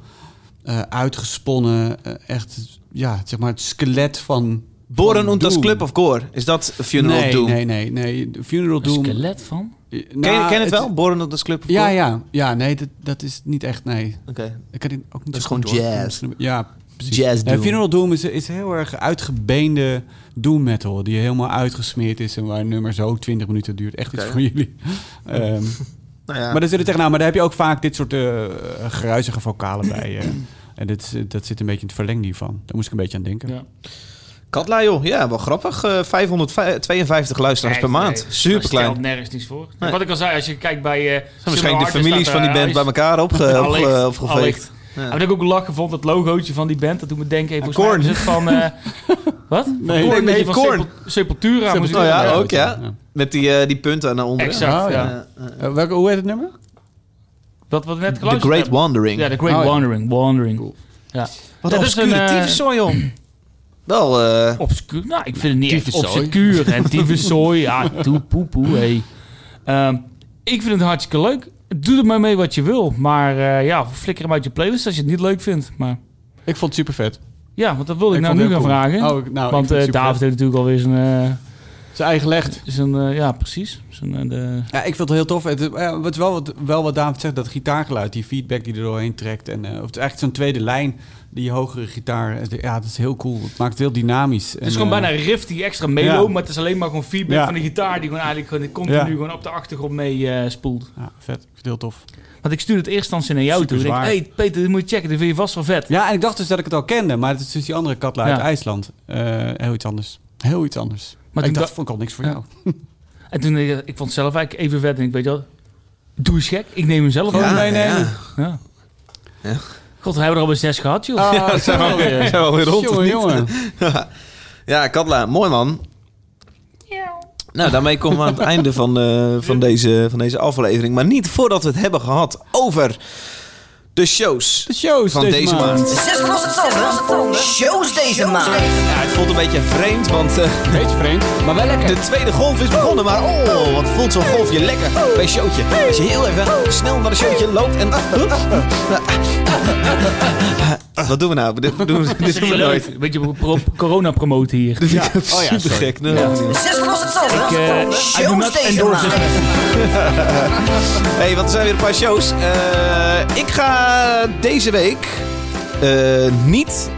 Speaker 1: eh, uitgesponnen, eh, echt, ja, zeg maar het skelet van...
Speaker 3: Boren
Speaker 1: van
Speaker 3: und das
Speaker 1: Doom.
Speaker 3: Club of Gore. Is dat Funeral
Speaker 1: nee,
Speaker 3: Doom?
Speaker 1: Nee, nee, nee. Funeral
Speaker 2: Een
Speaker 1: Doom...
Speaker 2: skelet van?
Speaker 1: eh, nou,
Speaker 3: Ken, je, ken het wel? Boren und das Club of
Speaker 1: Ja,
Speaker 3: Gore?
Speaker 1: ja. Ja, nee, dat, dat is niet echt, nee.
Speaker 3: Oké.
Speaker 1: Ik kan dit ook niet
Speaker 3: Dat
Speaker 1: zo
Speaker 3: is
Speaker 1: goed,
Speaker 3: gewoon
Speaker 1: hoor.
Speaker 3: jazz.
Speaker 1: Ja, precies.
Speaker 3: Jazz
Speaker 1: Nee,
Speaker 3: Doom.
Speaker 1: Funeral Doom is, is heel erg uitgebeende doom metal. Die helemaal uitgesmeerd is en waar een nummer zo 20 minuten duurt. Echt iets
Speaker 3: Oké.
Speaker 1: voor jullie. Ehm,
Speaker 3: Nou ja.
Speaker 1: Maar daar zit het tegenaan. Maar daar heb je ook vaak dit soort eh geruizige vocalen bij. eh. En dit, is- dat zit een beetje in het verlengde hiervan. Daar moest ik een beetje aan denken.
Speaker 2: Ja.
Speaker 3: Katla, joh. Ja, wel grappig. Eh, 552 luisteraars per maand. Super
Speaker 2: Daar
Speaker 3: klein.
Speaker 2: stelt nergens iets voor.
Speaker 3: Nee.
Speaker 2: Wat ik al zei, als je kijkt bij... eh
Speaker 3: Waarschijnlijk de families van die band bij elkaar eh, opge, opge, opgeveegd.
Speaker 2: Ja. Heb ik ook lach gevonden, het logootje van die band. Dat doet me denken, even
Speaker 3: Korn.
Speaker 2: is het van... eh, wat? van
Speaker 1: Nee,
Speaker 2: Korn,
Speaker 3: nee,
Speaker 2: nee, van
Speaker 3: Korn.
Speaker 2: Sepul- Sepultura. moest ik
Speaker 3: Oh ja,
Speaker 2: denken.
Speaker 3: ook ja. Met die, eh, die punten naar onder.
Speaker 2: Exact,
Speaker 1: Oh,
Speaker 2: ja.
Speaker 1: ja. Eh, welke, hoe heet het nummer?
Speaker 2: Dat wat we net
Speaker 3: The
Speaker 2: geluisterd
Speaker 3: Great
Speaker 2: hebben.
Speaker 3: Wandering.
Speaker 2: Ja, The Great
Speaker 1: Oh, ja.
Speaker 2: Wandering. Wandering.
Speaker 1: Cool.
Speaker 2: Ja.
Speaker 3: Wat een
Speaker 2: Dat is een,
Speaker 3: obscure
Speaker 2: eh,
Speaker 3: tyfuszooi, joh. Wel, eh,
Speaker 2: Obscuur? Nou, ik vind het niet echt
Speaker 1: Tyfuszooi.
Speaker 2: obscuur. En tyfuszooi, ja, toe, poe, poe, hey. Ehm, ik vind het hartstikke leuk. Doe er maar mee wat je wil. Maar eh, ja, flikker hem uit je playlist als je het niet leuk vindt. Maar
Speaker 1: Ik vond het super vet.
Speaker 2: ja, want dat wilde ik,
Speaker 1: Ik
Speaker 2: nou
Speaker 1: vond
Speaker 2: nu
Speaker 1: het
Speaker 2: gaan
Speaker 1: heel cool.
Speaker 2: vragen.
Speaker 1: Oh, ik- nou, ik
Speaker 2: want
Speaker 1: vind het
Speaker 2: eh,
Speaker 1: super
Speaker 2: David heeft natuurlijk alweer zijn... eh,
Speaker 1: Zijn eigen legt.
Speaker 2: zijn eh, ja, precies. Zijn, eh, de...
Speaker 1: Ja, ik vind het heel tof. Het, is- ja, wat wel, wat, wel wat David zegt, dat gitaargeluid, die feedback die er doorheen trekt. En, eh, of het is eigenlijk zo'n tweede lijn, die hogere gitaar. eh, de- Ja, dat is heel cool. Het maakt het heel dynamisch. eh,
Speaker 2: Het is gewoon bijna een riff die extra meeloopt,
Speaker 1: Ja.
Speaker 2: maar het is alleen maar gewoon feedback
Speaker 1: Ja.
Speaker 2: van de gitaar die gewoon eigenlijk gewoon continu
Speaker 1: Ja.
Speaker 2: gewoon op de achtergrond mee eh, spoelt.
Speaker 1: Ja, vet. Ik vind het heel tof.
Speaker 2: Want ik stuurde het eerst dan naar jou toe. Ik denk,
Speaker 1: Superzwaar.
Speaker 2: hey Peter, dit moet je checken, dit vind je vast wel vet.
Speaker 1: Ja, en ik dacht dus dat ik het al kende, maar het is dus die andere katla uit
Speaker 2: Ja.
Speaker 1: IJsland. Eh, heel iets anders. Heel iets anders.
Speaker 2: Maar
Speaker 1: Maar ik
Speaker 2: toen
Speaker 1: dacht,
Speaker 2: da-
Speaker 1: vond ik al niks voor
Speaker 2: Ja.
Speaker 1: jou.
Speaker 2: En toen, eh, ik vond het zelf eigenlijk even vet en ik weet je wel, doe eens gek, ik neem hem zelf
Speaker 1: Gewoon
Speaker 2: aan.
Speaker 1: meenemen.
Speaker 2: Ja.
Speaker 3: Ja.
Speaker 2: God, we hebben er al bij zes gehad, joh.
Speaker 1: Ah,
Speaker 3: ja, zijn we alweer- zijn we alweer rond, of
Speaker 1: jongen,
Speaker 3: niet?
Speaker 1: jongen.
Speaker 3: Ja, Katla, mooi man. Nou, daarmee komen we aan het einde van, eh, van, deze, van deze aflevering. Maar niet voordat we het hebben gehad over De shows
Speaker 1: De shows
Speaker 3: van deze, maand.
Speaker 8: Zes losse tanden. Shows deze maand.
Speaker 3: Ja, het voelt een beetje vreemd, want eh,
Speaker 1: Beetje vreemd, maar wel lekker.
Speaker 3: de tweede golf is begonnen. Maar oh, wat voelt zo'n golfje lekker bij een showtje. Als je heel even snel naar de showtje loopt en... Wat doen we nou? Dit doen we, dit doen we nooit.
Speaker 2: Een beetje pro- corona promoten hier.
Speaker 3: Ja, super gek.
Speaker 8: Zes losse
Speaker 2: Ik, eh, I
Speaker 8: tanden.
Speaker 2: do
Speaker 8: Shows
Speaker 2: not
Speaker 8: deze
Speaker 2: endorse
Speaker 8: maand.
Speaker 3: Hé, hey, want er zijn weer een paar shows. Eh, ik ga deze week eh, niet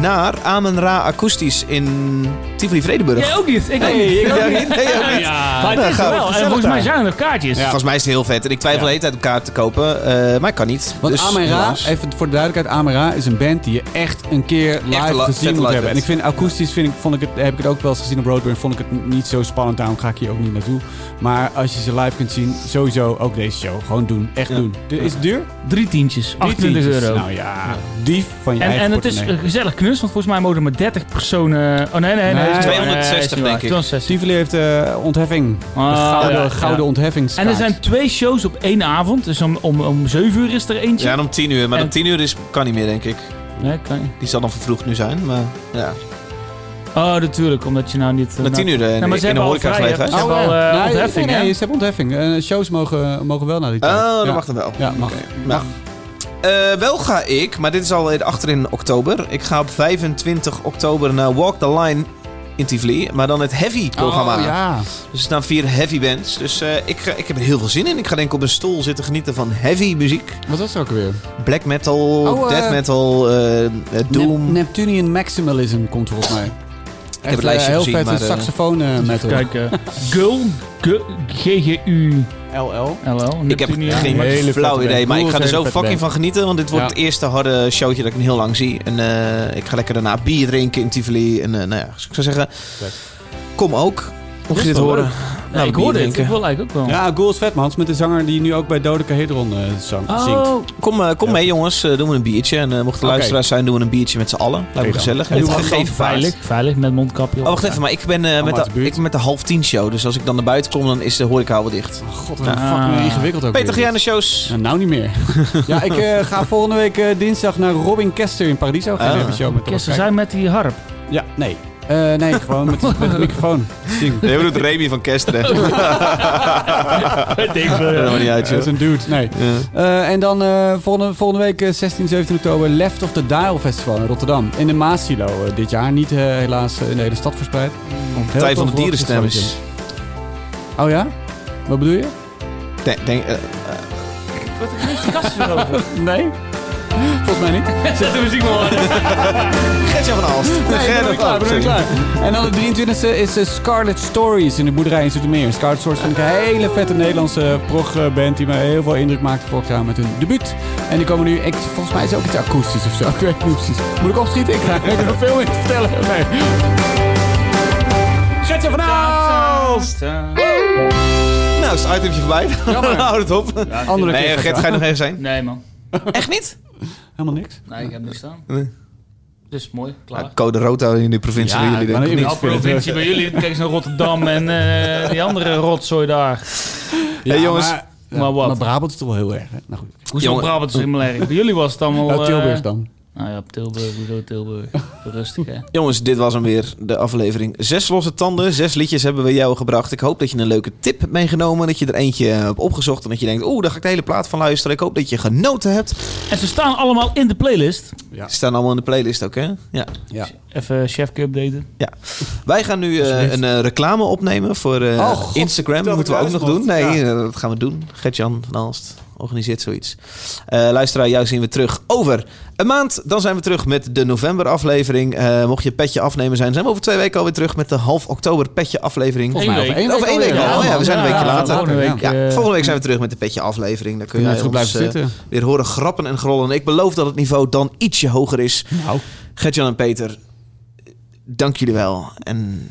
Speaker 3: naar Amen Ra Akoestisch in Tivoli Vredenburg.
Speaker 2: Jij ook niet. Ik ook
Speaker 3: Nee,
Speaker 2: niet. Ik
Speaker 3: jij
Speaker 2: ook
Speaker 3: ook niet. Jij ook
Speaker 2: Ja,
Speaker 3: niet.
Speaker 2: Maar het
Speaker 3: Nou,
Speaker 2: is
Speaker 3: gaan
Speaker 2: er
Speaker 3: we
Speaker 2: wel. En
Speaker 3: gezellig
Speaker 2: volgens mij
Speaker 3: daar.
Speaker 2: zijn er kaartjes.
Speaker 3: Volgens mij is het heel vet. En ik twijfel de
Speaker 2: Ja.
Speaker 3: hele tijd om kaart te kopen, eh, maar ik kan niet.
Speaker 1: Want
Speaker 3: Dus,
Speaker 1: Amera,
Speaker 3: helaas.
Speaker 1: even voor de duidelijkheid, Amera is een band die je echt een keer live
Speaker 3: een la- vette
Speaker 1: gezien moet
Speaker 3: live
Speaker 1: hebben. En
Speaker 3: band.
Speaker 1: ik vind akoestisch, vind ik, vond ik het, heb ik het ook wel eens gezien op Roadburn, vond ik het niet zo spannend, daarom ga ik hier ook niet naartoe. Maar als je ze live kunt zien, sowieso ook deze show. Gewoon doen, echt doen. De- is het duur?
Speaker 2: Drie tientjes. 28
Speaker 1: €10.
Speaker 2: euro.
Speaker 1: Nou ja, dief van je
Speaker 2: En,
Speaker 1: eigen
Speaker 2: en het is
Speaker 1: portemonnee.
Speaker 2: een gezellig knus, want volgens mij mogen maar 30 personen... Oh nee, nee, nee.
Speaker 1: Nee,
Speaker 2: is niet waar.
Speaker 3: 260
Speaker 2: Nee, is niet waar.
Speaker 3: denk ik.
Speaker 2: 260.
Speaker 1: Tivoli heeft eh, ontheffing.
Speaker 2: Ah,
Speaker 1: Een gouden,
Speaker 2: ja, ja.
Speaker 1: gouden Oh, ontheffingskaart.
Speaker 2: En er zijn twee shows op één avond. Dus om, om, om 7 uur is er eentje.
Speaker 3: Ja, en om tien uur. Maar
Speaker 2: En-
Speaker 3: om tien uur is, kan niet meer, denk ik.
Speaker 2: Nee, kan je-
Speaker 3: Die zal dan vervroegd nu zijn, maar ja.
Speaker 2: Oh, natuurlijk, omdat je nou niet... eh,
Speaker 3: Om tien uur eh,
Speaker 2: maar ze
Speaker 3: in de
Speaker 2: hebben al
Speaker 3: horeca
Speaker 2: vrij, hè?
Speaker 3: gelegen.
Speaker 2: Ze hebben
Speaker 1: Oh, ja.
Speaker 2: al, eh,
Speaker 1: Nee,
Speaker 2: ontheffing,
Speaker 1: nee, nee,
Speaker 2: hè?
Speaker 1: ze hebben ontheffing. Eh, shows mogen, mogen wel naar die tijd.
Speaker 3: Oh, dat
Speaker 1: Ja.
Speaker 3: mag dan wel.
Speaker 1: Ja, mag.
Speaker 3: Oké. Nou, eh, wel ga ik, maar dit is alweer achter in oktober. Ik ga op 25 oktober naar Walk the Line in Tivoli. Maar dan het heavy-programma.
Speaker 1: Oh, ja.
Speaker 3: Dus er staan vier heavy bands. Dus eh, ik, ga- ik heb er heel veel zin in. Ik ga denk ik op een stoel zitten genieten van heavy muziek.
Speaker 1: Wat was er ook weer?
Speaker 3: Black metal,
Speaker 1: Oh, eh,
Speaker 3: death metal, eh, eh, doom.
Speaker 1: Nep- Neptunian Maximalism komt volgens mij. Ik
Speaker 3: het lijstje
Speaker 1: heel
Speaker 3: gezien,
Speaker 1: vet
Speaker 3: maar, eh,
Speaker 1: saxofoon eh, metal.
Speaker 2: Kijk, eh, Gul, Gu- GGU,
Speaker 1: LL.
Speaker 2: LL.
Speaker 3: Hm. Ik heb
Speaker 2: Neptunia.
Speaker 3: geen
Speaker 2: Hele
Speaker 3: flauw
Speaker 2: vette
Speaker 3: idee,
Speaker 2: band.
Speaker 3: maar ik
Speaker 2: Cool,
Speaker 3: ga er zo
Speaker 2: hele vette
Speaker 3: fucking
Speaker 2: band.
Speaker 3: van genieten. Want dit wordt
Speaker 1: Ja.
Speaker 3: het eerste harde showtje dat ik in heel lang zie. En eh, ik ga lekker daarna bier drinken in Tivoli. En eh, nou ja, dus ik zou zeggen, kom ook. Mocht je dit
Speaker 2: wel
Speaker 3: horen.
Speaker 2: leuk.
Speaker 3: Nou,
Speaker 2: Ja, ik
Speaker 3: bier
Speaker 2: hoor dit.
Speaker 3: drinken.
Speaker 2: Ik wil eigenlijk ook wel.
Speaker 1: Ja, Ghouls Vetmans met de zanger die nu ook bij Dodecahedron eh zang, zingt.
Speaker 2: Oh,
Speaker 3: Kom, eh, kom mee jongens, Eh, doen we een biertje. En eh, mochten
Speaker 1: Oké.
Speaker 3: luisteraars zijn, doen we een biertje met z'n allen. Lijkt me
Speaker 1: Kijk dan.
Speaker 3: gezellig.
Speaker 1: En
Speaker 3: En
Speaker 1: doe
Speaker 3: het
Speaker 1: we
Speaker 3: gegeven vaart.
Speaker 2: veilig, veilig, met mondkapje op.
Speaker 3: Oh, wacht even, maar ik ben, eh, met,
Speaker 1: uit
Speaker 3: de,
Speaker 1: de
Speaker 3: ik
Speaker 1: buurt.
Speaker 3: ben met de half tien show. Dus als ik dan naar buiten kom, dan is de horeca al dicht.
Speaker 1: God, wat een
Speaker 2: Ah.
Speaker 1: fucking ingewikkeld ook
Speaker 3: Peter, ga
Speaker 1: weer
Speaker 3: jij
Speaker 1: dit.
Speaker 3: naar shows?
Speaker 1: Nou, nou niet meer. ja, ik eh, ga volgende week eh, dinsdag naar Robin Kester in Paradiso. Ga
Speaker 3: Ah.
Speaker 1: je even een show met
Speaker 2: Kersten
Speaker 1: elkaar
Speaker 2: zijn met die harp.
Speaker 1: kijken. Ja, nee. Eh, nee, gewoon met, met de microfoon. Zing.
Speaker 3: Nee, we doen Remy van Kesteren.
Speaker 2: Ik denk eh, wel,
Speaker 3: dat
Speaker 2: ja.
Speaker 3: maakt niet uit,
Speaker 1: Dat is
Speaker 3: joh.
Speaker 1: een dude, nee.
Speaker 3: Ja.
Speaker 1: Eh, en dan eh, volgende, volgende week, eh, 16, 17 oktober, Left of the Dial Festival in Rotterdam. In de Maasilo eh, dit jaar. Niet eh, helaas eh, in de hele stad verspreid.
Speaker 3: Partij van de Dierenstem is.
Speaker 1: Oh ja? Wat bedoel je?
Speaker 3: Denk, denk, eh,
Speaker 2: Wat heeft die kast erover?
Speaker 1: Nee. Volgens mij niet.
Speaker 2: Zet de muziek maar aan.
Speaker 3: Gertje van Alst.
Speaker 1: Nee,
Speaker 3: Gerrit
Speaker 1: ik ben
Speaker 3: van
Speaker 1: klaar,
Speaker 3: Alst.
Speaker 1: ben klaar. En dan de 23e is eh, Scarlet Stories in de boerderij in Zoetermeer. Scarlet Stories vind ik een hele vette Nederlandse prog-band die me heel veel indruk maakte vorig jaar met hun debuut. En die komen nu, ik, volgens mij is het ook iets akoestisch of zo. Ik weet het niet precies. Moet ik opschieten? Ik ga er nog veel meer te vertellen. Nee. Gertje van
Speaker 2: Oh!
Speaker 1: Aalst!
Speaker 3: Nou, is het itemje voorbij.
Speaker 1: Jammer.
Speaker 3: Houd het op.
Speaker 1: Andere
Speaker 3: Nee,
Speaker 1: keer.
Speaker 3: Gert, ga je nog even zijn?
Speaker 2: Nee, man.
Speaker 3: Echt niet?
Speaker 1: Helemaal niks.
Speaker 2: Nee, ik heb niks staan.
Speaker 3: Nee.
Speaker 2: Dus mooi, klaar.
Speaker 3: code rood houden in die provincie waar jullie
Speaker 1: maar
Speaker 3: denken.
Speaker 1: ik-
Speaker 2: Nou, provincie bij jullie. Kijk eens naar Rotterdam en eh, die andere rotzooi daar.
Speaker 3: Hey, jongens.
Speaker 1: Maar,
Speaker 2: Maar wat?
Speaker 1: maar Brabant is toch wel heel erg, hè? Nou goed.
Speaker 2: Hoezo
Speaker 3: Jongen.
Speaker 2: Brabant is helemaal erg? Bij jullie was het allemaal...
Speaker 1: Nou, Tilburg
Speaker 2: eh,
Speaker 1: dan.
Speaker 2: Nou ja, Tilburg, hoezo Tilburg? Rustig, hè?
Speaker 3: Jongens, dit was hem weer, de aflevering. Zes losse tanden, zes liedjes hebben we jou gebracht. Ik hoop dat je een leuke tip hebt meegenomen. Dat je er eentje hebt opgezocht. En dat je denkt, oeh, daar ga ik de hele plaat van luisteren. Ik hoop dat je genoten hebt. Ze
Speaker 2: En ze staan allemaal in de playlist.
Speaker 3: staan allemaal in de playlist ook, hè? Ja.
Speaker 1: Ja.
Speaker 2: Even chefke updaten.
Speaker 3: ja. Wij gaan nu eh, een eh, reclame opnemen voor eh,
Speaker 1: Oh, God,
Speaker 3: Instagram.
Speaker 1: dat
Speaker 3: moeten we ook
Speaker 1: ik
Speaker 3: nog
Speaker 1: thuis
Speaker 3: doen.
Speaker 1: mocht.
Speaker 3: Nee,
Speaker 1: Ja.
Speaker 3: eh, dat gaan we doen. Gert-Jan van Alst organiseert zoiets. Eh luisteraar, jou zien we terug over een maand. Dan zijn we terug met de november aflevering. Eh, mocht je petje afnemen zijn, zijn we over twee weken alweer terug met de half oktober petje aflevering.
Speaker 2: Volgens mij
Speaker 1: Over
Speaker 2: week.
Speaker 1: één
Speaker 3: Over één week
Speaker 1: alweer.
Speaker 3: al, Oh ja, we zijn een
Speaker 1: man.
Speaker 3: weekje later.
Speaker 2: Oh, Volgende week.
Speaker 3: Ja,
Speaker 2: eh,
Speaker 3: volgende week zijn we terug met de petje aflevering. Dan kun
Speaker 1: Kunnen
Speaker 3: je
Speaker 1: we
Speaker 3: ons
Speaker 1: zo blijven
Speaker 3: eh,
Speaker 1: zitten.
Speaker 3: weer horen grappen en grollen. Ik beloof dat het niveau dan ietsje hoger is.
Speaker 1: Nou.
Speaker 3: Gert-Jan en Peter, dank jullie wel. En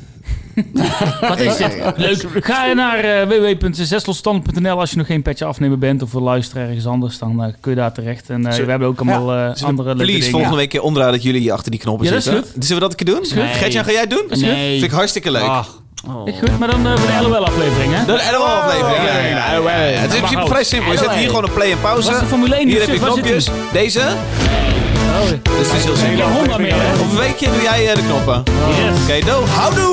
Speaker 2: Wat is dit? Leuk. Ga je naar eh, www.zeslosstand.nl als je nog geen petje afnemen bent of wil luisteren ergens anders, dan eh, kun je daar terecht. En eh,
Speaker 3: Zullen-
Speaker 2: we hebben ook allemaal eh,
Speaker 3: Zullen we
Speaker 2: andere leuke
Speaker 3: please
Speaker 2: dingen.
Speaker 3: volgende week keer omdraaien dat jullie hier achter die knoppen
Speaker 2: Ja, dat is
Speaker 3: zitten. Zullen we dat een keer doen?
Speaker 2: goed.
Speaker 3: Gert-Jan, ga jij het doen?
Speaker 2: Nee.
Speaker 3: Vind ik hartstikke leuk.
Speaker 2: Ach, Goed, maar dan eh, voor de LOL-aflevering, hè?
Speaker 3: De
Speaker 2: Oh,
Speaker 3: LOL-aflevering. ja, ja, ja, ja, ja, ja. Het is in principe vrij simpel. Je zet hier gewoon een play en pauze.
Speaker 2: Wat is de Formule 1
Speaker 3: Hier heb je
Speaker 2: shit? Waar zit Oh.
Speaker 3: knopjes. Deze. Dus het is heel
Speaker 2: Geen
Speaker 3: simpel.
Speaker 2: Honda meer, hè?
Speaker 3: Op een weekje doe jij eh, de knoppen. Oké, doe. Houdoe!